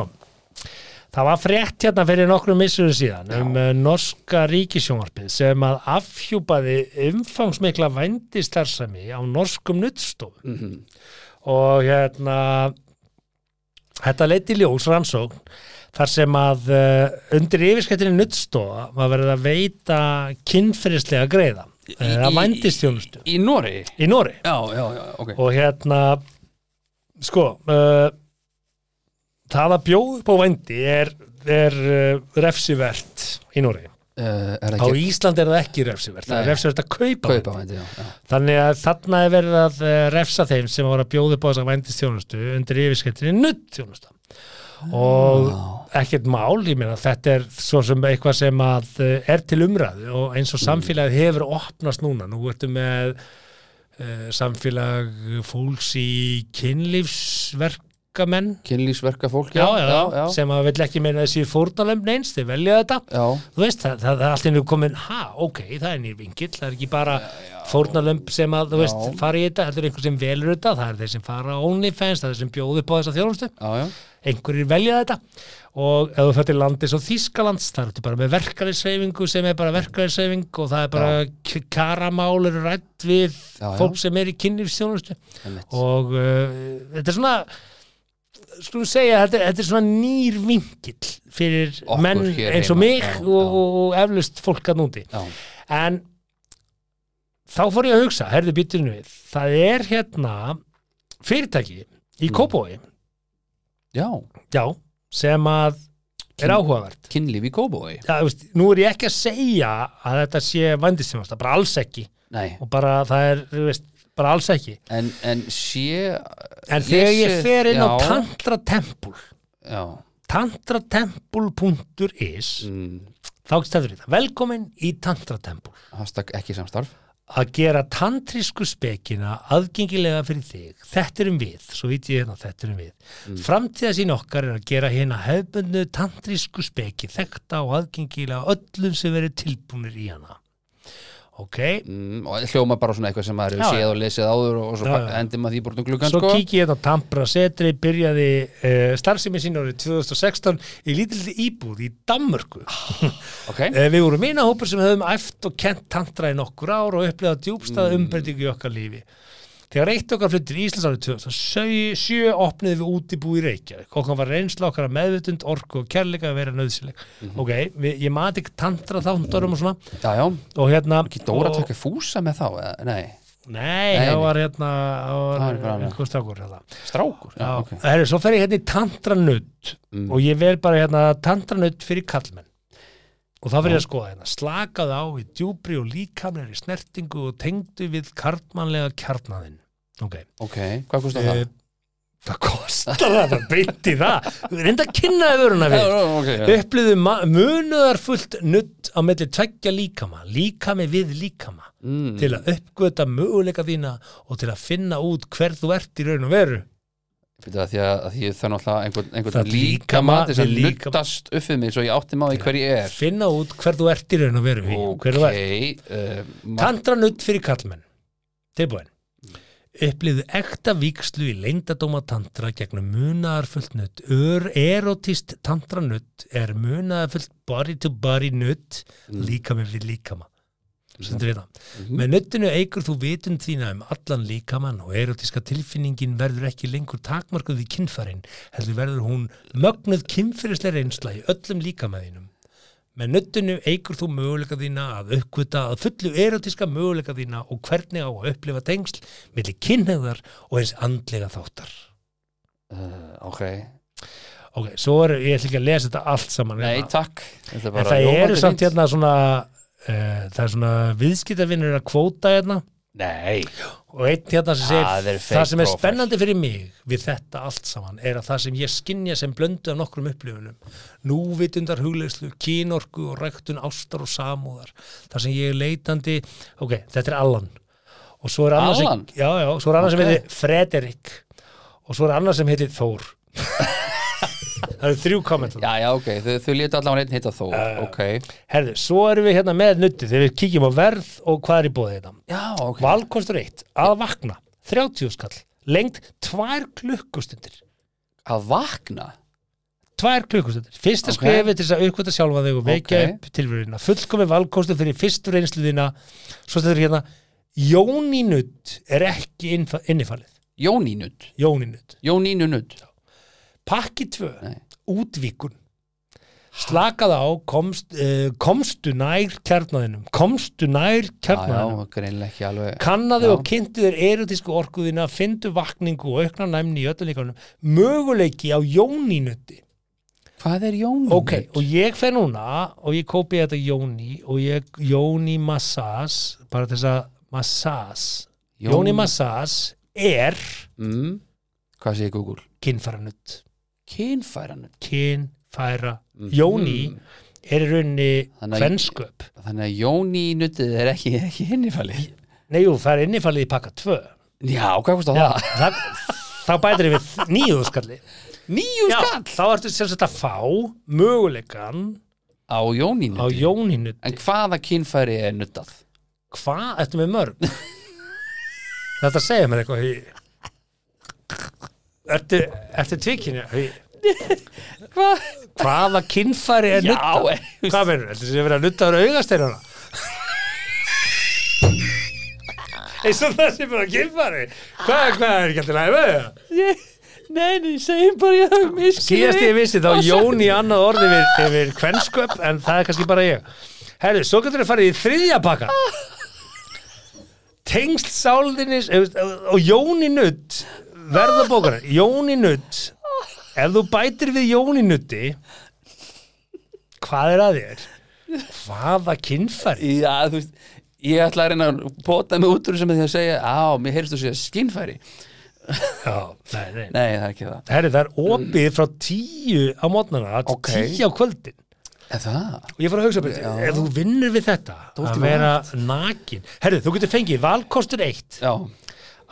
Speaker 3: það var frétt hérna fyrir nokkrum missurum síðan um uh, norska ríkisjónvarpið sem að afhjúpaði umfangsmikla vændistarfsemi á norskum nuttstofum
Speaker 4: Mhm.
Speaker 3: og hérna þetta leiti ljós rannsókn þar sem að uh, undir yfirskettinu nuttstofa var verið að veita kynferðislega greiða eða
Speaker 4: í-
Speaker 3: vændistjónustu
Speaker 4: Í Noregi?
Speaker 3: í Nóri
Speaker 4: Já, já, já, ok
Speaker 3: og hérna sko uh, það að bjóða upp á vændi er, er uh, refsivert í Nóri
Speaker 4: uh,
Speaker 3: á
Speaker 4: Er það ekki
Speaker 3: Íslandi er það ekki refsivert það er
Speaker 4: Nei.
Speaker 3: refsivert að kaupa,
Speaker 4: kaupa vændi, já, já.
Speaker 3: vændi þannig að þarna er verið að uh, refsa þeim sem voru að bjóða upp á þessa vændistjónustu undir yfirskeittinni nuttjónusta
Speaker 4: Ah.
Speaker 3: og ekkert mál, ég meina þetta er svo sem eitthvað sem að eh, er til umræðu og eins og samfélagið hefur opnast núna, nú ertu með uh, samfélag fólks í kynlífsverkamenn
Speaker 4: Kynlífsverka fólk,
Speaker 3: já,
Speaker 4: já
Speaker 3: já,
Speaker 4: já,
Speaker 3: sem að vill ekki meina þessi fórnalömb neins, þeir velja þetta
Speaker 4: já.
Speaker 3: þú veist, það, það, það er allt einu komin ha, ok, það er nýr vingill, það er ekki bara fórnalömb sem að, þú veist,
Speaker 4: Já.
Speaker 3: fara í þetta þetta er einhver sem velur þetta, það er þeir sem fara á OnlyFans, það er þeir sem bjóðu upp á þessa þjónustu
Speaker 4: Já, já,
Speaker 3: einhverjir velja þetta og ef þú fyrir landið svo Þýskalands það ertu bara með verkarinsreyfingu sem er bara verkarinsreyfing og það er bara k- karamál eru rætt við
Speaker 4: Já, já.
Speaker 3: fólk sem er í kynlífstjónustu
Speaker 4: einmitt.
Speaker 3: og uh, þetta er svona skulum segja, þetta, þetta er svona nýr vinkill fyrir
Speaker 4: Okkur
Speaker 3: menn
Speaker 4: hér
Speaker 3: eins og
Speaker 4: heima.
Speaker 3: mig
Speaker 4: Já,
Speaker 3: og,
Speaker 4: já.
Speaker 3: og, og eflust fólk að núti
Speaker 4: já.
Speaker 3: en þá fór ég að hugsa, herðu býtinu við það er hérna fyrirtæki
Speaker 4: Mm.
Speaker 3: í Kópói
Speaker 4: já.
Speaker 3: Já, sem að er áhugavert.
Speaker 4: Kynlíf í kóbói
Speaker 3: Já, þú veist, nú er ég ekki að segja að þetta sé vandistjónasta, bara alls ekki
Speaker 4: Nei,
Speaker 3: og bara það er, þú veist, bara alls ekki
Speaker 4: en, en sé
Speaker 3: en þegar ég
Speaker 4: sé-
Speaker 3: fer inn á
Speaker 4: já,
Speaker 3: tantratempul
Speaker 4: Já,
Speaker 3: tantratempul.is
Speaker 4: mm,
Speaker 3: þá stæður þetta, velkomin í tantratempul
Speaker 4: hashtag ekki samstarf
Speaker 3: að gera tantrísku spekina aðgengilega fyrir þig þetta erum við, svo veit ég hérna þetta erum við mm. framtíðasín okkar er að gera hérna hefbundu tantrísku speki þekta og aðgengilega öllum sem verið tilbúnir í hana ok,
Speaker 4: mm, Og hljóma bara svona eitthvað sem
Speaker 3: Já,
Speaker 4: maður hefur séð
Speaker 3: já.
Speaker 4: og lesið áður og
Speaker 3: Já,
Speaker 4: svo já,
Speaker 3: já.
Speaker 4: endir maður því bort um gluggan
Speaker 3: svo
Speaker 4: sko.
Speaker 3: kík ég hérna á Tampra setri byrjaði uh, starfsemi sín árið 2016 í lítildi íbúð í Danmörku
Speaker 4: Ok,
Speaker 3: Eh, Við vorum
Speaker 4: Mm.
Speaker 3: vinahópur sem höfum æft og kent tantra í nokkur ár og upplegað djúbstað umbreytingu í okkar lífi. Þegar eitt okkar flyttir í Íslands árið 2007 opniði við útibú í Reykjavík. Okkar var reynsla okkar að meðvutund, orku og kærleika að vera nöðsileg.
Speaker 4: Mhm.
Speaker 3: Ok, við, ég mati ekki tantra þáttundarum og svona.
Speaker 4: Já, já,
Speaker 3: Og hérna...
Speaker 4: ekki Dóra
Speaker 3: og-
Speaker 4: taka fúsa með þá, eða, nei,
Speaker 3: Nei,
Speaker 4: Nei,
Speaker 3: það
Speaker 4: nei.
Speaker 3: var hérna... Það
Speaker 4: Það var
Speaker 3: var
Speaker 4: einhver annar.
Speaker 3: einhver stakur hérna.
Speaker 4: strákur já,
Speaker 3: Já,
Speaker 4: ok. Mm.
Speaker 3: okay. Herri, svo fer ég hérna í tantranutt og ég vel bara hérna tantranutt fyrir kallmenn og þá fer ég að skoða hérna slakað á í djúbri og líkamleiri snertingu og tengdu við karlmannlega kjarnaðinn ok,
Speaker 4: ok, hvað kostar það?
Speaker 3: Eh, það kostar það bara beint í það reynda að kynna þið vöruna við
Speaker 4: já, ok, já.
Speaker 3: upplýðu munuðarfullt nutt á melli tveggja líkama líkami við líkama
Speaker 4: Mm.
Speaker 3: Eh, til að uppgöta möguleika þína og til að finna út hver þú ert í raun og veru
Speaker 4: Fyrir það, því að, að því það er náttúrulega einhvern,
Speaker 3: Það
Speaker 4: einhvern líkama
Speaker 3: líkama
Speaker 4: til þess að
Speaker 3: við líkama.
Speaker 4: nuttast upp við mig svo ég átti maður í hverju ég er
Speaker 3: finna út hver þú ert í raun og veru okay.
Speaker 4: ok,
Speaker 3: hver þú ert.
Speaker 4: eh, ma-
Speaker 3: Tantranutt fyrir kallmenn tilbúin upplýðu ekta víkslu í leyndadóma tantra gegnum munaðarfullt nutt Ör erotist tantranutt er munaðarfullt body to body nutt
Speaker 4: Mm.
Speaker 3: líkami við líkama
Speaker 4: Mhm.
Speaker 3: Stendur við það. með nuttinu eigur þú vitund þína um allan líkamann og erotíska tilfinningin verður ekki lengur takmarkuð í kynfærin heldur verður hún mögnuð kynfyrislega reynsla í öllum líkamaðinum Með nuttinu eigur þú möguleika þína að uppkvita að fullu erotíska möguleika þína og hvernig á að upplifa tengsl milli kynneðar og eins andlega þáttar.
Speaker 4: eh, ok,
Speaker 3: Ok, svo er, ég ætla ekki að lesa þetta allt saman.
Speaker 4: nei
Speaker 3: hérna.
Speaker 4: takk Þetta er bara
Speaker 3: en það
Speaker 4: ljómandi
Speaker 3: eru samt
Speaker 4: fínt.
Speaker 3: hérna svona, uh, það er svona viðskiptavinnur að kvóta hérna
Speaker 4: nei,
Speaker 3: og einn hérna sem segir,
Speaker 4: Það er fake
Speaker 3: það sem er
Speaker 4: profile."
Speaker 3: spennandi fyrir mig við þetta allt saman er að það sem ég skinja sem blöndu af nokkrum upplifunum, núvitundar huglegslu, kynorku og ræktun ástar og samúðar, það sem ég er leitandi, ok, þetta er Allan og svo er annars
Speaker 4: Allan?
Speaker 3: já, já, svo er annars
Speaker 4: Ok.
Speaker 3: sem heitir Frederik og svo er annars sem heitir Þór það eru þrjú kommentar
Speaker 4: já, já, ok þau, þau létu allavega einn hitta þó
Speaker 3: Eh,
Speaker 4: ok,
Speaker 3: herðu, svo erum við hérna með nuttið þegar við kíkjum á verð og hvað er í hérna. bóðið þetta
Speaker 4: já, ok
Speaker 3: Valkostur 1, að vakna 30 skall, lengt tvær klukkustundir
Speaker 4: að vakna
Speaker 3: tvær klukkustundir, fyrsta
Speaker 4: Ok.
Speaker 3: okay. skrifið til þess að aukvita sjálfa þig og vekja
Speaker 4: Ok.
Speaker 3: upp tilveruna fullkomi valkostur fyrir fyrstu reynslu þína svo stæður hérna Jóninutt er ekki innfa- innifalið
Speaker 4: Jónínutt,
Speaker 3: Jóninutt,
Speaker 4: Jónínunutt
Speaker 3: pakki 2
Speaker 4: Nei.
Speaker 3: útvíkun slakað á, komst, uh, komstu nær kjarnaðinum, komstu nær kjarnaðinum
Speaker 4: já, greinlega ekki alveg
Speaker 3: kannaðu
Speaker 4: Já.
Speaker 3: og kynntu þér erotísku orkuðina, fyndu vakningu og aukna næmni í öllum líkanum, möguleiki á jóninutti.
Speaker 4: hvað er Jónínutt?
Speaker 3: Ok, og ég fer núna og ég kópi þetta jóni og ég jóni massas, bara til þess að massas,
Speaker 4: Jón-
Speaker 3: jóni massas er
Speaker 4: mm, hvað segir Google?
Speaker 3: kynfæranutt,
Speaker 4: kynfæranutt
Speaker 3: kynfæra, jóni er í rauninni
Speaker 4: Mhm. Þannig að-
Speaker 3: hvensköp.
Speaker 4: Þannig að Jóni í nuttið er ekki, ekki innifalið.
Speaker 3: Nei, jú, það er innifalið í pakka 2.
Speaker 4: Já, hvað kostar
Speaker 3: Já,
Speaker 4: það?
Speaker 3: það, þá bætir ég við nýju skalli.
Speaker 4: Nýju
Speaker 3: Já,
Speaker 4: skall!
Speaker 3: þá ertu sem sagt að fá möguleikan
Speaker 4: Á Jóni
Speaker 3: á
Speaker 4: nuttið. En
Speaker 3: jóninutti.
Speaker 4: hvaða kynfæri er nuttað?
Speaker 3: Hvað? Ertu með mörg? Þetta segja mér eitthvað. Hugi. Ertu, ertu tvikinni?
Speaker 4: Hvað?
Speaker 3: Hvaða kynfæri er
Speaker 4: Já,
Speaker 3: nuttað?
Speaker 4: eh,
Speaker 3: Hvað meður? Þetta sé verið að nuttaður augasteirana? Eins og það sé bara kynfæri. Hvað, hvað er ekki alltaf læmið það?
Speaker 4: Nei, nei, segjum bara ég hafa miskið.
Speaker 3: Síðast ég vissi þá Jón í annað orði yfir, yfir kvensköp en það er kannski bara ég Herðu, svo getur við farið í þriðja pakka Tengst sálinnis eh, og Jóni Nutt verða bókar Jóni Nutt ef þú bætir við Jóni Nutti hvað er að þér? Hvaða kynfæri?
Speaker 4: Já, þú veist, ég ætla að reyna að bóta mig út úr sem því að segja, á, mér heyrst þú segja skinnfæri.
Speaker 3: Já, nei, nei.
Speaker 4: Nei, það er ekki það.
Speaker 3: Herðu, það er opið frá tíu á mótnana til
Speaker 4: Ok.
Speaker 3: tíu á kvöldin
Speaker 4: Er það?
Speaker 3: og ég fór að hugsa byrja, ef þú vinnur við þetta að vera nakin herru, þú getur fengið valkostur eitt
Speaker 4: Já,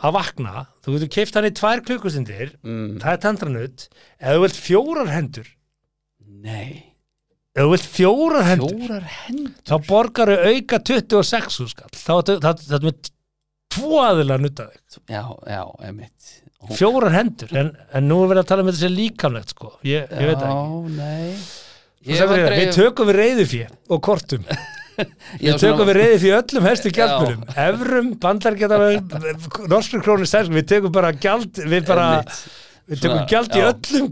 Speaker 3: að vakna, þú getur keift hann í tvær klukkustundir það er tandranutt ef þú vilt fjórar hendur
Speaker 4: nei.
Speaker 3: ef þú vilt fjórar hendur
Speaker 4: Fjórar hendur.
Speaker 3: þá borgaru auka 26 þúsund skall þá ertu- þá- þá ertu með tvo aðila að nutta þig
Speaker 4: Já, já, emitt.
Speaker 3: fjórar hendur, en, en nú er verið að tala um þetta sem líkamlegt sko, ég, ég veit það ekki
Speaker 4: Já, nei.
Speaker 3: Þú sagðir hérna, við tökum við reyðufjö og kortum
Speaker 4: Ég á
Speaker 3: Við tökum
Speaker 4: svona-
Speaker 3: við reyði fyrir öllum helstu gjaldmjölum Evrum, bandargetarverðum, norskur krónu stærsk Við tökum bara gjald Við bara
Speaker 4: Einmitt.
Speaker 3: Við tökum
Speaker 4: Svona,
Speaker 3: gjald í
Speaker 4: já.
Speaker 3: öllum,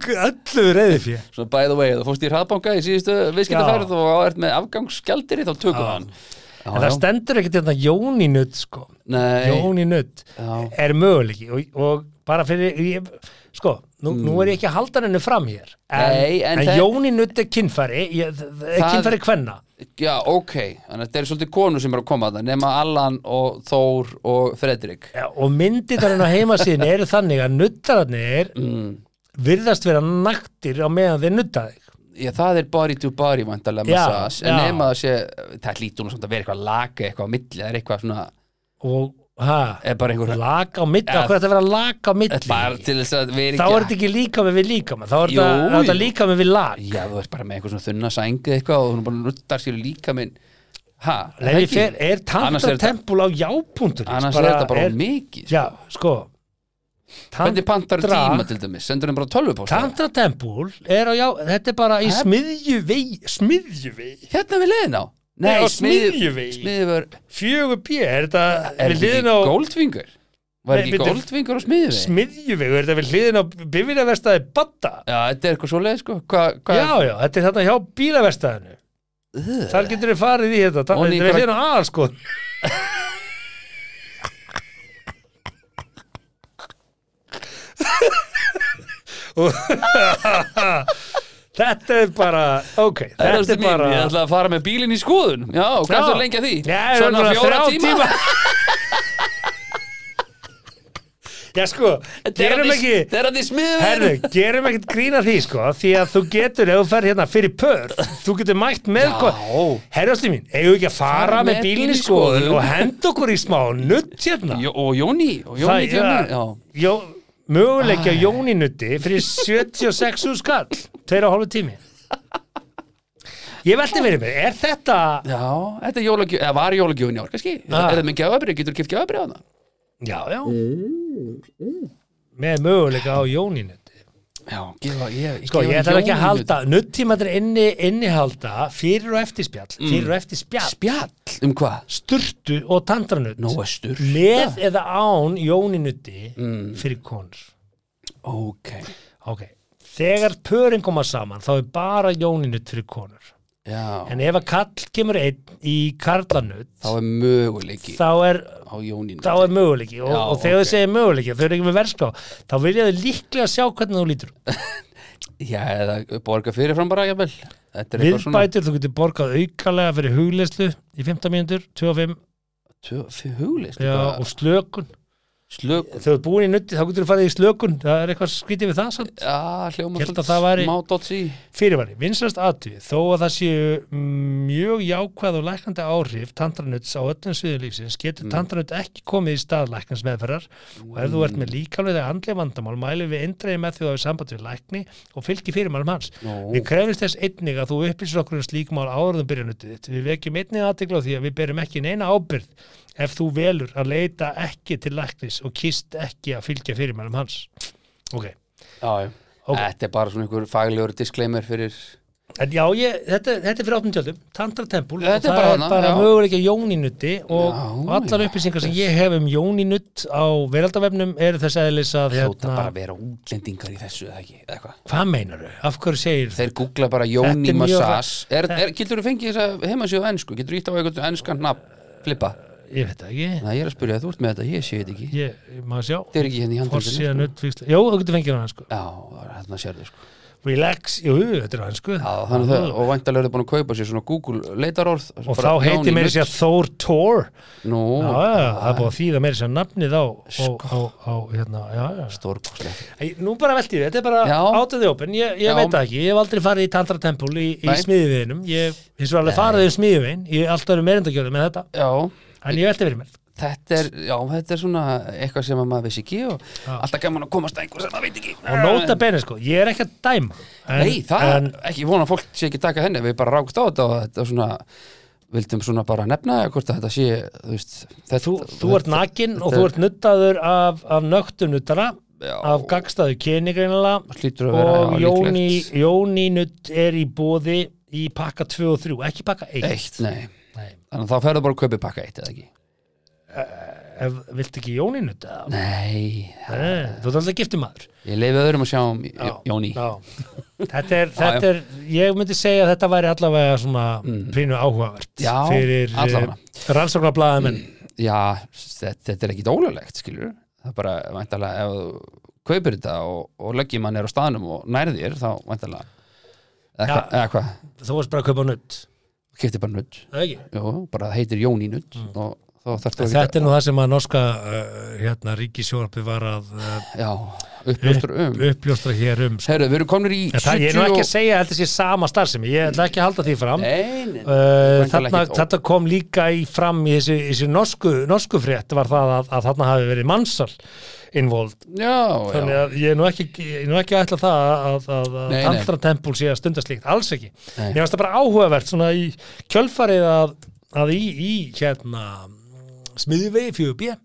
Speaker 3: öllu reyði fyrir
Speaker 4: Svona by the way, þú fórst í hraðbanka í síðustu viðskiptaferð og ert með afgangsgjaldiri þá tökum við
Speaker 3: Já.
Speaker 4: hann Já,
Speaker 3: En það
Speaker 4: já.
Speaker 3: stendur ekkert hérna þetta Jóni Nutt sko
Speaker 4: Nei,
Speaker 3: Jóni Nutt
Speaker 4: Já.
Speaker 3: er möguleiki og, og bara fyrir ég, sko, nú, nú er ég ekki að halda henni fram hér en,
Speaker 4: Nei, en
Speaker 3: en,
Speaker 4: það-
Speaker 3: Jóni Nutt er kynfæri ég, það er
Speaker 4: Það-
Speaker 3: kynfæri kvenna
Speaker 4: já, ok Þannig að þetta er svolítið konu sem er að koma það nema Allan og Þór og Fredrik
Speaker 3: Ja, og myndirinn á heimasíðin eru þannig að nuttararnir
Speaker 4: Mm.
Speaker 3: virðast vera naktir á meðan þeir nutta þig
Speaker 4: Já, það er body to body vantarlega
Speaker 3: Já,
Speaker 4: massage En
Speaker 3: já.
Speaker 4: nema það sé, það hlýtur nú samt að vera eitthvað laka eitthvað á milli, það er eitthvað svona
Speaker 3: og ha,
Speaker 4: er bara einhver
Speaker 3: lak á milli ja,
Speaker 4: Ja.
Speaker 3: hvað er þetta að vera lak á milli
Speaker 4: bara til þess að vera
Speaker 3: þá
Speaker 4: ekki
Speaker 3: er þetta ekki líka með við líka með þá er
Speaker 4: Jú,
Speaker 3: þetta- er þetta
Speaker 4: jú.
Speaker 3: líka með við lak
Speaker 4: Já, þú ert bara með eitthvað svona þunna sængi eitthvað og hún bara nuttar sér líka minn Ha,
Speaker 3: Nei, ég fer, er
Speaker 4: Annars er þetta-
Speaker 3: tantatempul á jápundur
Speaker 4: annars er þetta bara er, mikið
Speaker 3: Já, sko
Speaker 4: Hvernig pantar
Speaker 3: tantra-
Speaker 4: tíma til dæmis? Sendur hann bara tölvupóst?
Speaker 3: Tantratempul er á já, þetta er bara í
Speaker 4: Hæ?
Speaker 3: smiðjuvegi Smiðjuvegi?
Speaker 4: Hérna við leiðin á
Speaker 3: Nei, á
Speaker 4: smiðju-
Speaker 3: Smiðjuvegi.
Speaker 4: Smiðjuvör
Speaker 3: Fjögur B, er þetta við
Speaker 4: Er þetta
Speaker 3: hliðin
Speaker 4: ekki
Speaker 3: á
Speaker 4: góldfingur? Var
Speaker 3: Nei,
Speaker 4: ekki
Speaker 3: bíddu.
Speaker 4: góldfingur á smiðjuvegi?
Speaker 3: Smiðjuvegi, er þetta við hliðin á bifiljaverstaði Badda?
Speaker 4: Já, þetta er eitthvað svoleið sko Hva, hva,
Speaker 3: Já, já, þetta er þetta hjá bílaverstaðinu Þar getur við farið í þetta
Speaker 4: Og
Speaker 3: Þetta
Speaker 4: ný
Speaker 3: er við
Speaker 4: bara-
Speaker 3: hliðin á aðal, sko Þetta er bara, ok,
Speaker 4: Þetta
Speaker 3: þetta er bara
Speaker 4: Ég ætla að fara með bílinn í skoðun Já, og kannski að lengja því
Speaker 3: Já, það er
Speaker 4: Svona
Speaker 3: bara
Speaker 4: fjóra
Speaker 3: þrjá
Speaker 4: tíma,
Speaker 3: Já sko,
Speaker 4: Þetta er
Speaker 3: gerum
Speaker 4: hann í-
Speaker 3: ekki
Speaker 4: Þetta er hann í
Speaker 3: Herru,
Speaker 4: smiðjuvegi
Speaker 3: gerum ekkert grína því sko Því að þú getur, ef þú fer hérna fyrir pör Þú getur mætt með
Speaker 4: Já.
Speaker 3: Herrastu mín, eigum við ekki að fara
Speaker 4: Fara
Speaker 3: með
Speaker 4: með
Speaker 3: bílinn í
Speaker 4: bílinn í
Speaker 3: skoðun
Speaker 4: skoðun.
Speaker 3: Og henda okkur í smá nutt hérna
Speaker 4: Jó- Og Jóni Og
Speaker 3: Það-
Speaker 4: Jóni Tjóni Já
Speaker 3: Jó, möguleiki á Jóni nutti Fyrir 76 úr skall Tveir og hálfu tími Ég velti verið mér, er þetta
Speaker 4: Já, þetta er jólagjöf, eða var jólagjöfin í ár, kannski?
Speaker 3: Ah.
Speaker 4: Ah. Er það með gjafabrið, getur kipt gjafabrið á það?
Speaker 3: Já, já Með möguleika á Jóni nutti
Speaker 4: Já, gefa, ég,
Speaker 3: Sko,
Speaker 4: gefa
Speaker 3: ég ætla ekki að
Speaker 4: Jóni
Speaker 3: halda, nuttímaður inni, innihalda fyrir og eftir spjall,
Speaker 4: Mm.
Speaker 3: fyrir og eftir
Speaker 4: hlut.
Speaker 3: spjall,
Speaker 4: Spjall, um hvað?
Speaker 3: sturtu og tandranutt,
Speaker 4: Nó, östur.
Speaker 3: með eða án jóninutti
Speaker 4: Mm.
Speaker 3: fyrir konur.
Speaker 4: Ok,
Speaker 3: Ok, þegar pörin koma saman þá er bara jóninutt fyrir konur.
Speaker 4: já,
Speaker 3: En ef að kall kemur einn í karlanutt,
Speaker 4: þá er möguleiki
Speaker 3: þá er
Speaker 4: á Jóninu.
Speaker 3: þá er möguleiki og,
Speaker 4: Já,
Speaker 3: og þegar
Speaker 4: ok.
Speaker 3: þau segir möguleiki og þau eru ekki með verðská þá vilja þau líklega sjá hvernig þú lítur út.
Speaker 4: Já, eða borga fyrirfram bara, jafnvel. Þetta er eitthvað svona...
Speaker 3: viðbætur, þú getur borgað aukalega fyrir hugleyslu í 15 mínútur 25
Speaker 4: Viðbæt. Huglist,
Speaker 3: já, og slökun
Speaker 4: slög...
Speaker 3: þegar þú er búin í nutti þá getur þú farið í slökun það er eitthvað skrítið við það samt
Speaker 4: Já, hljóma
Speaker 3: Held að það væri-
Speaker 4: smá dotsi.
Speaker 3: fyrirværi, vinsast atvið, þó að það séu mm, mjög jákvæð og læknandi áhrif tandranuts á öllum sviðu lífsins getur tandranutt ekki komið í stað læknans meðferðar og ef þú ert með líkamlega eða andlega vandamál mælum við eindreiði með því að við samband við lækni og fylgi fyrirmælum hans
Speaker 4: Nó.
Speaker 3: Við krefumst þess einnig að þú upplýsir okkur um slík mál áraðum byrjanutið þitt. Við vekjum einnig aðtegla á því að við berum ekki neina ábyrð ef þú velur að leita ekki til læknis og kýst ekki að fylgja fyrirmælum hans. Ok.
Speaker 4: Já, já.
Speaker 3: Ok.
Speaker 4: Þetta er bara svona einhver faglegur disclaimer fyrir...
Speaker 3: En já, ég, þetta, þetta er fyrir opnum tjöldum, Tandratempul og
Speaker 4: Þetta er
Speaker 3: það
Speaker 4: bara
Speaker 3: er
Speaker 4: hana,
Speaker 3: bara
Speaker 4: já.
Speaker 3: möguleika jóninutti og,
Speaker 4: Já,
Speaker 3: og allar
Speaker 4: já.
Speaker 3: upplýsingar sem ég hef um jóninutt á veraldavefnum eru þess aðeins að
Speaker 4: Hljóta bara
Speaker 3: hérna,
Speaker 4: að vera útlendingar í þessu, eða ekki, eða hvað?
Speaker 3: hvað meinaru? Af hverju segir
Speaker 4: Þeir googla bara Jóni
Speaker 3: Þetta er mjög
Speaker 4: Massage er, er, Getur þú fengið þess að heimasíðu á ennsku? Getur þú ítt á eitthvað ennskan nafn? Flippa?
Speaker 3: Ég veit það ekki,
Speaker 4: Nei, ég er að spyrja, þú ert með þetta, ég sé þetta ekki
Speaker 3: ég, ég maður sjá
Speaker 4: Þetta er ekki henni í sko. handrýttinu
Speaker 3: Forsíða nuttvíksla, jú, þú getur fengið hana sko
Speaker 4: Já, hérna sér þau sko Já,
Speaker 3: Relax, jú, þetta er aðeins sko
Speaker 4: þannig þau, og væntalega eru búin að kaupa sér svona Google leitarorð
Speaker 3: Og þá heiti meiri sér Thor Thor Já,
Speaker 4: Nú,
Speaker 3: já, það er búið að þýða meiri sér nafnið á og,
Speaker 4: Sko.
Speaker 3: á, á, hérna, já, já
Speaker 4: stórkoslega
Speaker 3: Æ, Nú bara velti við, þetta er bara
Speaker 4: Já.
Speaker 3: átöði ópen Ég, ég
Speaker 4: Já.
Speaker 3: veit það ekki, ég hef aldrei farið í tantratempul í, í
Speaker 4: Nei.
Speaker 3: smiðiðinum Ég hins vegar alveg farið í smiðiðin Ég er alltaf verið meirindagjörðu með þetta
Speaker 4: Já,
Speaker 3: En ég velti verið mér
Speaker 4: þetta er, já, þetta er svona eitthvað sem að maður vissi ekki og alltaf gaman að komast að einhver sem það veit ekki
Speaker 3: Og nota bene sko, ég er ekki að dæma en,
Speaker 4: Nei, það
Speaker 3: en,
Speaker 4: ekki, ég vona að fólk sé ekki taka henni við bara rákast á þetta og þetta er svona vildum svona bara nefna hvort að þetta sé, þú veist þetta,
Speaker 3: Þú, þú ert nakin og þú ert nuttaður af, af nögtum nuttara
Speaker 4: Já.
Speaker 3: af gagstaðu
Speaker 4: Hlýtur
Speaker 3: kynigreinlega
Speaker 4: að vera,
Speaker 3: og
Speaker 4: já,
Speaker 3: Jóni,
Speaker 4: líklegt.
Speaker 3: Jóni nutt er í bóði í pakka 2 og 3, ekki pakka 1
Speaker 4: eitt, nei
Speaker 3: Nei.
Speaker 4: Þannig að þá ferðu bara að kaupi pakka eitt eða ekki
Speaker 3: Ef, viltu ekki Jóninu þetta?
Speaker 4: Nei,
Speaker 3: Nei, Þú ert alltaf gifti maður
Speaker 4: ég leifi öðrum að sjá um
Speaker 3: Já,
Speaker 4: Jóni
Speaker 3: já. Þetta er, þetta er, ég myndi segja að þetta væri allavega svona pínu áhugavert
Speaker 4: Mm. Já,
Speaker 3: fyrir eh,
Speaker 4: allavega. Mm.
Speaker 3: rannsóknarblæðamenn
Speaker 4: Já, þetta, þetta er ekkit ólöglegt skilur Það er bara væntalega ef þú kaupir þetta og, og leggjum hann er á staðnum og nærði þér þá væntalega eða
Speaker 3: Já.
Speaker 4: hva- eða hvað,
Speaker 3: þú varst bara að kaupa nutt
Speaker 4: kefti bara nutt
Speaker 3: Það ekki?
Speaker 4: Jú, bara það heitir Jóni nutt og þá þarf þú
Speaker 3: Mm. Þetta er nú það sem að norska uh, hérna, ríkisjórfi var að uh,
Speaker 4: Já, uppljóstur um
Speaker 3: uppljóstra hér um sko.
Speaker 4: Herru, við erum komnir í
Speaker 3: En það, Ég er nú
Speaker 4: 70
Speaker 3: ekki
Speaker 4: og-
Speaker 3: að segja um- að þetta sé sama starfsemi ég ætla ekki að halda því fram
Speaker 4: Nei, nei,
Speaker 3: Uh,
Speaker 4: Væntanlega
Speaker 3: þarna,
Speaker 4: ekkert ó-
Speaker 3: þetta kom líka í fram í þessu, í þessu norsku, norsku frétt var það að, að þarna hafi verið mannsal involvd
Speaker 4: já,
Speaker 3: þannig
Speaker 4: já,
Speaker 3: að ég er nú ekki, ég er nú ekki að ætla það að, að, að
Speaker 4: Nei, nei.
Speaker 3: tantra tempul sé að stunda slíkt, alls ekki
Speaker 4: Nei.
Speaker 3: mér finnst það bara áhugavert svona í kjölfarið að, að í, í hérna smiðuvegi 4B
Speaker 4: Já.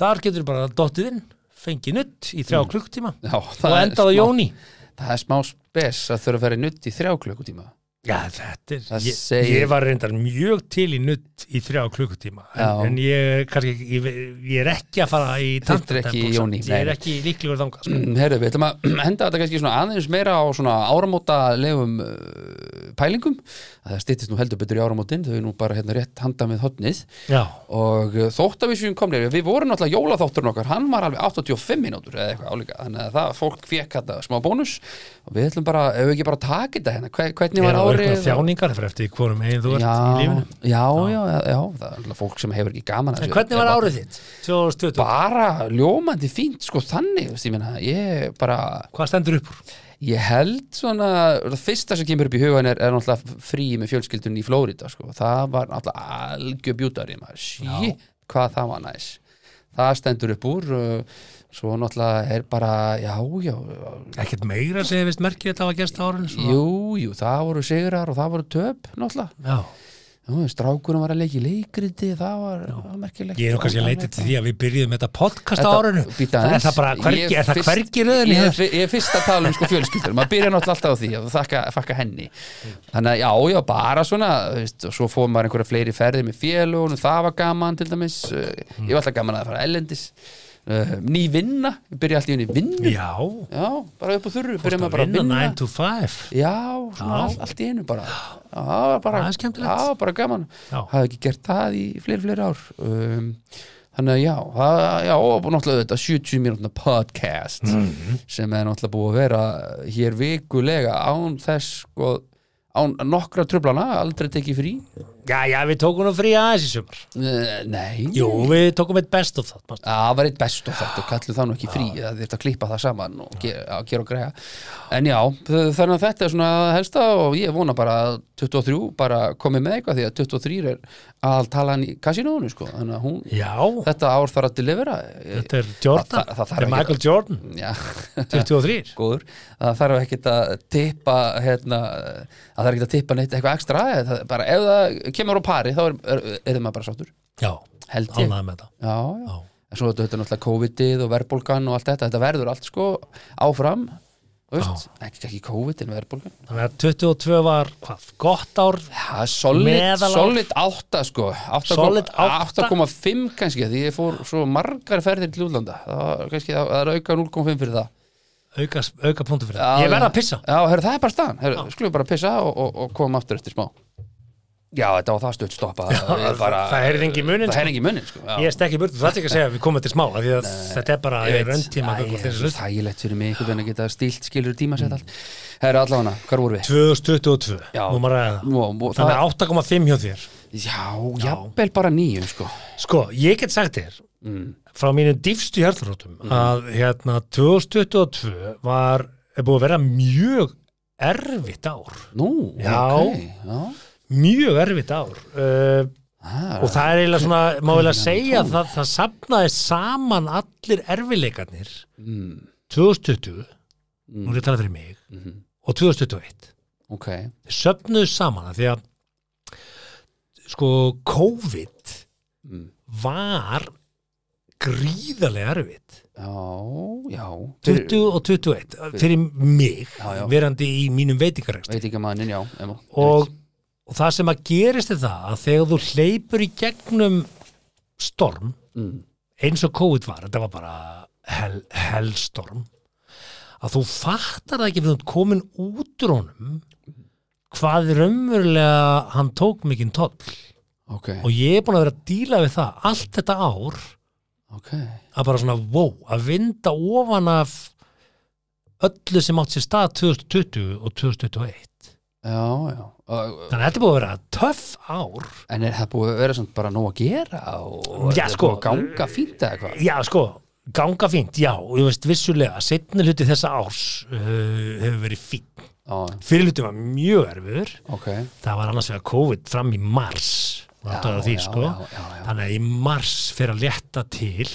Speaker 3: þar getur bara dottið inn fengið nutt í þrjá mm. klukktíma
Speaker 4: já það
Speaker 3: og
Speaker 4: er
Speaker 3: endaði
Speaker 4: smá-
Speaker 3: Jóni
Speaker 4: Það er smá spes að þurfa að vera í nutt í þrjá klukkutíma
Speaker 3: Já, þetta er,
Speaker 4: Það
Speaker 3: ég,
Speaker 4: segir-
Speaker 3: ég var reyndar mjög til í nutt í þrjá klukkutíma en,
Speaker 4: Já.
Speaker 3: en ég, kannski, ekki- ég, ve- ég er ekki að fara í
Speaker 4: Þetta er ekki
Speaker 3: tantratempo,
Speaker 4: í
Speaker 3: samt.
Speaker 4: júní,
Speaker 3: ég er
Speaker 4: nei.
Speaker 3: ekki líklegur þangað sko.
Speaker 4: Herru, Mm, við ætlum að henda þetta kannski svona aðeins meira á svona áramóta legum uh, pælingum að það styttist nú heldur betur í áramótin þau er nú bara hérna rétt handa með hotnið
Speaker 3: Já,
Speaker 4: og uh, þótt að við séum komnir við vorum náttúrulega jólaþátturinn okkar hann var alveg 85 mínútur eða eitthvað álíka þannig að það fólk fekk þetta smá bónus og við ætlum bara, ef við ekki bara taka þetta hérna hve- hvernig
Speaker 3: er
Speaker 4: var
Speaker 3: það
Speaker 4: árið
Speaker 3: eitthvað þjáningar fyrir eftir hvorum einn þú ert í
Speaker 4: já,
Speaker 3: lífinu
Speaker 4: já, já, já, já, það er alltaf fólk sem hefur ekki gaman að
Speaker 3: En
Speaker 4: þessu.
Speaker 3: hvernig var
Speaker 4: Ef-
Speaker 3: árið þitt? 2020,
Speaker 4: bara ljómandi fínt sko þannig, veist, ég meina, ég bara
Speaker 3: hvað stendur upp úr?
Speaker 4: ég held svona, það fyrsta sem kemur upp í hugan er, er náttúrulega frí með fjölskyldun í Flórida sko, það var náttúrulega algjör bjútari maður, sí, hvað það var næs það stendur upp úr uh, svo náttúrulega er bara já, já,
Speaker 3: Ekkert meira sem ég veist merkir þetta var gerst á árinu svona.
Speaker 4: jú, jú það voru sigrar og það voru töp náttúrulega,
Speaker 3: Já,
Speaker 4: Jú, strákurinn var að leiki leikriti, það var, það var merkilegt
Speaker 3: ég er nú kannski að leita til því að við byrjuðum þetta podcast á
Speaker 4: Þetta-
Speaker 3: árinu
Speaker 4: Bíddu
Speaker 3: Það er
Speaker 4: aðeins.
Speaker 3: það bara hvergi,
Speaker 4: Ég
Speaker 3: er það
Speaker 4: fyrst-
Speaker 3: hvergi röðinni
Speaker 4: Ég, er fyr- ég er fyrst að tala um sko fjölskyldur maður byrja náttúrulega alltaf á því að þakka, þakka henni þannig að já, já, bara svona þú veist, og svo fór maður einhverja fleiri ferðir með félugun það var gaman til dæmis uh, ég var alltaf gaman að fara ellendis uh, ný vinna, ég byrja alltaf í henni vinnu
Speaker 3: Já,
Speaker 4: já, bara upp á þurru, byrja maður bara að
Speaker 3: vinna
Speaker 4: vinna
Speaker 3: 9 to 5
Speaker 4: Já, svona
Speaker 3: Já.
Speaker 4: All, allt í einu bara Já, það var bara,
Speaker 3: Það er skemmtilegt.
Speaker 4: já, bara gaman
Speaker 3: Já.
Speaker 4: Hafði ekki gert það í fleiri, fleiri ár um, Þannig að já, það, já, og náttúrulega þetta 70 mínútna podcast
Speaker 3: Mhm.
Speaker 4: sem er náttúrulega búið að vera hér vikulega án þess sko, án nokkra tröflana aldrei tekið frí
Speaker 3: Já, já, við tókum nú frí aðeins í sumar
Speaker 4: uh, Nei,
Speaker 3: Jú, við tókum eitt best of það manstu.
Speaker 4: það var eitt best og þetta og kallum það nú ekki frí það þurft að klippa það saman og gera, að gera og greiða en já, þannig að þetta er svona helsta og ég vona bara að 23 bara komi með eitthvað því að 23 er aðaltalan í kasinónu sko. þannig að hún,
Speaker 3: Já,
Speaker 4: þetta ár þarf að delivera
Speaker 3: þetta er Jordan
Speaker 4: Það- það- það þarf
Speaker 3: Þetta er
Speaker 4: ekki-
Speaker 3: Michael Jordan,
Speaker 4: já,
Speaker 3: 23
Speaker 4: góður það þarf ekkit að tippa hérna, það þarf ekkit að tippa neitt eitthvað ekstra það, bara ef það kemur á pari þá er, er, er maður bara sáttur
Speaker 3: Já,
Speaker 4: held ég
Speaker 3: ánægði með þetta
Speaker 4: já, já.
Speaker 3: Já.
Speaker 4: En svo þetta þetta er náttúrulega COVID-ið og verðbólgan og allt þetta, þetta verður allt sko áfram, þú veist, ekki, ekki COVID en verðbólgan.
Speaker 3: Þannig að 22 var, hvað, gott ár
Speaker 4: Það er solid,
Speaker 3: Meðalár.
Speaker 4: solid átta sko, átta kom-
Speaker 3: Solid átta.
Speaker 4: 8,5 kannski, því ég fór svo margar ferðir til útlanda, það, var kannski, það, það er auka 0,5 fyrir það.
Speaker 3: auka, auka punktu fyrir
Speaker 4: Já,
Speaker 3: það Ég verð
Speaker 4: já.
Speaker 3: að pissa
Speaker 4: Já, herru, það er bara staðan, herru, skulum bara pissa og, og, og koma aftur eftir smá. Já, þetta var það stutt stoppa, það er bara,
Speaker 3: það heyrði enginn í munninn,
Speaker 4: það
Speaker 3: sko.
Speaker 4: heyrði enginn í munninn, sko. Já.
Speaker 3: Ég er stekki burtu, það er ekki að segja að við komum til smá af Því að þetta er bara
Speaker 4: Ég veit.
Speaker 3: rauntíma
Speaker 4: Æ,
Speaker 3: gagnvart
Speaker 4: Það er
Speaker 3: þessu
Speaker 4: svo
Speaker 3: hluta.
Speaker 4: þægilegt fyrir mig einhvern veginn að geta stílt skilur
Speaker 3: Mm.
Speaker 4: tímasett allt Herra allána, hvar voru við?
Speaker 3: 2022,
Speaker 4: Já.
Speaker 3: nú maður ræða það
Speaker 4: Nú, nú, það,
Speaker 3: Þannig að 8,5 hjá þér
Speaker 4: já, jafnvel bara nýjum sko
Speaker 3: Sko, ég get sagt þér
Speaker 4: Mm.
Speaker 3: frá mínum dýfstu hjartarótum að hérna 2022 var, er búið að vera mjög erfitt ár
Speaker 4: Nú,
Speaker 3: Já.
Speaker 4: ok já.
Speaker 3: mjög erfitt ár uh,
Speaker 4: Ah,
Speaker 3: og það er eiginlega svona, má eiginlega segja að það, það sapnaði saman allir erfileikarnir
Speaker 4: mm,
Speaker 3: 2020 nú er ég að tala fyrir mig
Speaker 4: Mhm.
Speaker 3: og 2021
Speaker 4: Ok,
Speaker 3: þeir söpnuðu saman af því að sko COVID
Speaker 4: Mm.
Speaker 3: var gríðarlega erfitt
Speaker 4: já, já
Speaker 3: 20 og 21 fyrir mig
Speaker 4: Já, já.
Speaker 3: verandi í mínum veitingarekst
Speaker 4: Veit ekki að mannin, já emma.
Speaker 3: og, og það sem að gerist er það að þegar þú hleypur í gegnum storm eins og COVID var, þetta var bara hell, hellstorm að þú fattar það ekki fyrir þú ert komin út úr honum hvað raunverulega hann tók mikinn tóll
Speaker 4: ok,
Speaker 3: og ég er búin að vera að díla við það allt þetta ár
Speaker 4: ok
Speaker 3: að bara svona, wow, að vinda ofan af öllu sem átt sér stað 2020 og 2021
Speaker 4: já, já Og-
Speaker 3: þannig að þetta er búin að vera töff ár
Speaker 4: en er það búið að vera samt bara nóg að gera og og
Speaker 3: Já,
Speaker 4: er það
Speaker 3: sko.
Speaker 4: búið að ganga fínt eða hvað
Speaker 3: Já, sko, ganga fínt, já, og ég veist vissulega, setni hluti þessa árs uh, hefur verið fín.
Speaker 4: já,
Speaker 3: Fyrir hluti var mjög erfur,
Speaker 4: ok,
Speaker 3: það var annars vegar COVID fram í mars, já, því,
Speaker 4: já,
Speaker 3: sko.
Speaker 4: já, já, já.
Speaker 3: þannig að í mars fyrir að létta til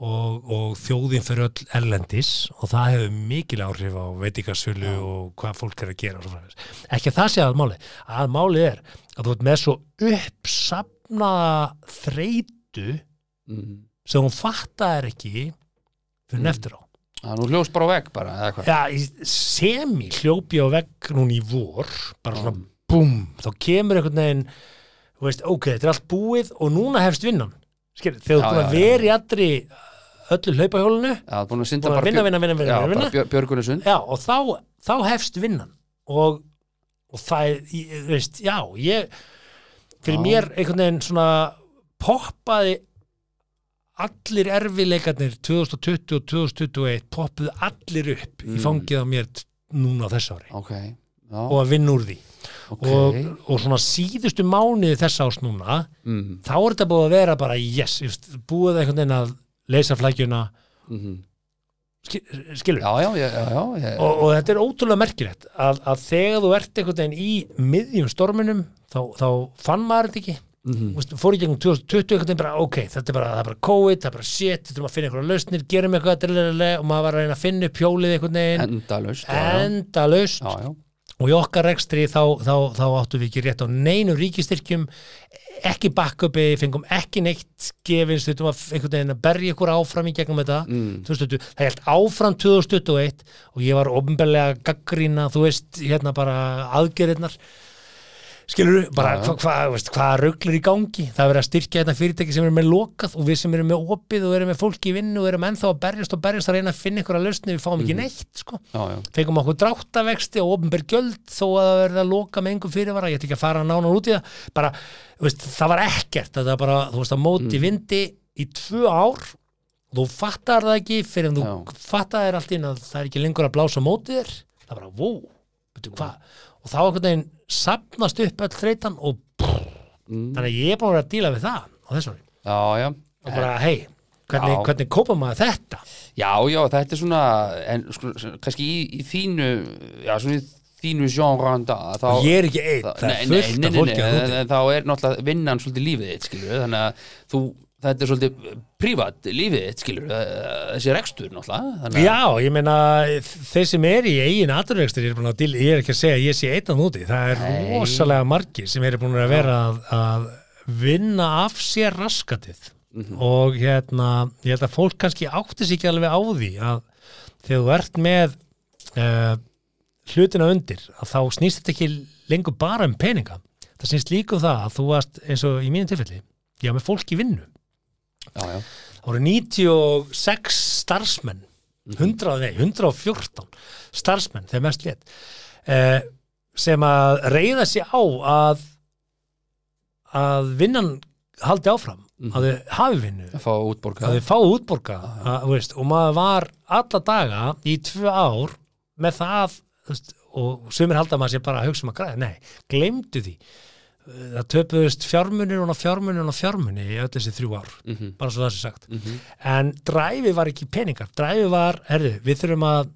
Speaker 3: og, og þjóðin fyrir öll erlendis og það hefur mikil áhrif á veitingasölu og hvað fólk er að gera og svo framvegis. Ekki að það sé að máli, að máli er að þú ert með svo uppsafnaða þreytu
Speaker 4: mm.
Speaker 3: sem hún fattaðir ekki fyrir mm. eftir á
Speaker 4: það er nú hljós bara á vegg bara eða hvað,
Speaker 3: ja, í- semi hljópi á vegg núna í vor bara
Speaker 4: Mm.
Speaker 3: svona búm þá kemur einhvern veginn þú veist, ok, þetta er allt búið og núna hefst vinnan Skil, þegar þú
Speaker 4: Já,
Speaker 3: ert búin að
Speaker 4: já, já.
Speaker 3: vera í allri öllu hlaupahjólinu
Speaker 4: Já, það er búin að synda
Speaker 3: búin að
Speaker 4: bara
Speaker 3: vinna,
Speaker 4: björ-
Speaker 3: vinna, vinna, vinna,
Speaker 4: já,
Speaker 3: vinna,
Speaker 4: bara
Speaker 3: vinna.
Speaker 4: björ, björgunarsund
Speaker 3: Já, og þá, þá hefst vinnan og, og það er, ég- þú veist, já ég, fyrir
Speaker 4: Já.
Speaker 3: mér einhvern veginn svona poppaði allir erfileikarnir 2020 og 2021 poppuðu allir upp
Speaker 4: Mm.
Speaker 3: í fangið á mér t- núna á þessu ári
Speaker 4: ok, já,
Speaker 3: og að vinna úr því
Speaker 4: ok
Speaker 3: og, og svona síðustu mánuði þessa ás núna
Speaker 4: mm.
Speaker 3: þá er þetta búið að vera bara yes, ég veist, búið einhvern veginn að leysa flækjuna
Speaker 4: Mm.
Speaker 3: skil- skilur
Speaker 4: já, já, já, já, já, já.
Speaker 3: og, og þetta er ótrúlega merkilegt að, að þegar þú ert einhvern veginn í miðjum storminum þá, þá fann maður þetta ekki
Speaker 4: Mhm.
Speaker 3: Vist, fór í gegnum 2020 einhvern veginn bara ok, þetta er bara, það er bara COVID, það er bara shit við þurfum að finna einhverja lausnir, gerum eitthvað drlalalalala, og maður var að reyna að finna upp hjólið einhvern veginn
Speaker 4: endalaust já, já.
Speaker 3: enda laust
Speaker 4: já, já,
Speaker 3: og í okkar rekstri þá, þá, þá áttum við ekki rétt á neinu ríkistyrkjum ekki backupi, fengum ekki neitt gefins, þurftum að einhvern veginn að berja ykkur áfram í gegnum þetta
Speaker 4: Mm.
Speaker 3: 2020, það held áfram 2021 og ég var ofnbeglega gaggrína, þú veist, hérna bara aðgerðirnar skilur, bara
Speaker 4: Já, já.
Speaker 3: hvað hva, veist, hvað ruglur í gangi, það er verið að styrkja þetta fyrirtæki sem eru með lokað og við sem eru með opið og erum með fólki í vinnu og erum ennþá að berjast og berjast að reyna að finna einhverja lausni, við fáum ekki
Speaker 4: Mm.
Speaker 3: neitt sko
Speaker 4: já, já.
Speaker 3: fengum okkur dráttavexti og ofnber gjöld þó að það verði að loka með engum fyrirvara ég ætla ekki að fara nánar út í það bara, þú veist, það var ekkert þetta var bara, þú veist, að móti
Speaker 4: Mm.
Speaker 3: vindi í tvö ár þú fattar það ekki fyrir en þú
Speaker 4: Já.
Speaker 3: fattar þér allt inn að það er ekki lengur að blása á móti þér það er bara, vó, veitum hvað og þá einhvern veginn sapnast upp öll þreytan og brr,
Speaker 4: Mm.
Speaker 3: þannig að ég er búin að vera að díla við það á þessu ári
Speaker 4: já, já.
Speaker 3: og bara, hei, hvernig,
Speaker 4: Eh. Já.
Speaker 3: hvernig kópa maður þetta
Speaker 4: Já, já, þetta er svona en, sko, kannski í, í þínu já, svona í þínu sjónranda þá,
Speaker 3: ég er ekki einn,
Speaker 4: þá-
Speaker 3: það
Speaker 4: nei,
Speaker 3: er
Speaker 4: nei, nei,
Speaker 3: fullt af
Speaker 4: nei,
Speaker 3: fólki
Speaker 4: nei,
Speaker 3: að
Speaker 4: en- en þá er náttúrulega vinnan svolítið lífið þitt skilur þannig að þú, þetta er svolítið prívat lífið þitt skilur þessi rekstur náttúrulega þannig að-
Speaker 3: Já, ég meina þeir sem er í eigin aturrekstur ég er, búin að til, ég er ekki að segja að ég sé eittan úti það er
Speaker 4: Nei.
Speaker 3: rosalega margir sem eru búin að vera að, að vinna af sér raskatið
Speaker 4: Mhm.
Speaker 3: og hérna, ég held að fólk kannski átti sig ekki alveg á því að þegar þú ert með uh, hlutina undir að þá snýst þetta ekki lengur bara um peninga það snýst líka um það að þú varst eins og í mínu tilfelli, ég var með fólk í vinnu
Speaker 4: já, já,
Speaker 3: Það voru 96 starfsmenn 100, nei, 114 starfsmenn, þegar mest létt eh, sem að reyða sér á að að vinnan haldi áfram, að þau hafi vinnu
Speaker 4: að fá útborgað
Speaker 3: að þau fáu útborga að, þú veist, og maður var alla daga í tvö ár með það þú veist, og sumir halda að maður sér bara að hugsa um að græða, nei, glemdu því það töpuðust fjármunir og fjármunir og fjármunir í öll þessi þrjú ár bara svo það sé sagt en dræfi var ekki peningar, dræfi var herðu, við þurfum að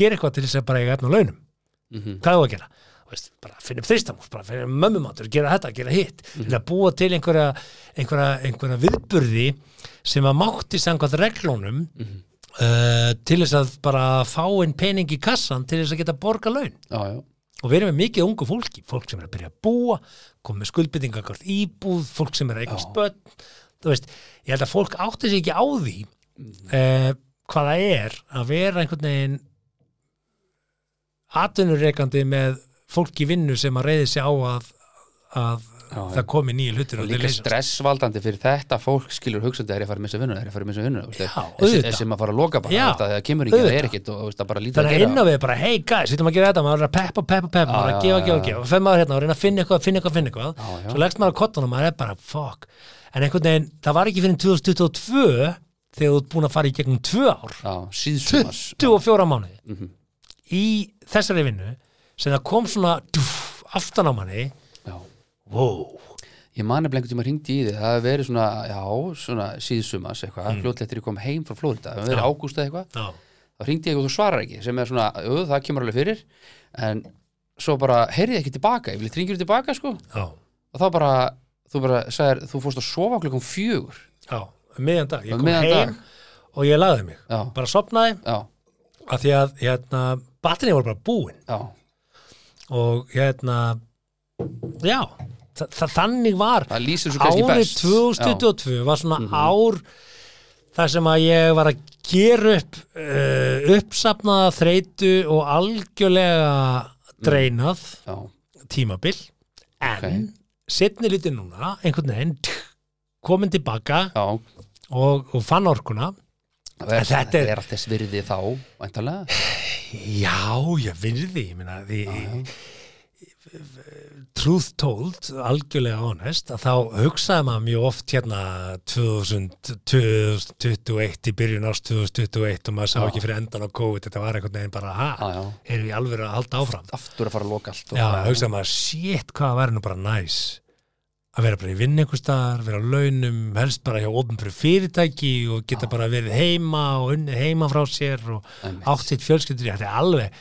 Speaker 3: gera eitthvað til þess að bara eiga efna launum hvað þú að gera? Þú Veist, bara finna upp þristamús, bara finna upp mömmumátur, gera þetta, gera hitt mm að búa til einhverja, einhverja, einhverja viðburði sem að mátti samkvæmt reglunum uh, til þess að bara fá inn pening í kassan til þess að geta borga laun
Speaker 4: já, já,
Speaker 3: og við erum með mikið ungu fólki, fólk sem er að byrja að búa komið skuldbyttinga hvort íbúð fólk sem er að eignast börn þú veist, ég held að fólk átti sig ekki á því uh, hvað það er að vera einhvern veginn atvinnureikandi með fólk í vinnu sem að reyði sig á að að
Speaker 4: Já, já.
Speaker 3: það komi nýju hlutir og
Speaker 4: og
Speaker 3: þeir
Speaker 4: líka
Speaker 3: leysast.
Speaker 4: stressvaldandi fyrir þetta fólk skilur hugsandi er ég að fara að missa vinnuna, er ég að fara að missa vinnuna
Speaker 3: Já,
Speaker 4: þessi,
Speaker 3: auðvitað.
Speaker 4: sem að fara að loka bara
Speaker 3: Já,
Speaker 4: já, það kemur ekki, það er
Speaker 3: auðvitað.
Speaker 4: ekkit og þú veist, það bara lítið
Speaker 3: Þannig
Speaker 4: að
Speaker 3: að inn á
Speaker 4: gera
Speaker 3: við bara, hey guys, við ætlum að gera þetta, maður er að peppa, peppa, peppa, maður er að
Speaker 4: Já,
Speaker 3: gefa,
Speaker 4: já,
Speaker 3: gefa,
Speaker 4: já.
Speaker 3: gefa, og fer maður hérna og reyna að finna eitthvað, finna eitthvað, finna eitthvað,
Speaker 4: Já, já.
Speaker 3: svo leggst maður á kottan og maður er bara, fuck, en einhvern veginn, það var ekki fyrir 2022 þegar þú ert búin að fara í gegnum tvö ár,
Speaker 4: Já, síðsumars
Speaker 3: 24 mánuði,
Speaker 4: Mhm.
Speaker 3: í þessari vinnu, sem það kom svona, dúf, aftan á manni,
Speaker 4: Já.
Speaker 3: wow,
Speaker 4: ég mani einhvern tíma hringdi í því það hefur verið svona, já, svona síðsumars eitthvað, mm. fljótlettir ég kom heim frá Flórida það hefur verið ágústa eitthvað,
Speaker 3: já,
Speaker 4: þá hringdi ég og þú svarar ekki sem er svona, jú, það kemur alveg fyrir en svo bara, heyrði ég ekki tilbaka ég vil hringir tilbaka, sko
Speaker 3: já,
Speaker 4: og þá bara, þú bara sagðir, þú fórst að sofa klukkan fjögur
Speaker 3: já, um miðjan dag, ég
Speaker 4: Um
Speaker 3: kom
Speaker 4: miðjan
Speaker 3: heim
Speaker 4: dag.
Speaker 3: og ég lagði mig,
Speaker 4: já,
Speaker 3: bara sopnaði,
Speaker 4: já,
Speaker 3: af því að, hérna, batterið voru bara búin,
Speaker 4: já,
Speaker 3: og hérna já, þa þa þannig var
Speaker 4: það lýsir svo kannski
Speaker 3: árið
Speaker 4: best
Speaker 3: 2022 var svona ár þar sem að ég var að gera upp uh, uppsapnaða þreytu og algjörlega dreinað
Speaker 4: já, já.
Speaker 3: tímabil en setni lítið núna einhvern veginn komin tilbaka
Speaker 4: Já,
Speaker 3: og, og fann orkuna
Speaker 4: það er,
Speaker 3: En þetta
Speaker 4: þetta
Speaker 3: er-
Speaker 4: er allt þess virði þá, væntalega.
Speaker 3: Já, ég virði, ég meina því, truth told, algjörlega honest, að þá hugsaði maður mjög oft hérna 2000, 2021 í byrjun árs 2021 og maður sá
Speaker 4: Já.
Speaker 3: ekki fyrir endan á COVID, þetta var einhvern veginn bara,
Speaker 4: Já,
Speaker 3: ha,
Speaker 4: já.
Speaker 3: erum við alveg að halda áfram?
Speaker 4: Aftur að fara að loka allt. og-
Speaker 3: Já, hugsaði maður, shit, hvað var nú bara næs að vera bara í vinn einhvers staðar, vera á launum, helst bara hjá ofnbryr fyrirtæki og geta bara verið heima og unni heima frá sér og
Speaker 4: Einmitt.
Speaker 3: átt sitt fjölskyldur í, þetta er alveg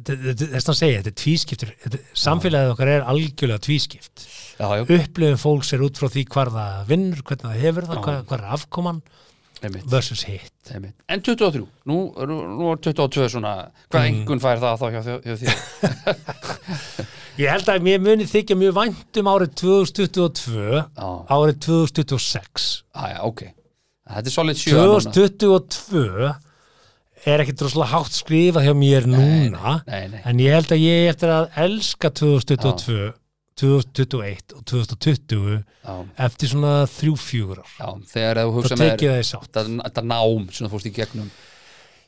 Speaker 3: þetta- þetta- þess að segja, þetta er tvískiptur þetta- samfélagið okkar er algjörlega tvískipt
Speaker 4: já, já,
Speaker 3: upplifum fólks er út frá því hvar það vinnur, hvernig það hefur það,
Speaker 4: Já.
Speaker 3: hvað, hvað er afkoman
Speaker 4: einmitt,
Speaker 3: versus hitt
Speaker 4: einmitt. En 23, nú, nú, nú er 22 svona,
Speaker 3: Mm.
Speaker 4: hvað engun fær það þá hjá, hjá, hjá því?
Speaker 3: ég held að mér muni þykja mjög vænt um árið 2022
Speaker 4: Já, ah,
Speaker 3: árið 2026
Speaker 4: já, já, ok. Þetta er solid 7
Speaker 3: 2022 er ekkit droslega hátt skrifað hjá mér núna
Speaker 4: Nei, nei,
Speaker 3: en ég held að ég eigi eftir að elska 2022 2021 og 2020
Speaker 4: já,
Speaker 3: eftir svona þrjú fjögur ár
Speaker 4: já, þegar þú
Speaker 3: þá
Speaker 4: hugsa með
Speaker 3: tekið það í sátt
Speaker 4: þetta þetta nám sem þú fórst í gegnum.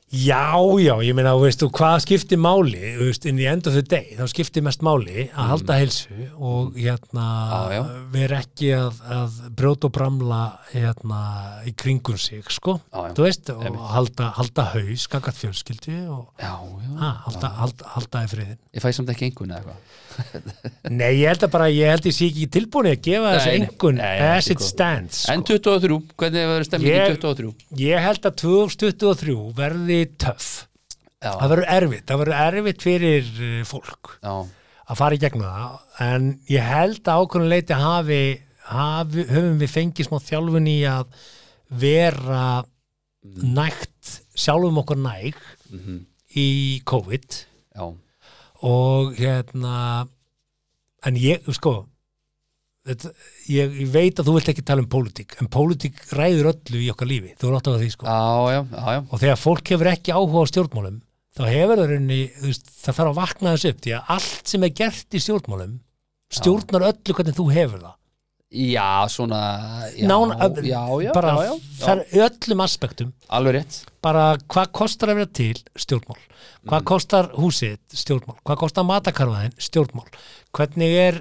Speaker 3: já, já, ég meina, þú veist þú, hvað skiptir máli, þú veist, inn í end of the day þá skiptir mest máli að halda heilsu og hérna
Speaker 4: Mm. Já, já.
Speaker 3: vera ekki að, að brjóta og bramla hérna í kringum sig, sko,
Speaker 4: Já, já.
Speaker 3: þú veist og
Speaker 4: Einmitt.
Speaker 3: halda, halda haus, gangat fjölskyldi og
Speaker 4: Já, já,
Speaker 3: ha, halda, halda, halda í friðin
Speaker 4: ég fæ samt ekki engun eða eitthvað.
Speaker 3: Nei, ég held að bara, ég held ég sé ekki tilbúin að gefa þessu
Speaker 4: Nei, nei.
Speaker 3: engun
Speaker 4: Nei,
Speaker 3: as
Speaker 4: ekki
Speaker 3: it
Speaker 4: góð.
Speaker 3: stands
Speaker 4: En 23, hvernig hefur verið stemming
Speaker 3: Sko. Ég-
Speaker 4: í 23?
Speaker 3: Ég held að 2023 verði töff
Speaker 4: Já,
Speaker 3: Það verður erfitt, það verður erfitt fyrir eh, fólk
Speaker 4: já,
Speaker 3: að fara í gegnum það en ég held að ákveðin leiti hafi, hafi höfum við fengið smá þjálfun í að vera nægt, sjálfum okkur næg í COVID
Speaker 4: mhm, já,
Speaker 3: og hérna en ég, sko þetta, ég, ég veit að þú vilt ekki tala um pólitík, en pólitík ræður öllu í okkar lífi, þú er átt að því sko
Speaker 4: já, já, já, já.
Speaker 3: og þegar fólk hefur ekki áhuga á stjórnmálum þá hefur það raunni, það þarf að vakna þessu upp því að allt sem er gert í stjórnmálum stjórnar öllu hvernig þú hefur það
Speaker 4: Já, svona já,
Speaker 3: Nán-
Speaker 4: já, já,
Speaker 3: bara
Speaker 4: já, já, já.
Speaker 3: þar öllum aspektum
Speaker 4: Alveg rétt
Speaker 3: bara hvað kostar að vera til stjórnmál, hvað kostar húsið stjórnmál, hvað kostar matakarfaðin stjórnmál, hvernig er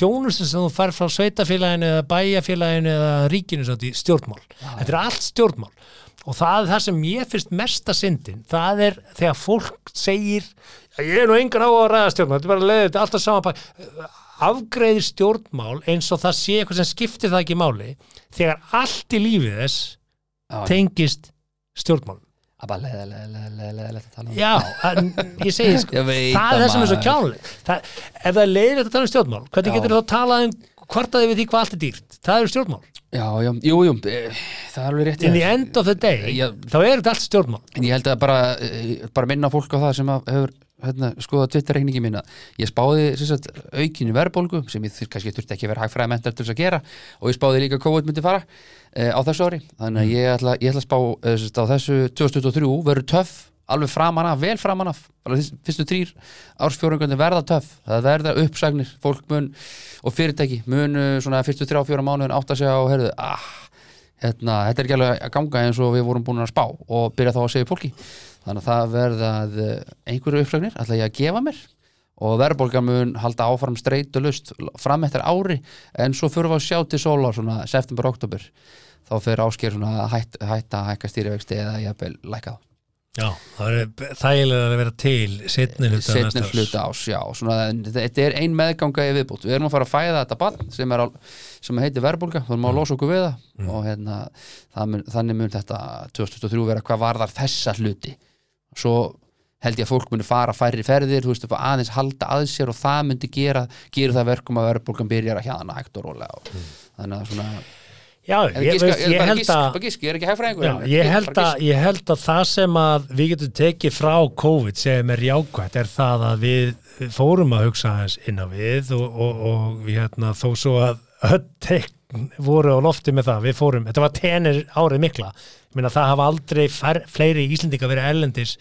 Speaker 3: þjónustin sem þú fær frá sveitafélaginu eða bæjafélaginu eða ríkinu samt í stjórnmál, þetta er allt stjórnmál og það er það sem ég finnst mesta syndin, það er þegar fólk segir, ég er nú engan á að ræða stjórnmál, þetta er bara leðið, þetta er alltaf saman bak- afgreiðir stjórnmál eins og það sé eitthvað sem skiptir það ekki máli þegar allt í lífið þess
Speaker 4: Já,
Speaker 3: tengist stjórnmálum
Speaker 4: að bara leða, leða, leða, leða, leða, leða tala um
Speaker 3: Já, en ég segi sko
Speaker 4: Ég
Speaker 3: það er
Speaker 4: veit
Speaker 3: það
Speaker 4: að
Speaker 3: sem er svo
Speaker 4: maður-
Speaker 3: kjánulegt það, ef það er leiðilegt að tala um stjórnmál hvernig
Speaker 4: Já.
Speaker 3: getur þú að tala um kvartaði við því hvað allt er dýrt það eru stjórnmál,
Speaker 4: Já, já, jú, jú, eh, það er alveg
Speaker 3: in
Speaker 4: rétt hjá
Speaker 3: the
Speaker 4: þér.
Speaker 3: end of the day
Speaker 4: Já.
Speaker 3: þá er þetta allt stjórnmál
Speaker 4: En ég held að bara, eh, bara minna fólk á það sem að hefur hérna, skoða Twitter-reikningi mína ég spáði sem sagt, aukinu verðbólgu sem ég þur, kannski þurfti ekki að vera hagfræði mentar til þess að gera og ég spáði líka að COVID myndi fara eh, uh, á þessu ári þannig að ég ætla, ég ætla að spá uh, á þessu 2023 verður töff alveg framan af, vel framan af bara þess- fyrstu þrýr ársfjórungunni verða töff, það verða uppsagnir fólk mun og fyrirtæki mun uh, svona fyrstu þrjá fjóra mánuðin átta sig á og herðu, ah, hérna, þetta er ekki alveg að ganga eins og við vorum búin að spá og byrja þá að segja upp fólki þannig að það verða eh, einhverju uppsagnir ætla ég að gefa mér og verðbólga mun halda áfram streytu lust fram eftir ári en svo fyrir við að sjá til sólar svona september, oktober þá fyrir ásker svona að hætt, hætta að hækka stýrivexti eða jafnvel lækka þá
Speaker 3: Já, það er þægilega að vera til setni hluta
Speaker 4: setni
Speaker 3: næsta árs.
Speaker 4: hluta ás, já svona, en þetta er ein meðganga í viðbútt við erum að fara að fæða þetta barn sem, er á, sem heitir verbulga, þá
Speaker 3: Mm.
Speaker 4: erum að losa okkur við það og hérna, það mun, þannig mun þetta 2023 vera hvað varðar þessa hluti svo held ég að fólk muni fara færri ferðir, þú veistu, fá aðeins halda að sér og það myndi gera, gera það verkum að verbulgan byrjar að hérna hægt og rólega og, þannig að svona
Speaker 3: Já,
Speaker 4: eða
Speaker 3: ég,
Speaker 4: giska-
Speaker 3: Mm. veist,
Speaker 4: eða
Speaker 3: ég
Speaker 4: bara
Speaker 3: held
Speaker 4: gisk-
Speaker 3: að
Speaker 4: bara gisk, ég er ekki hægfræðingur
Speaker 3: Já,
Speaker 4: en-
Speaker 3: ég, held
Speaker 4: bara
Speaker 3: að,
Speaker 4: gisk.
Speaker 3: ég held að það sem að við getum tekið frá COVID sem er jákvætt er það að við fórum að hugsa aðeins inn á við og, og, og við hérna, þó svo að öll tekn voru á lofti með það, við fórum, þetta var tenir árið mikla, ég meina það hafa aldrei fær, fleiri Íslendinga verið erlendis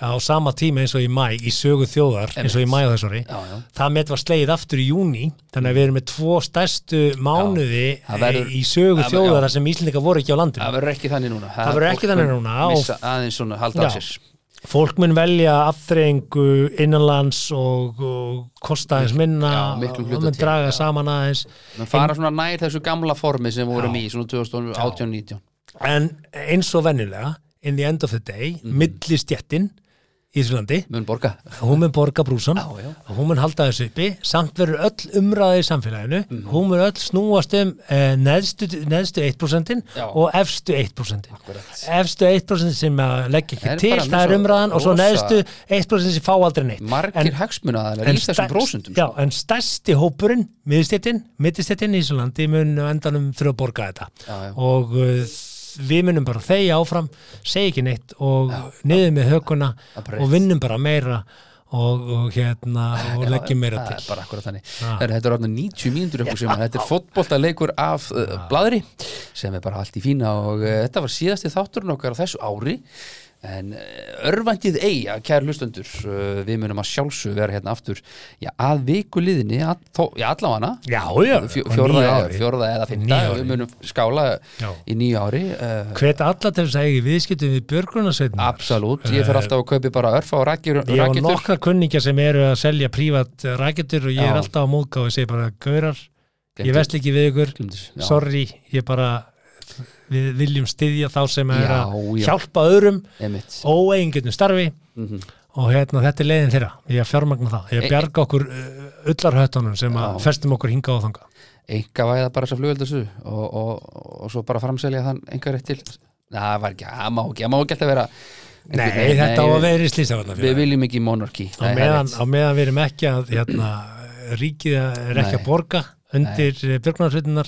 Speaker 3: á sama tíma eins og í mæ í sögu þjóðar, eins og í mæ á þessari
Speaker 4: Já, já.
Speaker 3: það met var slegið aftur í júni þannig að við erum með tvo stærstu mánuði
Speaker 4: það verður-
Speaker 3: í sögu
Speaker 4: það- já.
Speaker 3: þjóðar þar sem Íslendinga voru ekki á landinu
Speaker 4: það verður ekki þannig núna
Speaker 3: Það verður
Speaker 4: fólk
Speaker 3: ekki þannig
Speaker 4: mun
Speaker 3: núna og-
Speaker 4: missa aðeins svona halda af
Speaker 3: Já.
Speaker 4: sér
Speaker 3: fólk mun velja aftreyingu innanlands og, og kosta aðeins minna
Speaker 4: Já, miklum hluta
Speaker 3: og mun
Speaker 4: til,
Speaker 3: draga saman aðeins
Speaker 4: menn fara svona nær þessu gamla formi sem vorum í svona 2018-19
Speaker 3: en eins og venjulega in the end of the day,
Speaker 4: Mhm.
Speaker 3: mm. milli stjettin í Íslandi,
Speaker 4: mun borga
Speaker 3: hún mun borga brúsan
Speaker 4: Já, já.
Speaker 3: og hún mun halda þessu uppi samt verður öll umræði í samfélaginu
Speaker 4: Mhm.
Speaker 3: hún mun öll snúast um eh, neðstu, neðstu 1%
Speaker 4: Já.
Speaker 3: og efstu 1% efstu 1% sem að leggja ekki
Speaker 4: Er
Speaker 3: til,
Speaker 4: bara með
Speaker 3: það er
Speaker 4: svo
Speaker 3: umræðan og svo
Speaker 4: rosa-
Speaker 3: neðstu 1% sem fá aldrei neitt
Speaker 4: margir hagsmuna aðeins í þessum sko.
Speaker 3: stærst-
Speaker 4: prósundum
Speaker 3: já, en stærsti hópurinn, miðstjættin miðstjættin í Íslandi mun á endanum þurfa að borga þetta
Speaker 4: Já, já.
Speaker 3: og uh, við munum bara þegja áfram segja ekki neitt og niður með hökuna
Speaker 4: að bara
Speaker 3: og vinnum bara meira og, og hérna og leggjum meira
Speaker 4: sko. Það er
Speaker 3: til
Speaker 4: bara akkurat þannig Þeir, Þetta er orðin 90 mínútur ykkur sem Þetta er fótboltaleikur af uh, bladri sem er bara allt í fína og uh, þetta var síðasti þátturinn okkar á þessu ári en uh, örvandið eiga kæri hlustendur, uh, við munum að sjálfsög vera hérna aftur já, að viku liðinni að, þó, já, allavega
Speaker 3: já, já,
Speaker 4: fjó,
Speaker 3: og
Speaker 4: fjórða,
Speaker 3: nýja
Speaker 4: eða-
Speaker 3: ári.
Speaker 4: fjórða eða fymta
Speaker 3: Nýja ári.
Speaker 4: við munum skála
Speaker 3: Já.
Speaker 4: í nýja ári uh,
Speaker 3: hvet alla til þess að ég viðskiptum við björgrunarsveitin
Speaker 4: Absolutt, ég fer alltaf að kaupi bara örfa og rakir,
Speaker 3: Eh, ég á
Speaker 4: rakirtur
Speaker 3: nokkra kunningja sem eru að selja prívat rækjættur og ég er
Speaker 4: Já.
Speaker 3: alltaf á móðgáð og ég segi bara, gaurar,
Speaker 4: Gleymdu.
Speaker 3: ég vest ekki við ykkur
Speaker 4: Gleymdu, já.
Speaker 3: sorry, ég bara við viljum styðja þá sem er
Speaker 4: Já,
Speaker 3: að
Speaker 4: já. Mhm.
Speaker 3: hjálpa öðrum
Speaker 4: Einmitt.
Speaker 3: óeingjörnum starfi og hérna, þetta er leiðin þeirra, ég að fjármagna það ég að
Speaker 4: Ein-
Speaker 3: bjarga okkur uh, ullarhötunum sem að festum okkur hinga á þanga
Speaker 4: enga væða bara þessa flugöldasöðu og, og, og, og svo bara framselja þann enga rétt til Nei, það var ekki, það má ekki, það má ekki alltaf vera
Speaker 3: Nei,
Speaker 4: einhvern veginn,
Speaker 3: þetta á að
Speaker 4: við-
Speaker 3: vera í slýsavarna
Speaker 4: Við viljum ekki monarki
Speaker 3: á meðan, á meðan við erum ekki að hérna, ríkið er ekki
Speaker 4: Nei.
Speaker 3: að borga undir björgunarsveitunar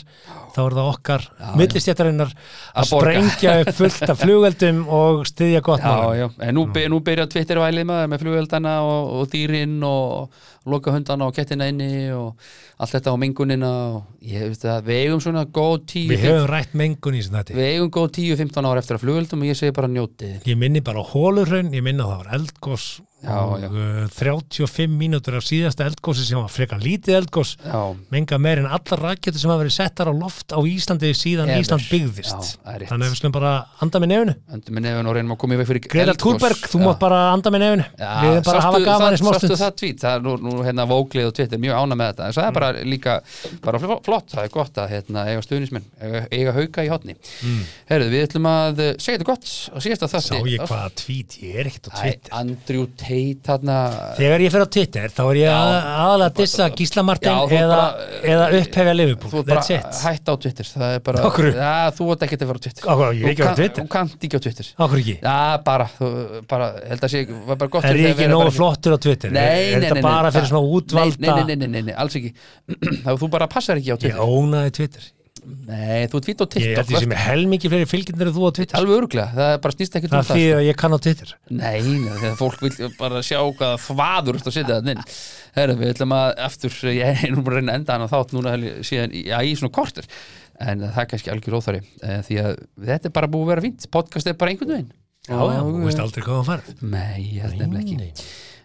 Speaker 3: þá er það okkar millistjættarinnar að
Speaker 4: Að borga.
Speaker 3: sprengja upp fullt af flugeldum og styðja gott
Speaker 4: Já,
Speaker 3: mál
Speaker 4: já, en nú, be, nú byrja Twittervælið maður með flugöldana og, og dýrin og loka hundana og kettina inni og allt þetta á mengunina og ég veist að við eigum svona góð tíu,
Speaker 3: við höfum rætt mengun í sem þetta
Speaker 4: við eigum góð 10-15 ára eftir að flugöldum og ég segi bara njótið
Speaker 3: ég minni bara á hólurraun, ég minna það var eldgós
Speaker 4: Já,
Speaker 3: og
Speaker 4: já.
Speaker 3: uh, 35 mínútur af síðasta eldgósi sem var frekar lítið eldgós
Speaker 4: Já,
Speaker 3: menga meir en allar rakjötu sem hafa verið settar á loft á Íslandi síðan
Speaker 4: Ever.
Speaker 3: Ísland byggðist
Speaker 4: Já, það er rétt.
Speaker 3: þannig að við slum bara anda með nefnu
Speaker 4: endur með nefn og reynum að koma í veg fyrir
Speaker 3: Greta
Speaker 4: eldgos.
Speaker 3: Thunberg, þú
Speaker 4: Já.
Speaker 3: mátt bara anda með nefnu
Speaker 4: Já,
Speaker 3: við erum bara að hafa
Speaker 4: sástu
Speaker 3: gaman í
Speaker 4: það-
Speaker 3: smástund
Speaker 4: sástu það tvít, það er nú, nú hérna vóklið og tvít er mjög ána með þetta, en það
Speaker 3: Mm.
Speaker 4: er bara líka bara fl- flott, það er gott að hérna, eiga stuðnismenn, eiga, eiga hauka í hotni mm. Herðu, við ætlum að eh, segja þetta gott á síðasta
Speaker 3: sá
Speaker 4: þætti
Speaker 3: ég hvaða tvít, ég er ekkert á
Speaker 4: Æ,
Speaker 3: Twitter
Speaker 4: Andrew Tate þarna
Speaker 3: þegar ég fer á Twitter þá er ég að- aðalega að dissa Gísla Martin
Speaker 4: Já, þú ert
Speaker 3: eða,
Speaker 4: bara-
Speaker 3: eða upphefja Liverpool,
Speaker 4: þú er
Speaker 3: that's
Speaker 4: bara
Speaker 3: it
Speaker 4: hætt á Twitter það er bara,
Speaker 3: Af hverju?
Speaker 4: ja, þú ert ekki að vera á Twitter
Speaker 3: Af hverju? Ég er
Speaker 4: Þú
Speaker 3: ekki á
Speaker 4: kann-
Speaker 3: Twitter.
Speaker 4: þú kannt ekki á Twitter
Speaker 3: okkur ekki,
Speaker 4: já, bara, þú, bara, held að sé var bara gott
Speaker 3: er ég
Speaker 4: fyrir þig að
Speaker 3: ekki
Speaker 4: vera
Speaker 3: nógu
Speaker 4: bara-
Speaker 3: flottur á Twitter
Speaker 4: Nei,
Speaker 3: er
Speaker 4: nei, nei, nei,
Speaker 3: þetta bara fyrir
Speaker 4: það-
Speaker 3: svona útvalda
Speaker 4: Nei, nei, nei, nei, nei, nei alls ekki Þá þú bara passar ekki á
Speaker 3: ég
Speaker 4: Twitter
Speaker 3: ónaði Twitter
Speaker 4: Nei, þú ert fýtt á
Speaker 3: ég held
Speaker 4: TikTok
Speaker 3: ég
Speaker 4: vertu-
Speaker 3: sem er helmingi fleiri fylgjendur en þú á Twitter
Speaker 4: Alveg öruglega, það er bara snýst ekkert um
Speaker 3: það
Speaker 4: það
Speaker 3: því að ég kann á Twitter
Speaker 4: Nei, nei, þegar fólk vil bara sjá hvaða þvaður þú ert að setja þannig inn Herra, við ætlum að aftur Ég er nú bara að reyna að enda hann að þátt núna held ég, síðan, í- Já, í svona kortir En það er kannski algjör óþari eh, Því að þetta er bara búið að vera fínt Podcast er bara einhvern veginn
Speaker 3: Já, já, þú veist aldrei hvað það farið.
Speaker 4: Nei, ég held nefnilega ekki
Speaker 3: Nei.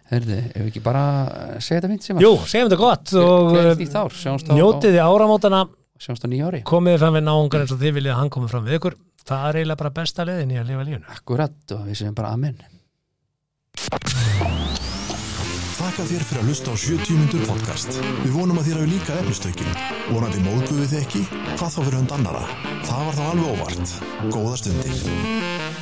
Speaker 4: Hörðu, ef við ekki bara eh, segja þetta fint sem
Speaker 3: Jú, segjum þetta gott og
Speaker 4: Gleðilegt nýtt
Speaker 3: eh,
Speaker 4: ár, sjáumst á, á,
Speaker 3: njótið þið áramótana,
Speaker 4: sjáumst á nýja ári
Speaker 3: komið fram við náungar eins og þið viljið að hann komið fram við ykkur. Það er eiginlega bara besta leiðin í að lifa lífinu.
Speaker 4: Akkurat og við segjum bara amen
Speaker 2: Þakka þér fyrir að hlusta á 70 myndur podcast. Við vonum að þér hafi líka efnistökin. Vonandi móðguðu þið ekki, hvað þá fyrir hund annara. Það var þá alveg óvart. Góða stundir.